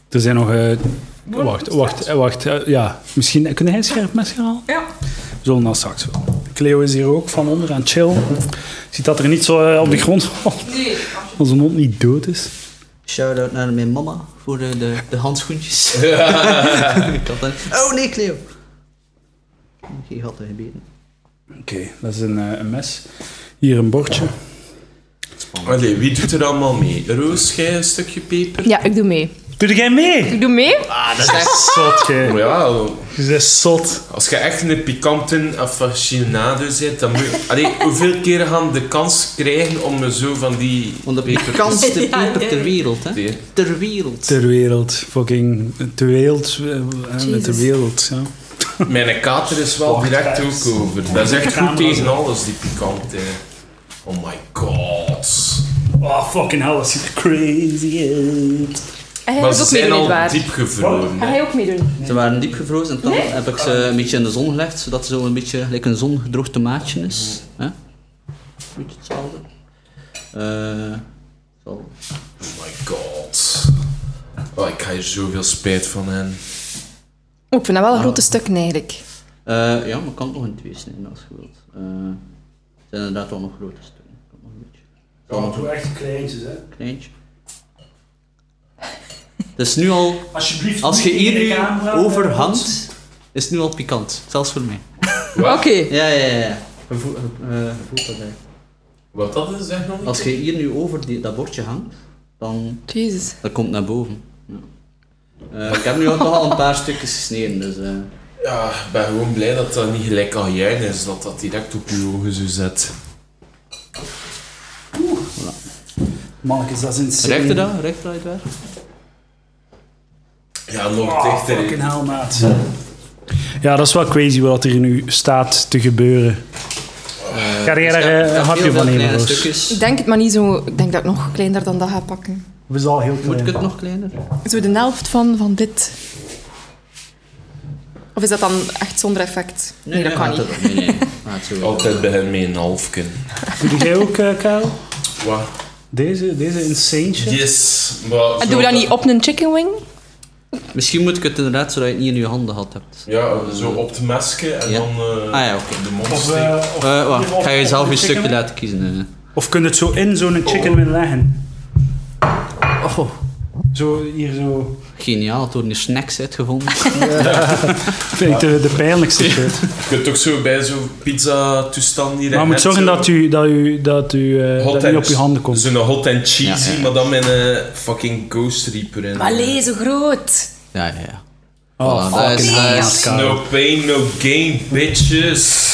Speaker 1: er zijn nog... eh, wacht, wacht, eh, wacht. eh, ja, misschien... Kun jij een scherp mes gaan halen?
Speaker 4: Ja.
Speaker 1: We zullen dat straks wel. Cleo is hier ook van onder aan het chillen. Ziet dat er niet zo eh, op de grond valt.
Speaker 4: Nee.
Speaker 1: Als een hond niet dood is.
Speaker 2: Shout-out naar mijn mama voor eh, de, de, de handschoentjes. Ik had een- oh nee, Cleo. Geen gaten gebeten.
Speaker 1: Oké, dat is een, eh, een mes. Hier een bordje.
Speaker 3: Allee, wie doet er allemaal mee? Roos, jij een stukje peper?
Speaker 4: Ja, ik doe mee.
Speaker 1: Doe jij mee?
Speaker 4: Ik doe mee?
Speaker 1: Zot, jij.
Speaker 3: Ja,
Speaker 1: Je bent zot.
Speaker 3: als je echt een pikante aficionado bent, dan moet je... Allee, hoeveel keer gaan we de kans krijgen om me zo van die...
Speaker 2: Want de pikantste
Speaker 5: Ja,
Speaker 2: peper
Speaker 5: nee.
Speaker 2: ter wereld, hè?
Speaker 3: Die-
Speaker 2: Ter wereld.
Speaker 1: Ter wereld. Fucking ter wereld. eh, eh, Met de
Speaker 4: Jezus.
Speaker 1: wereld, ja.
Speaker 3: Mijn kater is wel
Speaker 1: Wacht,
Speaker 3: direct
Speaker 1: guys.
Speaker 3: ook over. Dat is echt goed
Speaker 1: Camera's
Speaker 3: tegen
Speaker 1: ook.
Speaker 3: alles, die pikante. Oh my god.
Speaker 1: Oh, fucking hell, dat ziet er crazy uit.
Speaker 4: En hij
Speaker 3: Maar
Speaker 4: gaat
Speaker 3: ze
Speaker 4: ook meedoen,
Speaker 3: zijn al
Speaker 4: nietwaar?
Speaker 3: diep gevroren.
Speaker 4: Ga
Speaker 3: hè.
Speaker 4: jij ook meedoen?
Speaker 2: Ze waren diep gevrozen en dan heb ik ze een beetje in de zon gelegd, zodat ze zo een beetje gelijk een zongedroogd tomaatje is. hè? beetje hetzelfde. Eh, zo.
Speaker 3: Oh my god. Oh, ik ga hier zoveel spijt van hebben.
Speaker 4: Oh, ik vind dat wel een grote stuk, eigenlijk.
Speaker 2: Eh, ja, maar ik kan het nog in twee snijden als je wilt. Eh, het zijn inderdaad wel nog grote stukken. Ik kan nog een beetje.
Speaker 1: Oh, doe echt kleintjes, hè.
Speaker 2: Kleintje. Het is nu al,
Speaker 1: Alsjeblieft.
Speaker 2: als je
Speaker 1: niet
Speaker 2: hier
Speaker 1: in de
Speaker 2: nu
Speaker 1: camera-
Speaker 2: overhangt, is het nu al pikant. Zelfs voor mij.
Speaker 4: Oké.
Speaker 2: Ja, ja, ja. ja. Je voelt, je, eh, je voelt dat eigenlijk.
Speaker 3: Wat dat is, zeg nog niet?
Speaker 2: Als je hier nu over die, dat bordje hangt, dan
Speaker 4: Jezus.
Speaker 2: dat komt naar boven. Ja. Eh, ik heb nu ook nog al een paar stukjes gesneden, dus... eh,
Speaker 3: Ja, ik ben gewoon blij dat dat niet gelijk al jij is, dat dat direct op je ogen zo zet.
Speaker 1: Mannetjes, dat is insane.
Speaker 2: Recht je dat? Recht je dat uitwerk?
Speaker 3: Ja, nog
Speaker 1: Oh,
Speaker 3: dichter.
Speaker 1: fucking hell, maat. Ja, dat is wel crazy wat er nu staat te gebeuren. Ga
Speaker 2: dus
Speaker 1: jij daar eh, een hapje van nemen,
Speaker 2: kleine
Speaker 1: Roos?
Speaker 2: stukjes.
Speaker 4: Ik denk het maar niet zo... Ik denk dat ik nog kleiner dan dat ga pakken.
Speaker 1: We zijn al heel
Speaker 2: Moet ik
Speaker 1: klein.
Speaker 2: het nog kleiner?
Speaker 4: Zo de helft van, van dit. Of is dat dan echt zonder effect? Nee, dat kan
Speaker 2: laat
Speaker 4: niet.
Speaker 2: het- Nee, nee. Laat het zo.
Speaker 3: Altijd bij hen mee een halfken.
Speaker 1: Doe jij ook, eh Karel?
Speaker 3: Wat?
Speaker 1: Deze, deze insane shit?
Speaker 3: Yes. Maar
Speaker 4: En
Speaker 3: zo
Speaker 4: doen we dat niet op een chicken wing?
Speaker 2: Misschien moet ik het inderdaad zodat je het niet in je handen had hebt.
Speaker 3: Ja, zo op het mesken en
Speaker 2: Ja.
Speaker 3: dan eh,
Speaker 2: Ah ja, oké.
Speaker 3: de mond
Speaker 1: Of,
Speaker 3: steken.
Speaker 1: eh, of,
Speaker 2: Eh, wacht, ik ga je zelf
Speaker 1: Chicken
Speaker 2: een stukje
Speaker 1: wing?
Speaker 2: laten Oh. kiezen. eh.
Speaker 1: of kun je het zo in zo'n chicken wing leggen?
Speaker 2: Oh,
Speaker 1: Zo, hier zo.
Speaker 2: geniaal, toen je snacks uitgevonden.
Speaker 1: Vind ik de, de pijnlijkste shit.
Speaker 3: Je kunt ook zo bij zo'n pizza-toestand hier
Speaker 1: Maar je moet zorgen dat u, dat u, dat u eh, dat niet op je handen komt.
Speaker 3: Zo'n hot and cheesy,
Speaker 2: Ja, ja.
Speaker 3: maar dan met een fucking ghost reaper in.
Speaker 5: Allee, zo groot.
Speaker 2: ja, ja, ja.
Speaker 1: Oh,
Speaker 2: Voilà, dat
Speaker 1: fucking
Speaker 2: is nice.
Speaker 1: hell, Karel.
Speaker 3: No pain, no gain, bitches.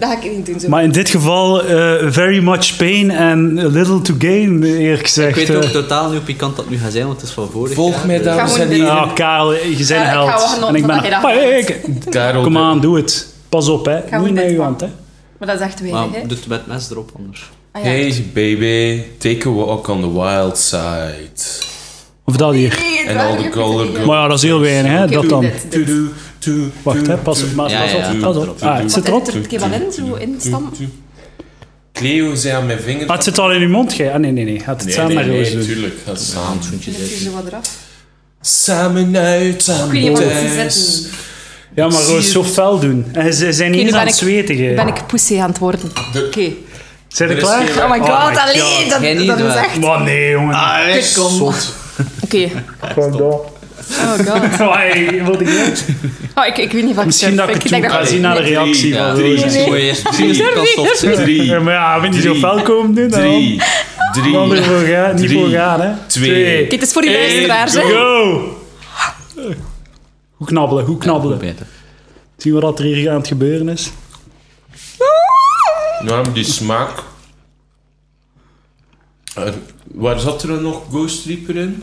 Speaker 4: Dat ga ik niet doen. Zo.
Speaker 1: Maar in dit geval, eh, very much pain and a little to gain, eerlijk
Speaker 2: Ik
Speaker 1: gezegd.
Speaker 2: weet ook
Speaker 1: eh.
Speaker 2: totaal niet hoe pikant dat nu gaat zijn, want het is van vorig
Speaker 3: Volg
Speaker 2: jaar,
Speaker 3: mij
Speaker 2: dus-
Speaker 3: dames
Speaker 4: Ga
Speaker 3: en
Speaker 4: gewoon
Speaker 3: heren.
Speaker 4: doen.
Speaker 1: Oh, Karel, je bent
Speaker 4: Ja,
Speaker 1: een
Speaker 4: ik ga wel
Speaker 1: held.
Speaker 4: genoten
Speaker 1: En ik ben
Speaker 4: dat
Speaker 1: een
Speaker 4: je dat
Speaker 1: pik.
Speaker 3: Karel, eh,
Speaker 1: Kom
Speaker 3: de-
Speaker 1: aan, doe het. Pas op, hè.
Speaker 4: Gaan we
Speaker 1: Niet met
Speaker 4: dit
Speaker 1: uw
Speaker 4: van-
Speaker 1: hand, hè.
Speaker 4: Maar dat is echt weinig, hè?
Speaker 2: Maar doet het met mes erop anders.
Speaker 4: Ah, ja.
Speaker 3: Hey baby, take a walk on the wild side.
Speaker 1: Of dat hier.
Speaker 4: Nee, het
Speaker 3: En
Speaker 4: waren
Speaker 3: al de
Speaker 4: er
Speaker 3: color
Speaker 4: geen.
Speaker 3: girls.
Speaker 1: Maar ja, dat is heel weinig, hè.
Speaker 4: Oké,
Speaker 1: Dat
Speaker 4: doe
Speaker 1: dan.
Speaker 4: dit, dit.
Speaker 3: Tudu, tu,
Speaker 1: Wacht,
Speaker 3: tu,
Speaker 1: hè. Pas,
Speaker 3: tu,
Speaker 1: maar,
Speaker 2: Ja,
Speaker 1: pas
Speaker 2: ja,
Speaker 1: op,
Speaker 2: ja.
Speaker 1: pas op. Ah, het zit
Speaker 4: Want
Speaker 1: erop.
Speaker 4: er drukt je wel in, zo in de stam.
Speaker 3: tu. Cleo zei aan mijn vinger.
Speaker 1: Ah, het zit al in uw mond, gij. Ah, nee, nee, nee. Gaat het
Speaker 3: nee,
Speaker 1: samen
Speaker 3: nee,
Speaker 1: met
Speaker 3: nee,
Speaker 1: roos doen.
Speaker 3: tuurlijk. Ga samen.
Speaker 2: Handschoentjes
Speaker 4: Leg je
Speaker 2: uit.
Speaker 4: zo wat eraf.
Speaker 3: Samen uit,
Speaker 4: Ik
Speaker 3: samen
Speaker 4: weet niet wat ze
Speaker 3: thuis.
Speaker 4: zetten.
Speaker 1: Ja, maar roos, zo fel doen. En ze ze zijn niet
Speaker 4: nu
Speaker 1: eens
Speaker 4: ben
Speaker 1: aan het
Speaker 4: ik-
Speaker 1: zweten, gij.
Speaker 4: Ben ik poesie aan het worden? Oké.
Speaker 1: Zijn
Speaker 3: Er
Speaker 1: er
Speaker 3: is
Speaker 1: klaar?
Speaker 3: geen-
Speaker 4: Oh my god,
Speaker 1: Oh my
Speaker 4: alleen dat,
Speaker 2: Jij niet,
Speaker 4: dat is
Speaker 2: waar.
Speaker 4: echt...
Speaker 1: Maar nee, jongen.
Speaker 3: Ah,
Speaker 4: Oké. Oh god.
Speaker 1: Hey, wat ik weet.
Speaker 4: Oh, ik, ik weet niet wat
Speaker 1: Misschien dat ik het
Speaker 4: ik
Speaker 1: toe
Speaker 4: denk
Speaker 1: ga zien naar de
Speaker 4: Nee.
Speaker 1: reactie van
Speaker 3: drie,
Speaker 1: Roos.
Speaker 2: Moet je eerst zien als de kast op zit.
Speaker 3: Drie,
Speaker 1: Ja, Maar ja, we niet zo
Speaker 3: Drie.
Speaker 1: fel komen doen, dan.
Speaker 3: drie, drie,
Speaker 1: Dan ervoor gaan, niet
Speaker 3: Drie.
Speaker 1: voor gaan, hè.
Speaker 3: Twee.
Speaker 4: Kijk, het is voor die
Speaker 3: Eén,
Speaker 4: luisteraars, hè.
Speaker 1: Go! Hoe knabbelen, hoe knabbelen.
Speaker 2: Beter.
Speaker 1: Zien we wat er hier aan het gebeuren is?
Speaker 3: Nou, die smaak. Er- waar zat er nog Ghost Reaper in?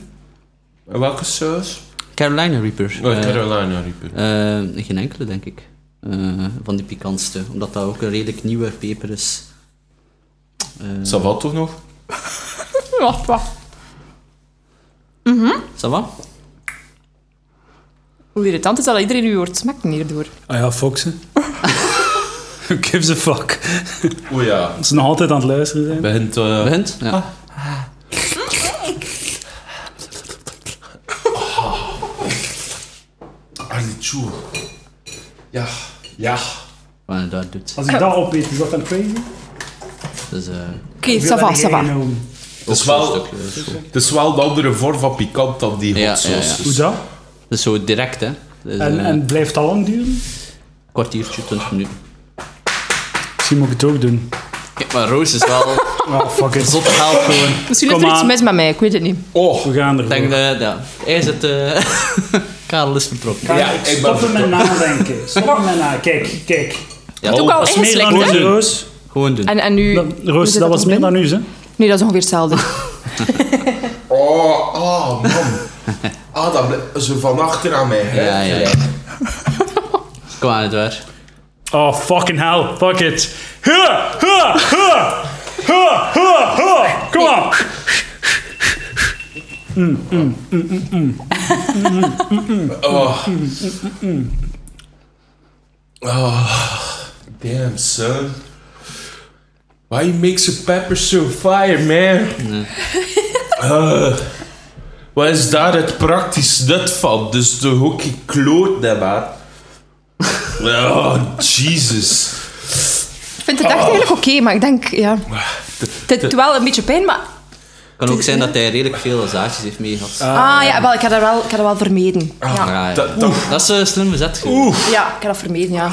Speaker 3: En welke saus?
Speaker 2: Carolina Reaper.
Speaker 3: Oh,
Speaker 2: Eh,
Speaker 3: Carolina Reaper.
Speaker 2: eh, geen enkele, denk ik. Eh, van die pikantste. Omdat dat ook een redelijk nieuwe peper is. eh,
Speaker 3: Savat toch nog?
Speaker 4: Wacht, wacht.
Speaker 2: Ça va?
Speaker 4: Hoe irritant is dat dat iedereen u hoort smakken hierdoor.
Speaker 1: Ah ja, Foxen. Who gives a fuck?
Speaker 3: O ja.
Speaker 1: Als ze nog altijd aan het luisteren zijn.
Speaker 3: Begint, eh,
Speaker 2: Begint? Ja.
Speaker 3: Allee, tjoe. Ah, Ja, ja.
Speaker 2: Wat hij daar doet.
Speaker 3: Ah.
Speaker 1: Als ik dat opeet, is dat dan crazy?
Speaker 2: Dus, eh
Speaker 4: Oké, ça va, ça va.
Speaker 3: Het is, wel, het is wel de andere vorm van pikant dan die
Speaker 2: Ja,
Speaker 3: hot sauce.
Speaker 2: ja, ja.
Speaker 1: Hoe dat?
Speaker 2: Dus zo direct, hè. Dus,
Speaker 1: En,
Speaker 2: eh,
Speaker 1: en blijft dat lang duren?
Speaker 2: kwartiertje, 20 minuten.
Speaker 1: Misschien moet ik het ook doen.
Speaker 2: Kijk, maar Roos is wel
Speaker 3: Ah,
Speaker 1: Oh, fuck it.
Speaker 2: zot haalt gewoon.
Speaker 4: Misschien
Speaker 1: Kom
Speaker 4: is er iets
Speaker 1: aan.
Speaker 4: mis met mij, ik weet het niet.
Speaker 3: Oh,
Speaker 1: We gaan
Speaker 2: Ik denk
Speaker 1: ervoor.
Speaker 2: dat, ja. Hij is het... eh, Karel is vertrokken.
Speaker 1: Kijk,
Speaker 3: Ja, ik ben
Speaker 1: stoppen met nadenken. Stoppen met nadenken. Kijk, kijk.
Speaker 2: Ja,
Speaker 4: Het is ook al
Speaker 1: Dat is meer
Speaker 4: ingeslikt,
Speaker 1: dan
Speaker 4: hè?
Speaker 1: onze Roos.
Speaker 2: Gewoon doen.
Speaker 4: En, en nu... nu
Speaker 1: Roos,
Speaker 4: zit
Speaker 1: dat was
Speaker 4: toch
Speaker 1: meer
Speaker 4: binnen?
Speaker 1: dan u, hè?
Speaker 4: Nee, dat is ongeveer hetzelfde.
Speaker 6: Oh, oh man. Ah, dat ble- zo van achter aan mij. Hè?
Speaker 2: Ja, ja, ja. Kom aan, Edouard.
Speaker 1: Oh, fucking hell. Fuck it. Huh, huh, huh. Huh, huh, huh. Kom on.
Speaker 3: oh. Oh. Damn, son. Why you make some pepper so fire, man? Eh, wat is daar het praktisch nut van? Dus de hoekje kloot, hè, man. Oh, Jesus.
Speaker 4: Ik vind het
Speaker 1: Oh.
Speaker 4: echt eigenlijk oké, maar ik denk, ja... Het doet wel een beetje pijn, maar...
Speaker 2: kan ook zijn dat hij redelijk veel zaadjes heeft meegehad.
Speaker 4: Ah, ja, wel, ik had dat wel, ik had dat wel vermeden.
Speaker 1: Ah.
Speaker 4: Ja.
Speaker 2: Ja, ja.
Speaker 3: Dat- dat-
Speaker 2: Dat is eh, een slimme zet. geweest.
Speaker 4: ja, ik had dat vermeden, ja.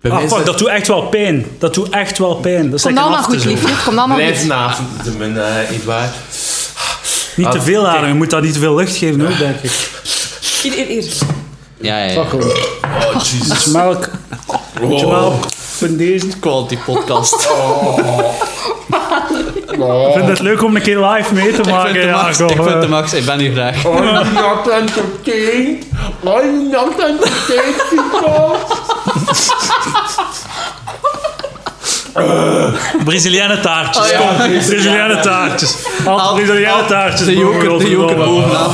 Speaker 3: Bij mij
Speaker 1: Ah,
Speaker 3: is
Speaker 1: fuck,
Speaker 3: dat
Speaker 1: dat doet echt wel pijn. Dat doet echt wel pijn. Dat is
Speaker 4: Komt
Speaker 1: lekker
Speaker 4: allemaal
Speaker 1: af te
Speaker 4: nou goed,
Speaker 1: zo.
Speaker 4: liefje. Het komt allemaal
Speaker 3: blijft
Speaker 4: goed.
Speaker 3: vanavond, eh, mijn, eh, Edouard.
Speaker 1: Niet
Speaker 2: Ah,
Speaker 1: te veel ademen. Je moet daar niet te veel lucht geven, hoor, denk ik.
Speaker 4: Hier, hier, hier.
Speaker 2: Ja, ja, ja.
Speaker 3: Oh, Jesus.
Speaker 1: Melk.
Speaker 3: Oh.
Speaker 1: Vind deze.
Speaker 2: Quality podcast.
Speaker 1: Ik vind het leuk om een keer live mee te
Speaker 2: ik
Speaker 1: maken.
Speaker 2: vind de
Speaker 1: ja,
Speaker 2: max,
Speaker 1: goh,
Speaker 2: ik vind de
Speaker 1: eh.
Speaker 2: max. Ik ben hier graag.
Speaker 6: I'm not entertained. I'm not entertained people.
Speaker 1: Brazilianen taartjes.
Speaker 2: ja,
Speaker 1: Kom, Brazilianen taartjes. Altijd Brazilianen taartjes.
Speaker 2: De joker, de joker bovenaan.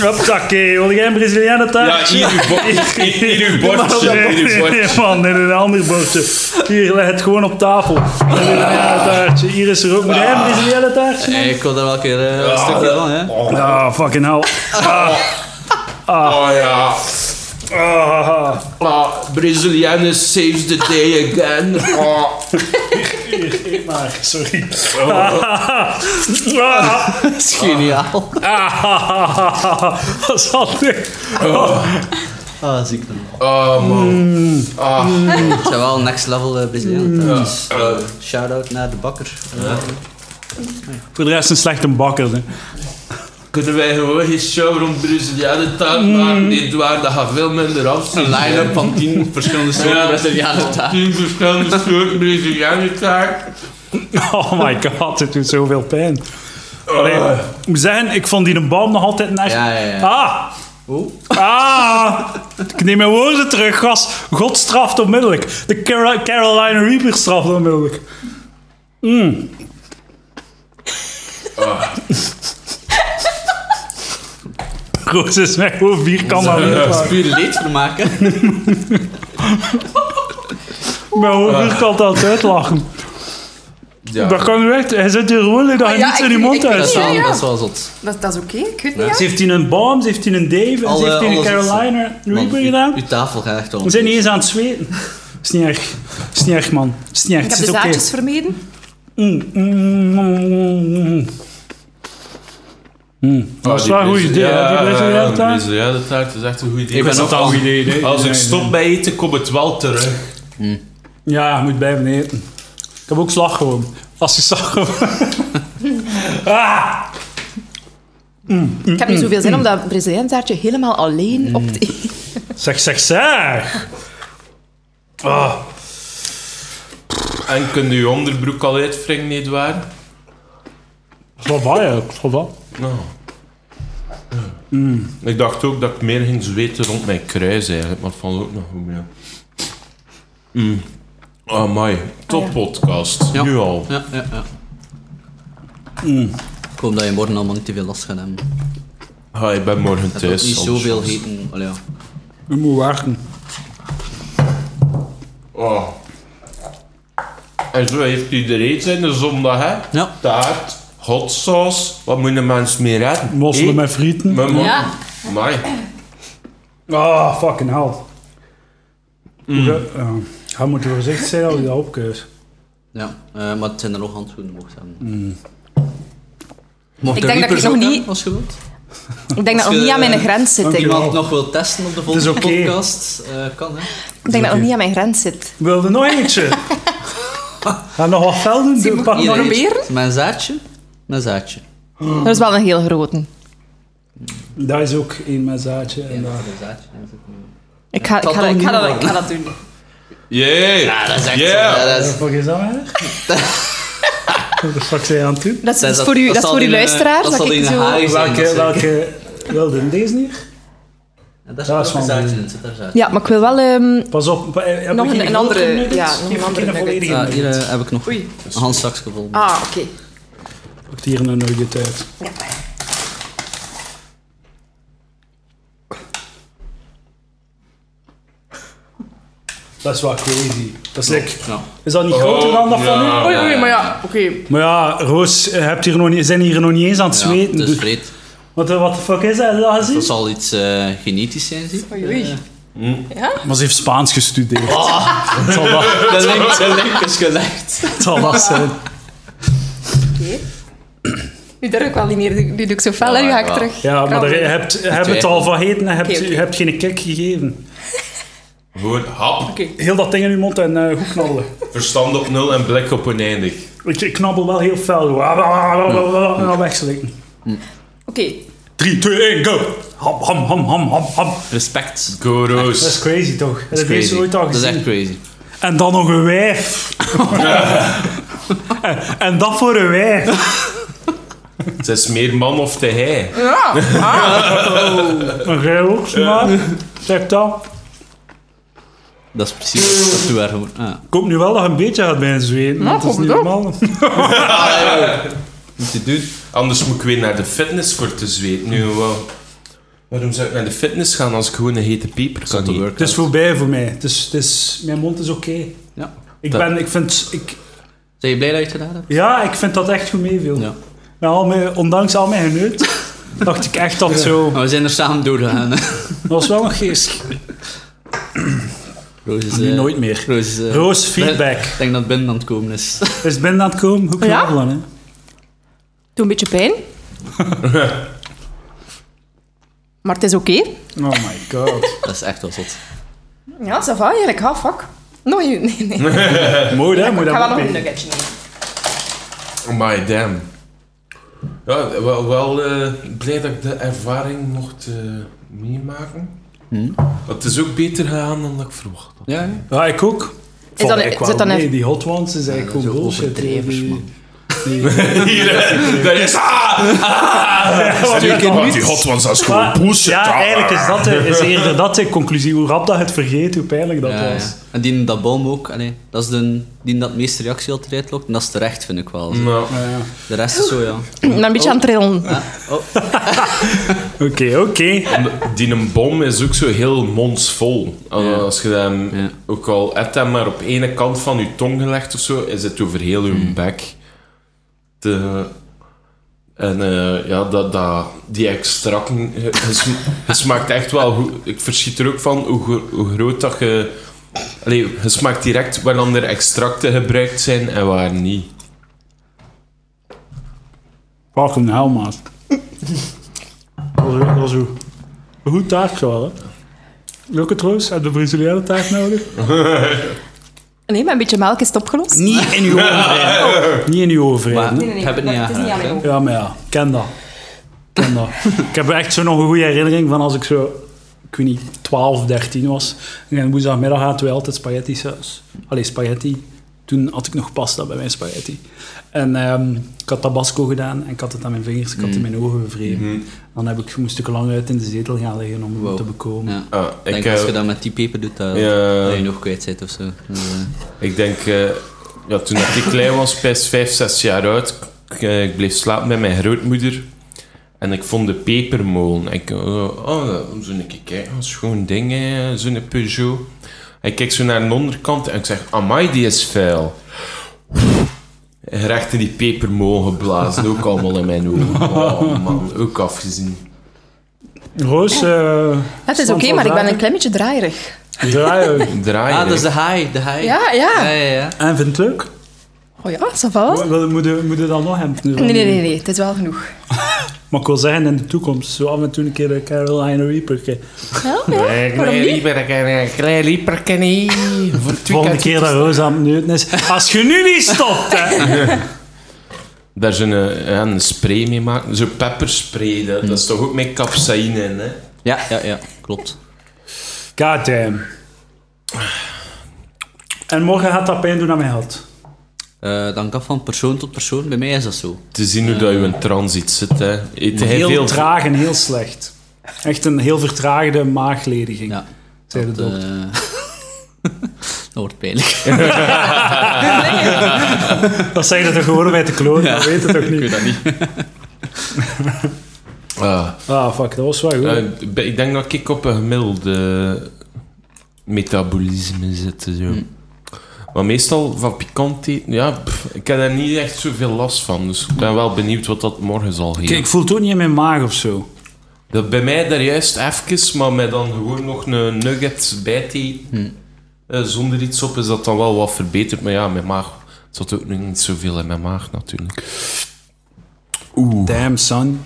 Speaker 1: Hoppakee, wil jij een Brazilianen
Speaker 3: Ja,
Speaker 1: taartje?
Speaker 3: hier uw bo- hier- hier uw bordje. Hier uw
Speaker 1: Nee,
Speaker 3: bordje.
Speaker 1: man, in een ander bordje. Hier, leg het gewoon op tafel. Een Brazilianen taartje. Hier is er ook. Wil jij
Speaker 3: Ah.
Speaker 1: een Brazilianen taartje?
Speaker 2: Hey, ik wil daar wel een keer eh, een stukje van, hè.
Speaker 1: Ah, fucking hell.
Speaker 3: Oh ja.
Speaker 1: Ah,
Speaker 6: Ah, Brazilianen saves the day again. Ah,
Speaker 1: eet maar, sorry.
Speaker 3: Oh.
Speaker 1: Ah, ah,
Speaker 2: Dat is geniaal.
Speaker 1: ah, Dat is handig.
Speaker 2: Ah, ziek dan.
Speaker 3: Oh man.
Speaker 2: Het zijn wel next level eh Brazilianen. Dus, eh, Shout-out naar de bakker.
Speaker 1: Voor de rest een slechte bakker. hè.
Speaker 6: Kunnen wij gewoon geen show rond Brazilianen taart maken? Edouard, dat gaat veel minder af.
Speaker 2: Een line-up van 10 verschillende soorten Brazilianen taart.
Speaker 6: Tien verschillende soorten Brazilianen taart.
Speaker 1: Oh my god, dit doet zoveel pijn.
Speaker 3: Ah.
Speaker 1: Allee, ik moet zeggen, ik vond die een boom nog altijd net.
Speaker 2: Ja, ja, ja.
Speaker 1: Ah! Ah! Ik neem mijn woorden terug, gast. God straft onmiddellijk. De Cara- Carolina Reaper straft onmiddellijk. Ah. Mm. Roos is mij gewoon vierkant aan het
Speaker 2: Dat is
Speaker 1: uitlachen.
Speaker 2: puur leedvermaak, hè.
Speaker 1: Ik ben gewoon vierkant aan het uitlachen.
Speaker 3: Ja.
Speaker 1: Dat kan nu echt. Hij zit hier gewoon dat hij
Speaker 4: Ah, ja,
Speaker 1: niets in
Speaker 4: ik-
Speaker 1: die mond
Speaker 4: ik- ik-
Speaker 1: uit.
Speaker 2: Dat is
Speaker 4: Ja,
Speaker 2: wel,
Speaker 4: ja.
Speaker 2: dat is wel zot.
Speaker 4: Dat, dat is oké, ik weet niet,
Speaker 1: Ze
Speaker 4: ja.
Speaker 1: heeft hier een Baum, ze heeft hier een Davis,
Speaker 2: Alle-
Speaker 1: ze heeft hier een
Speaker 2: alles is
Speaker 1: Carolina
Speaker 2: Man,
Speaker 1: Reaper
Speaker 2: uw-
Speaker 1: gedaan.
Speaker 2: Uw tafel gaat echt wel.
Speaker 1: We zijn niet eens aan het zweten. Is niet erg. Is niet erg, man. Is niet erg.
Speaker 4: Ik
Speaker 1: Het
Speaker 4: heb
Speaker 1: is
Speaker 4: de
Speaker 1: oké.
Speaker 4: zaadjes vermeden.
Speaker 1: Mm, mm, mm, mm.
Speaker 3: Ah,
Speaker 1: Dat is wel een goed idee, hè, die Brazilianen taart.
Speaker 3: taart. Brazilianen taart is echt een goed idee.
Speaker 2: Ik ben ook al...
Speaker 3: Als ik stop bij eten, kom het wel terug.
Speaker 1: Ja, je moet blijven eten. Ik heb ook slag gewoon. Als je slag gewoon. ah!
Speaker 4: Ik
Speaker 1: Mm-hmm.
Speaker 4: heb niet zoveel zin om dat Braziliaans taartje helemaal alleen op te eten.
Speaker 1: Zeg, zeg, zeg! Ah.
Speaker 3: En kun je je onderbroek al uitwringen, niet waar?
Speaker 1: Wat was je? Wat was
Speaker 3: Nou.
Speaker 2: Hmm.
Speaker 3: Ik dacht ook dat ik meer ging zweten rond mijn kruis eigenlijk, maar het valt ook nog goed mee. Mm. Oh, mooi. Top podcast.
Speaker 2: Hmm. Ja.
Speaker 3: Nu al.
Speaker 2: Ja, ja, ja.
Speaker 1: Mm.
Speaker 2: Ik hoop dat je morgen allemaal niet te veel last gaat hebben.
Speaker 3: Ah, ik ben morgen
Speaker 2: Dat is
Speaker 3: thuis.
Speaker 2: niet
Speaker 3: anders.
Speaker 2: zoveel heten. Allee, ja.
Speaker 1: Je moet werken.
Speaker 3: Oh. En zo heeft iedereen zijn zondag, hè?
Speaker 2: Ja.
Speaker 3: Taart, hot sauce. Wat moet een mens meer hebben?
Speaker 1: Mosselen
Speaker 3: Eet.
Speaker 1: met frieten.
Speaker 3: Mijn man.
Speaker 4: Ja.
Speaker 3: Amai.
Speaker 1: Ah, fucking hell. Hoe ga- ja. Hij moet voorzichtig zijn als je dat opkeust.
Speaker 2: Ja, eh, maar het
Speaker 1: Mm.
Speaker 2: zijn er nog handschoenen mocht hebben. Mocht
Speaker 4: Ik
Speaker 2: er
Speaker 4: denk dat ik
Speaker 2: Reapers
Speaker 4: nog
Speaker 2: ook
Speaker 4: niet-
Speaker 2: hebben, als je wilt.
Speaker 4: Ik denk dat
Speaker 2: Als
Speaker 4: nog
Speaker 2: je-
Speaker 4: niet aan mijn grens zit. Ik, ik
Speaker 2: Iemand nog wil testen op de volgende
Speaker 1: Oh. Het is oké.
Speaker 2: podcast? eh, kan, hè?
Speaker 4: denk dat nog niet aan mijn grens zit.
Speaker 1: Wilde nog eentje? Ga nog wat fel doen? Doe, pak
Speaker 2: Hier,
Speaker 1: nog een
Speaker 2: eentje.
Speaker 4: proberen?
Speaker 2: Het is Mijn zaadje. Mijn zaadje.
Speaker 4: Dat is wel een heel grote.
Speaker 1: beetje. Dat is ook één mijn zaadje. En dat-
Speaker 2: Mijn zaadje.
Speaker 4: Ik ga, ik
Speaker 2: Kan toch
Speaker 4: ga, ik ga,
Speaker 2: niet
Speaker 4: dat,
Speaker 2: doen?
Speaker 4: ik ga dat doen.
Speaker 7: Yeah!
Speaker 4: Ah,
Speaker 2: Ja, dat is echt...
Speaker 7: Yeah.
Speaker 2: ja, dat is-
Speaker 1: Wat is dat eigenlijk? Wat de fuck zijn je aan het doen?
Speaker 4: Dat
Speaker 2: dat
Speaker 4: is, dat is
Speaker 2: is-
Speaker 4: voor, u,
Speaker 2: dat
Speaker 4: dat is
Speaker 2: zal
Speaker 4: voor uw
Speaker 2: in een-
Speaker 4: luisteraars.
Speaker 2: dat
Speaker 4: Dat,
Speaker 2: zal
Speaker 4: ik
Speaker 2: in een
Speaker 4: zo...
Speaker 2: haai-
Speaker 1: Welke,
Speaker 2: zeker.
Speaker 1: welke wilde deze hier?
Speaker 2: Ja, Dat
Speaker 1: Dat
Speaker 2: is wel
Speaker 1: is
Speaker 2: een
Speaker 1: van-
Speaker 2: zaadje in, zit daar zaadje.
Speaker 4: Ja, maar ik wil wel... ehm,
Speaker 1: Pas op, eh, heb
Speaker 4: Nog
Speaker 1: ik
Speaker 4: een-
Speaker 1: hier
Speaker 4: een andere-
Speaker 1: grote nuggets?
Speaker 4: ja, nog een
Speaker 1: Geef ik
Speaker 4: andere
Speaker 1: een volledige
Speaker 2: Ah, hier
Speaker 1: nugget.
Speaker 2: eh, heb ik nog
Speaker 4: Oei.
Speaker 2: een handzak gevonden.
Speaker 4: Ah, oké.
Speaker 1: Pakt hier een nugget uit. Dat is wel crazy. Dat is like-
Speaker 2: Ja.
Speaker 1: Is dat
Speaker 3: Oh,
Speaker 1: niet groter dan dat van
Speaker 7: ja.
Speaker 1: u?
Speaker 4: Oei, oei, maar ja, oké.
Speaker 1: Oh, Maar ja, Roos, eh, hebt hier nog niet, zijn hier nog niet eens aan het
Speaker 2: Ja,
Speaker 1: zweten.
Speaker 2: het
Speaker 1: dus-
Speaker 2: is vreed.
Speaker 1: Wat wat de fuck is dat? Heb je dat gezien?
Speaker 2: Dat zal iets eh, genetisch zijn, zie ik.
Speaker 4: Oei, oei.
Speaker 1: Maar ze heeft Spaans gestudeerd. Het, zal dat,
Speaker 2: De link, de link is dus gelegd.
Speaker 1: het zal dat zijn.
Speaker 4: Nu durf ik wel niet meer. Nu doe ik zo fel en nu ga ik
Speaker 2: Ja,
Speaker 4: terug.
Speaker 1: Ja, maar daar, je hebt, je hebt het al vergeten en je hebt,
Speaker 4: Oké, oké.
Speaker 1: je hebt geen kick gegeven.
Speaker 3: Gewoon hap,
Speaker 1: Heel dat ding in je mond en eh, goed knabbelen.
Speaker 3: verstand op nul en blik op oneindig.
Speaker 1: Ik, ik knabbel wel heel fel. Ah, zo. En dan ah, wegslikken.
Speaker 4: Oké.
Speaker 1: 3, 2, 1, go! Ham, ham, ham, ham, ham, ham.
Speaker 2: Respect.
Speaker 3: Go
Speaker 1: Dat is
Speaker 3: Roos.
Speaker 1: crazy toch? Dat,
Speaker 2: Dat
Speaker 1: heb
Speaker 2: is
Speaker 1: je
Speaker 2: crazy.
Speaker 1: ooit al
Speaker 2: Dat is
Speaker 1: gezien.
Speaker 2: echt crazy.
Speaker 1: En dan nog een wijf. en, en dat voor een wijf.
Speaker 3: Het is meer man of te hij.
Speaker 1: Een jij ook smaak. Zeg dat.
Speaker 2: Dat is
Speaker 1: Eh.
Speaker 2: precies wat we daar gewoon... Ah,
Speaker 1: Ik hoop nu wel dat je een beetje gaat bij een zweet.
Speaker 4: Nou,
Speaker 1: want dat is niet normaal.
Speaker 2: moet je doen.
Speaker 3: Anders moet ik weer naar de fitness voor te zweten. Nu, wel. Waarom zou ik naar de fitness gaan als ik gewoon een hete pieper kan
Speaker 2: Dat
Speaker 3: eten?
Speaker 1: Het is voorbij voor mij. Het is, het is, mijn mond is oké.
Speaker 2: Ja.
Speaker 1: Ik
Speaker 2: Dat-
Speaker 1: ben, ik vind, ik,
Speaker 2: Zijn je blij dat je het gedaan hebt?
Speaker 1: ja, ik vind dat echt goed meeviel.
Speaker 2: Ja.
Speaker 1: Met al mijn, ondanks al mijn geneut, dacht ik echt dat het zo...
Speaker 2: Maar we zijn er samen doorgegaan. hè.
Speaker 1: Dat was wel nog geest.
Speaker 2: Roos is...
Speaker 1: Nu
Speaker 2: eh,
Speaker 1: nooit meer.
Speaker 2: Roos is... eh,
Speaker 1: Roos, feedback.
Speaker 2: Ik denk dat Ben aan het komen is.
Speaker 1: Is Ben aan het komen? Hoe
Speaker 4: Ja?
Speaker 1: knabbelen, hè?
Speaker 4: Doe een beetje pijn. maar het is oké.
Speaker 1: Oh my god.
Speaker 2: Dat is echt wel zot.
Speaker 4: Ja, ça va, eigenlijk. Ha, fuck. No, nee, nee. Ik
Speaker 1: Mooi, hè? Moet dat
Speaker 4: ga wel
Speaker 1: ook
Speaker 4: nog een
Speaker 1: mee.
Speaker 4: nuggetje nemen.
Speaker 3: Oh My damn. Ja, wel wel eh, blij dat ik de ervaring mocht eh, meemaken. Want Het is ook beter gegaan dan dat ik verwacht had.
Speaker 2: Ja, ja.
Speaker 1: Ja, ik ook. Vond
Speaker 4: dan-
Speaker 1: ik wel
Speaker 4: zit dan
Speaker 1: mee.
Speaker 4: even-
Speaker 1: Die hot ones is eigenlijk
Speaker 2: zo
Speaker 1: gewoon bullshit.
Speaker 2: overdrevers,
Speaker 1: Die-
Speaker 2: man.
Speaker 1: die-
Speaker 3: Hier, hè. daar is... Ah!
Speaker 1: Ja,
Speaker 3: Ah, die hot ones, dat is gewoon bullshit.
Speaker 1: Ja,
Speaker 3: Ah.
Speaker 1: eigenlijk is dat de, is eerder dat de conclusie. Hoe rap dat je het vergeet, hoe pijnlijk dat
Speaker 2: Ja, ja.
Speaker 1: was.
Speaker 2: En die dat boom ook, allee, dat is de, die dat het meeste reactie altijd uitlokt. En dat is terecht, vind ik wel.
Speaker 1: Mm.
Speaker 3: Nou,
Speaker 2: De rest is zo, ja.
Speaker 4: Ik ben een beetje aan het trillen.
Speaker 1: Oké, oké.
Speaker 3: Die een bom is ook zo heel mondsvol. Al-
Speaker 2: Ja.
Speaker 3: Als je hem,
Speaker 2: Ja.
Speaker 3: ook al hebt hem maar op ene kant van je tong gelegd of zo, is het over heel je
Speaker 2: Hmm.
Speaker 3: bek. De, en eh, ja, dat, dat, die extracten, eh, het sm- het smaakt echt wel goed. Ik verschiet er ook van hoe, gro- hoe groot dat je... Allee, je smaakt direct wanneer er extracten gebruikt zijn en waar niet.
Speaker 1: Fucking hell, man. Dat was- Dat was hoe. Een goed taartje wel, hè? Leuke troost, heb je de Braziliaanse taart nodig?
Speaker 4: Nee, maar een beetje melk is het opgelost.
Speaker 1: Niet in uw overheden. Niet in uw overheden.
Speaker 2: Maar ik heb het niet
Speaker 4: dat is niet aan
Speaker 2: aangeraakt.
Speaker 4: mij
Speaker 2: hè.
Speaker 4: ook.
Speaker 1: Ja, maar ja, ik ken dat. Ik Ken dat. ik heb echt zo nog een goede herinnering van als ik zo, ik weet niet, 12, 13 was. En woensdagmiddag hadden wij altijd spaghetti saus. Allee, spaghetti. Toen had ik nog pasta bij mijn spaghetti. En ehm, ik had tabasco gedaan en ik had het aan mijn vingers, ik had het in mijn ogen gevreven. Dan heb ik, moest ik lang uit in de zetel gaan liggen om het
Speaker 2: Wow.
Speaker 1: te bekomen.
Speaker 2: Ja.
Speaker 3: Ah,
Speaker 2: Ik denk
Speaker 3: eh,
Speaker 2: als je dat met die peper doet, dat,
Speaker 3: Ja.
Speaker 2: dat je nog kwijt bent of zo. Dus, eh,
Speaker 3: Ik denk, eh, ja, toen dat ik klein was, best 5, 6 jaar oud, ik, eh, ik bleef slapen bij mijn grootmoeder. En ik vond de pepermolen. Ik, eh, oh, zo'n keer kijken, dat is gewoon ding, hè, zo'n Peugeot. En ik kijk zo naar de onderkant en ik zeg, amai, die is vuil. En Recht in die pepermolen geblazen, ook allemaal in mijn ogen. Oh man, ook afgezien.
Speaker 1: Roos, eh,
Speaker 4: Het is
Speaker 1: stand
Speaker 4: oké,
Speaker 1: van
Speaker 4: maar ik ben een
Speaker 1: zaken.
Speaker 4: klein beetje draaierig.
Speaker 1: Draaien.
Speaker 3: Draaien.
Speaker 2: Ah, dat is de haai, de haai.
Speaker 4: Ja, ja.
Speaker 2: ja, ja.
Speaker 1: En vindt het leuk?
Speaker 4: Oh ja, ça va?
Speaker 1: Wil- Moet je, moet je dat nog hebben?
Speaker 4: Nee, nee, nee, nee. Het is wel genoeg.
Speaker 1: Maar ik wil zeggen, in de toekomst, zo af en toe een keer een Carolina Reaper.
Speaker 8: Klein lieperken, klein lieperken, hé. Voor het
Speaker 1: De volgende
Speaker 8: weekend.
Speaker 1: keer dat Roos aan het neuten is. Als je nu niet stopt, hè.
Speaker 3: Daar zo'n eh, ja, een spray mee maken. Zo'n pepperspray,
Speaker 1: Hmm.
Speaker 3: dat, dat is toch ook met capsaïne in, hè?
Speaker 2: Ja, ja, ja, klopt.
Speaker 1: Goddamn. En morgen gaat dat pijn doen aan mijn hart.
Speaker 2: Eh dan kan van persoon tot persoon. Bij mij is dat zo.
Speaker 3: Te zien hoe dat je in transit zit, hè. Eet hij
Speaker 1: Heel,
Speaker 3: veel...
Speaker 1: traag en heel slecht. Echt een heel vertraagde maaglediging,
Speaker 2: Ja.
Speaker 1: zei de
Speaker 2: Eh,
Speaker 1: dokter.
Speaker 2: dat wordt pijnlijk.
Speaker 1: Dat zei je toch gewoon bij te klonen, dat weet het toch niet.
Speaker 2: dat niet.
Speaker 3: Ah.
Speaker 1: Ah, fuck, dat was wel goed.
Speaker 3: Eh, ik ben- ik denk dat ik op een gemiddelde metabolisme zit. Zo.
Speaker 1: Hmm.
Speaker 3: Maar meestal van pikant eten, ja, pff, ik heb daar niet echt zoveel last van. Dus ik ben wel benieuwd wat dat morgen zal geven.
Speaker 1: Kijk, ik voel het ook niet in mijn maag of zo.
Speaker 3: Dat bij mij daar juist even, maar met dan gewoon nog een nugget bij te eten. eh, zonder iets op is dat dan wel wat verbeterd. Maar ja, mijn maag het zat ook nog niet zoveel in mijn maag natuurlijk. Oeh.
Speaker 1: Damn, son.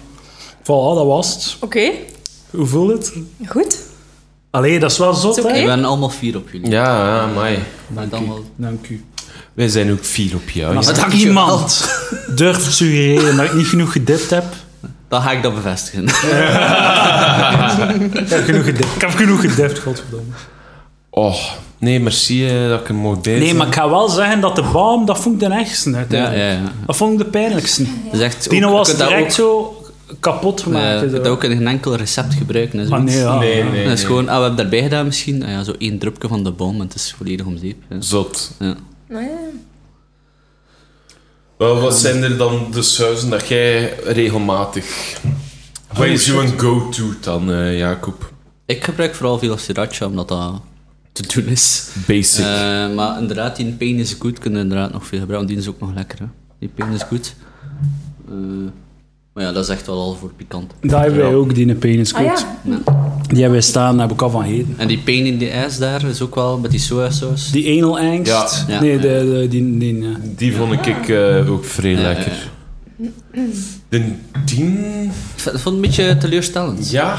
Speaker 1: Voilà, dat was het.
Speaker 4: Oké,
Speaker 1: Hoe voelt het?
Speaker 4: goed.
Speaker 1: Allee, dat is wel zot,
Speaker 4: Is oké.
Speaker 1: hè?
Speaker 2: We zijn allemaal vier op jullie.
Speaker 3: Ja, ja, amai.
Speaker 2: Dank, allemaal...
Speaker 1: Dank u.
Speaker 3: Wij zijn ook vier op jou.
Speaker 1: Als
Speaker 3: ja.
Speaker 1: er
Speaker 2: dankjewel.
Speaker 1: iemand durft te suggereren dat ik niet genoeg gedipt heb...
Speaker 2: Dan ga ik dat bevestigen.
Speaker 1: Ik heb genoeg gedipt. Ik heb genoeg gedipt, godverdomme.
Speaker 3: Oh, nee, merci eh, dat ik hem mocht bij
Speaker 1: Nee,
Speaker 3: zijn.
Speaker 1: maar ik ga wel zeggen dat de baum, dat vond ik de ergste
Speaker 2: eh, ja,
Speaker 1: uiteindelijk.
Speaker 2: ja, ja.
Speaker 1: Dat vond ik de pijnlijkste.
Speaker 2: Dus echt,
Speaker 1: Dino
Speaker 2: ook- je
Speaker 1: was
Speaker 2: kunt dat
Speaker 1: direct
Speaker 2: ook,
Speaker 1: zo kapot
Speaker 2: eh,
Speaker 1: gemaakt.
Speaker 2: je kunt
Speaker 1: zo.
Speaker 2: dat ook in een enkel recept gebruiken. en
Speaker 1: Ah, nee,
Speaker 2: zoiets.
Speaker 1: ja.
Speaker 3: Nee,
Speaker 1: ja.
Speaker 3: nee.
Speaker 2: dat is gewoon, ah, we hebben daarbij gedaan misschien. Ah, ja, zo één drupje van de boom, en het is volledig om zeep. Ja.
Speaker 3: Zot.
Speaker 2: Ja.
Speaker 3: Wel, wat zijn er dan de sausen dat jij regelmatig... Wat is jouw go-to dan, eh, Jacob?
Speaker 2: Ik gebruik vooral veel sriracha, omdat dat te doen is.
Speaker 3: Basic.
Speaker 2: Eh, maar inderdaad, die pain is good kunnen inderdaad nog veel gebruiken. Die is ook nog lekker, hè. Die pain is goed. Eh, maar ja, dat is echt wel al voor pikant.
Speaker 1: Daar hebben wij ook die penis
Speaker 4: Ah ja,
Speaker 1: Die hebben wij staan, daar heb ik al van heden.
Speaker 2: En die pain in the ass daar is ook wel met die sojasaus.
Speaker 1: Die anal angst.
Speaker 2: Ja. Ja.
Speaker 1: nee, de, de, die, die, ja.
Speaker 3: Die vond ik eh, ook vrij lekker. De tien...
Speaker 2: Ik vond het een beetje teleurstellend.
Speaker 3: Ja.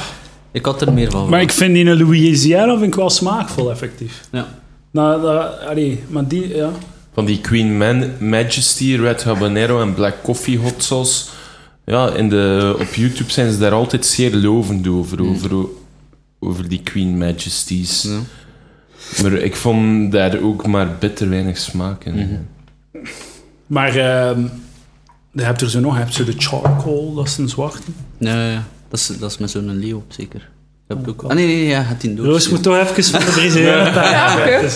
Speaker 2: Ik had er meer van.
Speaker 1: Maar ik vind die in Louisiana vind ik wel smaakvol, effectief.
Speaker 2: Ja.
Speaker 1: Nou, dat, allee, maar die, ja.
Speaker 3: Van die Queen Man, Majesty, Red Habanero en Black Coffee hot sauce. Ja, in de, op YouTube zijn ze daar altijd zeer lovend over, over, over die Queen Majesties. Maar ik vond daar ook maar bitter weinig smaak in.
Speaker 1: Maar ehm je hebt er zo nog, je hebt zo de charcoal, dat is een zwarte.
Speaker 2: Nee, dat is, dat is met zo'n leeuw, zeker. Dat heb ik ook. Ah, nee, nee, nee, ja, het in doos.
Speaker 1: Roos moet toch even van de briseren.
Speaker 4: ja oké.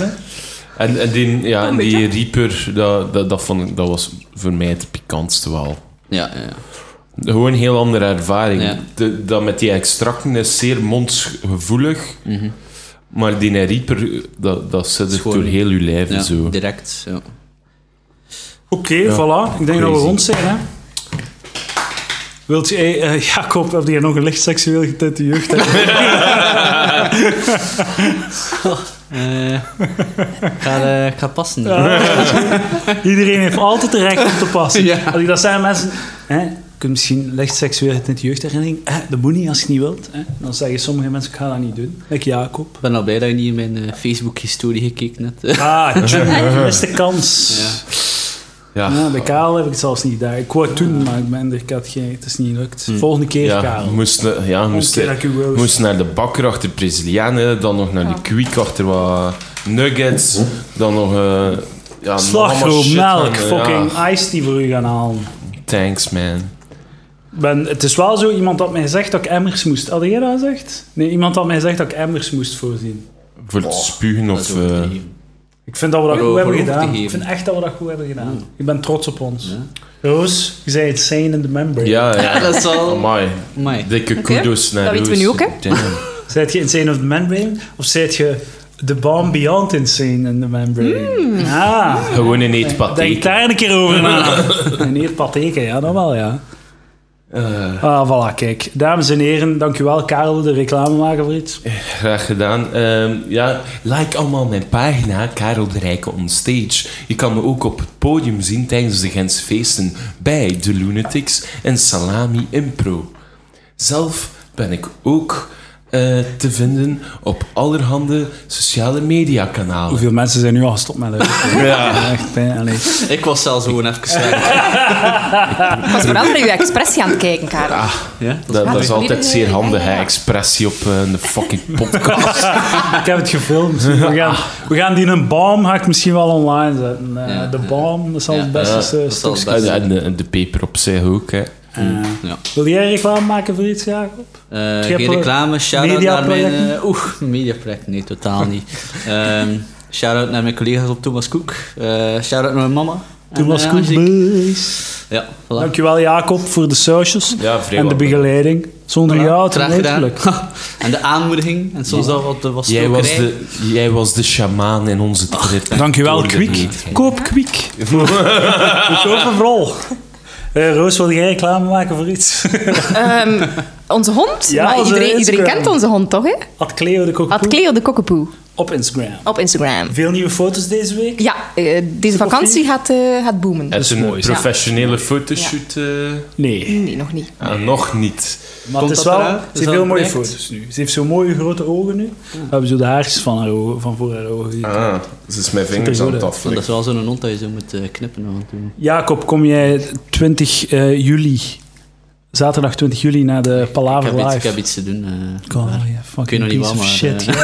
Speaker 3: En, en die, ja, en die Reaper, dat, dat, dat, vond ik, dat was voor mij het pikantste wel.
Speaker 2: Ja, ja, ja.
Speaker 3: Gewoon een heel andere ervaring.
Speaker 2: Ja.
Speaker 3: De- dat met die extracten is zeer mondsgevoelig. Maar die Reaper, dat, dat zit er
Speaker 2: Mhm. Schoon.
Speaker 3: door heel je lijf
Speaker 2: Ja,
Speaker 3: zo.
Speaker 2: direct. Ja.
Speaker 1: Oké, voilà. Ik denk dat we
Speaker 3: Crazy.
Speaker 1: rond zijn, hè. Wilt je, eh, eh, Jacob, heb je nog een licht seksueel getinte jeugd? hè?
Speaker 2: Eh, ik ga, eh, ik ga passen.
Speaker 1: Iedereen heeft altijd recht om te passen.
Speaker 2: Ja.
Speaker 1: Als ik dat zeg aan mensen, hè, je kunt misschien licht seksueel getinte jeugdherinnering. Eh, dat moet niet als je niet wilt. Hè. Dan zeggen sommige mensen, ik ga dat niet doen. Like Jacob.
Speaker 2: Ik ben al blij dat je niet in mijn eh, Facebook-historie gekeken hebt.
Speaker 1: Ah, tjonge, beste kans.
Speaker 2: Ja.
Speaker 3: Ja.
Speaker 1: Ja, bij Karel heb ik het zelfs niet daar. Ik wou het doen, maar ik ben er, ik had geen, het is niet gelukt. Volgende keer,
Speaker 3: Hm. Ja,
Speaker 1: Karel.
Speaker 3: moest, na- ja, moest,
Speaker 1: keer dat ik u roast.
Speaker 3: moest naar de bakker achter Brazilianen, dan nog naar de kwik achter wat nuggets,
Speaker 2: Oh.
Speaker 3: dan nog... eh ja, nog allemaal
Speaker 1: Slagroom,
Speaker 3: shit
Speaker 1: melk,
Speaker 3: gaan-
Speaker 1: fucking
Speaker 3: ja.
Speaker 1: ice die voor u gaan halen.
Speaker 3: Thanks, man.
Speaker 1: Ben, het is wel zo, iemand had mij zegt dat ik emmers moest. Had jij dat gezegd? Nee, iemand had mij gezegd dat ik emmers moest voorzien.
Speaker 3: Voor het spugen
Speaker 2: Oh, Dat is
Speaker 3: of...
Speaker 2: ook
Speaker 3: eh,
Speaker 2: niet.
Speaker 1: Ik vind dat we dat
Speaker 2: Voor
Speaker 1: goed hebben
Speaker 2: over te
Speaker 1: gedaan.
Speaker 2: geven.
Speaker 1: Ik vind echt dat we dat goed hebben gedaan.
Speaker 3: Hm.
Speaker 1: Ik ben trots op ons. Roos, je zei het zijn in de membrane.
Speaker 3: ja,
Speaker 2: Ja,
Speaker 3: ja.
Speaker 2: dat is al...
Speaker 3: Amai.
Speaker 2: Amai.
Speaker 3: Dikke
Speaker 4: Oké,
Speaker 3: kudos naar
Speaker 4: dat weten we
Speaker 3: Roos.
Speaker 4: nu ook, hè?
Speaker 3: Damn.
Speaker 1: Zijt je insane of the membrane? Of zijt je de bomb beyond insane in the membrane?
Speaker 3: Hm.
Speaker 1: Ah,
Speaker 3: Gewoon in eet
Speaker 1: denk
Speaker 3: paté.
Speaker 1: daar een keer over na. en hier patheken, ja, dat wel, ja.
Speaker 2: Eh,
Speaker 1: Ah, voilà, kijk. Dames en heren, dankjewel Karel, de reclame maken voor iets.
Speaker 3: Graag gedaan. Ehm, ja, like allemaal mijn pagina, Karel de Rijke on Stage. Je kan me ook op het podium zien tijdens de Gentse feesten bij The Lunatics en Salami Impro. Zelf ben ik ook eh, te vinden op allerhande sociale mediakanalen.
Speaker 1: Hoeveel mensen zijn nu al gestopt met luisteren?
Speaker 3: Ja.
Speaker 1: Echt pijn. Allee.
Speaker 2: Dus Ik was zelfs gewoon even slecht.
Speaker 4: Ik was vooral naar uw expressie aan het kijken, Karel.
Speaker 2: Ja?
Speaker 3: Dat, dat is
Speaker 4: waar.
Speaker 3: altijd zeer handige
Speaker 4: Ja, ja, ja.
Speaker 3: expressie op eh, een fucking podcast.
Speaker 1: Ik heb het gefilmd. We gaan, we gaan die een bom ga ik misschien wel online zetten. Eh,
Speaker 2: Ja.
Speaker 1: de bom, dat zal
Speaker 2: Ja.
Speaker 1: het beste
Speaker 2: Ja,
Speaker 1: eh,
Speaker 2: dat zal het
Speaker 1: stuk
Speaker 2: beste.
Speaker 3: en, en de, en de paper op zich ook, hè.
Speaker 1: zijn.
Speaker 2: Ja.
Speaker 1: Eh, Wil jij reclame maken voor iets, Jacob?
Speaker 2: Eh,
Speaker 1: Je hebt
Speaker 2: geen
Speaker 1: wel
Speaker 2: reclame, shout-out naar mijn...
Speaker 1: mediaprojecten?
Speaker 2: eh, Oeh, mediaproject, nee, totaal niet. Ehm shout-out naar mijn collega's op Thomas Cook. Eh shout-out naar mijn mama.
Speaker 1: Toen was
Speaker 2: En,
Speaker 1: het
Speaker 2: eh,
Speaker 1: goed.
Speaker 2: Angelique.
Speaker 1: Bees.
Speaker 2: Ja, voilà.
Speaker 1: Dankjewel, Jacob, voor de sausjes
Speaker 3: Ja, vrij
Speaker 1: en de
Speaker 3: wat.
Speaker 1: begeleiding. Zonder jou had het
Speaker 2: Graag
Speaker 1: niet
Speaker 2: gedaan.
Speaker 1: gelukt.
Speaker 2: en de aanmoediging. En soms dat wat de was
Speaker 3: Jij was, de, jij was de sjamaan in onze trip.
Speaker 1: Dankjewel,
Speaker 3: Door de
Speaker 1: Kwik.
Speaker 3: moed.
Speaker 1: Koop Kwik. We kopen vooral. Eh, Roos, wil jij reclame maken voor iets?
Speaker 4: Ehm, onze hond?
Speaker 1: Ja,
Speaker 4: maar
Speaker 1: onze
Speaker 4: iedereen, iedereen
Speaker 1: Instagram.
Speaker 4: kent onze hond, toch? Hè?
Speaker 1: Had Cleo de
Speaker 4: Had
Speaker 1: Kokopoe
Speaker 4: Cleo de kokkepoe
Speaker 1: op Instagram.
Speaker 4: op Instagram.
Speaker 1: Veel nieuwe foto's deze week.
Speaker 4: Ja, eh, deze vakantie gaat, eh, gaat boomen.
Speaker 3: Het is een
Speaker 1: mooi,
Speaker 3: professionele fotoshoot. eh,
Speaker 1: Nee.
Speaker 4: Nee, nog niet.
Speaker 3: ah, Nog niet.
Speaker 1: Maar
Speaker 2: Komt
Speaker 1: het is
Speaker 2: dat
Speaker 1: wel,
Speaker 2: eruit?
Speaker 1: ze
Speaker 2: Is
Speaker 1: heeft
Speaker 2: dat
Speaker 1: veel
Speaker 2: een
Speaker 1: mooie
Speaker 2: project?
Speaker 1: foto's nu. Ze heeft zo'n mooie grote ogen nu. We hebben zo de haartjes van, haar ogen, van voor haar ogen.
Speaker 3: Ah, ze is mijn vingers aan het
Speaker 2: Dat
Speaker 3: aflikken.
Speaker 2: is wel zo'n hond dat je zo moet eh, knippen. af en toe.
Speaker 1: Jacob, kom jij 20 eh, juli, zaterdag 20 juli, naar de
Speaker 2: Ik,
Speaker 1: Palaver
Speaker 2: heb iets, ik
Speaker 1: Live?
Speaker 2: heb iets te doen. eh.
Speaker 1: God, yeah,
Speaker 2: Ik weet
Speaker 1: fucking
Speaker 2: nog niet
Speaker 1: piece
Speaker 2: wat,
Speaker 1: of
Speaker 2: maar,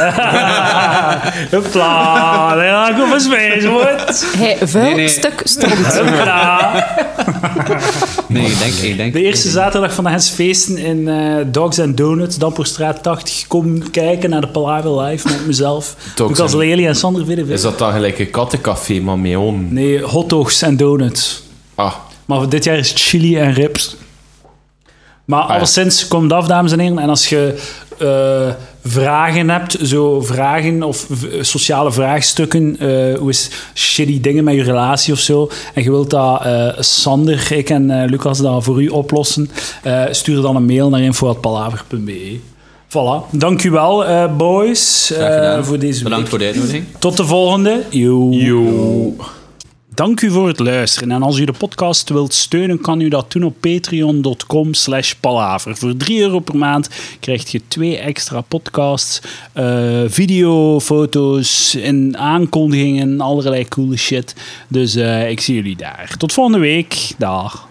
Speaker 1: shit.
Speaker 2: eh.
Speaker 1: Hopla, de Jacob is bezig, wordt.
Speaker 4: Hij vuil
Speaker 2: Nee, nee.
Speaker 4: stuk stond.
Speaker 1: Hopla.
Speaker 2: Nee, ik denk... Ik denk
Speaker 1: De eerste zaterdag van de Hens Feesten in eh, Dogs and Donuts, Damperstraat 80. Kom kijken naar de Palaver Live met mezelf.
Speaker 3: Dogs
Speaker 1: Lucas
Speaker 3: and-
Speaker 1: Lely en Sander Videveen.
Speaker 3: Is dat dan gelijk een kattencafé, maar mee om?
Speaker 1: Nee, hotdogs en donuts.
Speaker 3: Ah,
Speaker 1: Maar voor dit jaar is het chili en rips.
Speaker 2: Ah,
Speaker 1: Maar alleszins, kom het af, dames en heren. En als je eh, vragen hebt, zo vragen of v- sociale vraagstukken, eh, hoe is shitty dingen met je relatie of zo, en je wilt dat eh, Sander, ik en eh, Lucas dat voor u oplossen, eh, stuur dan een mail naar info.palaver.be. e. Voilà. Dank u wel, eh, boys,
Speaker 2: Graag gedaan.
Speaker 1: eh, voor deze
Speaker 2: Bedankt
Speaker 1: week.
Speaker 2: voor de uitnodiging.
Speaker 1: Tot de volgende. Yo.
Speaker 3: yo.
Speaker 9: Dank u voor het luisteren. En als u de podcast wilt steunen, kan u dat doen op patreon.com slash palaver. Voor 3 euro per maand krijg je twee extra podcasts, eh, video, foto's en aankondigingen, allerlei coole shit. Dus eh, ik zie jullie daar. Tot volgende week. Dag.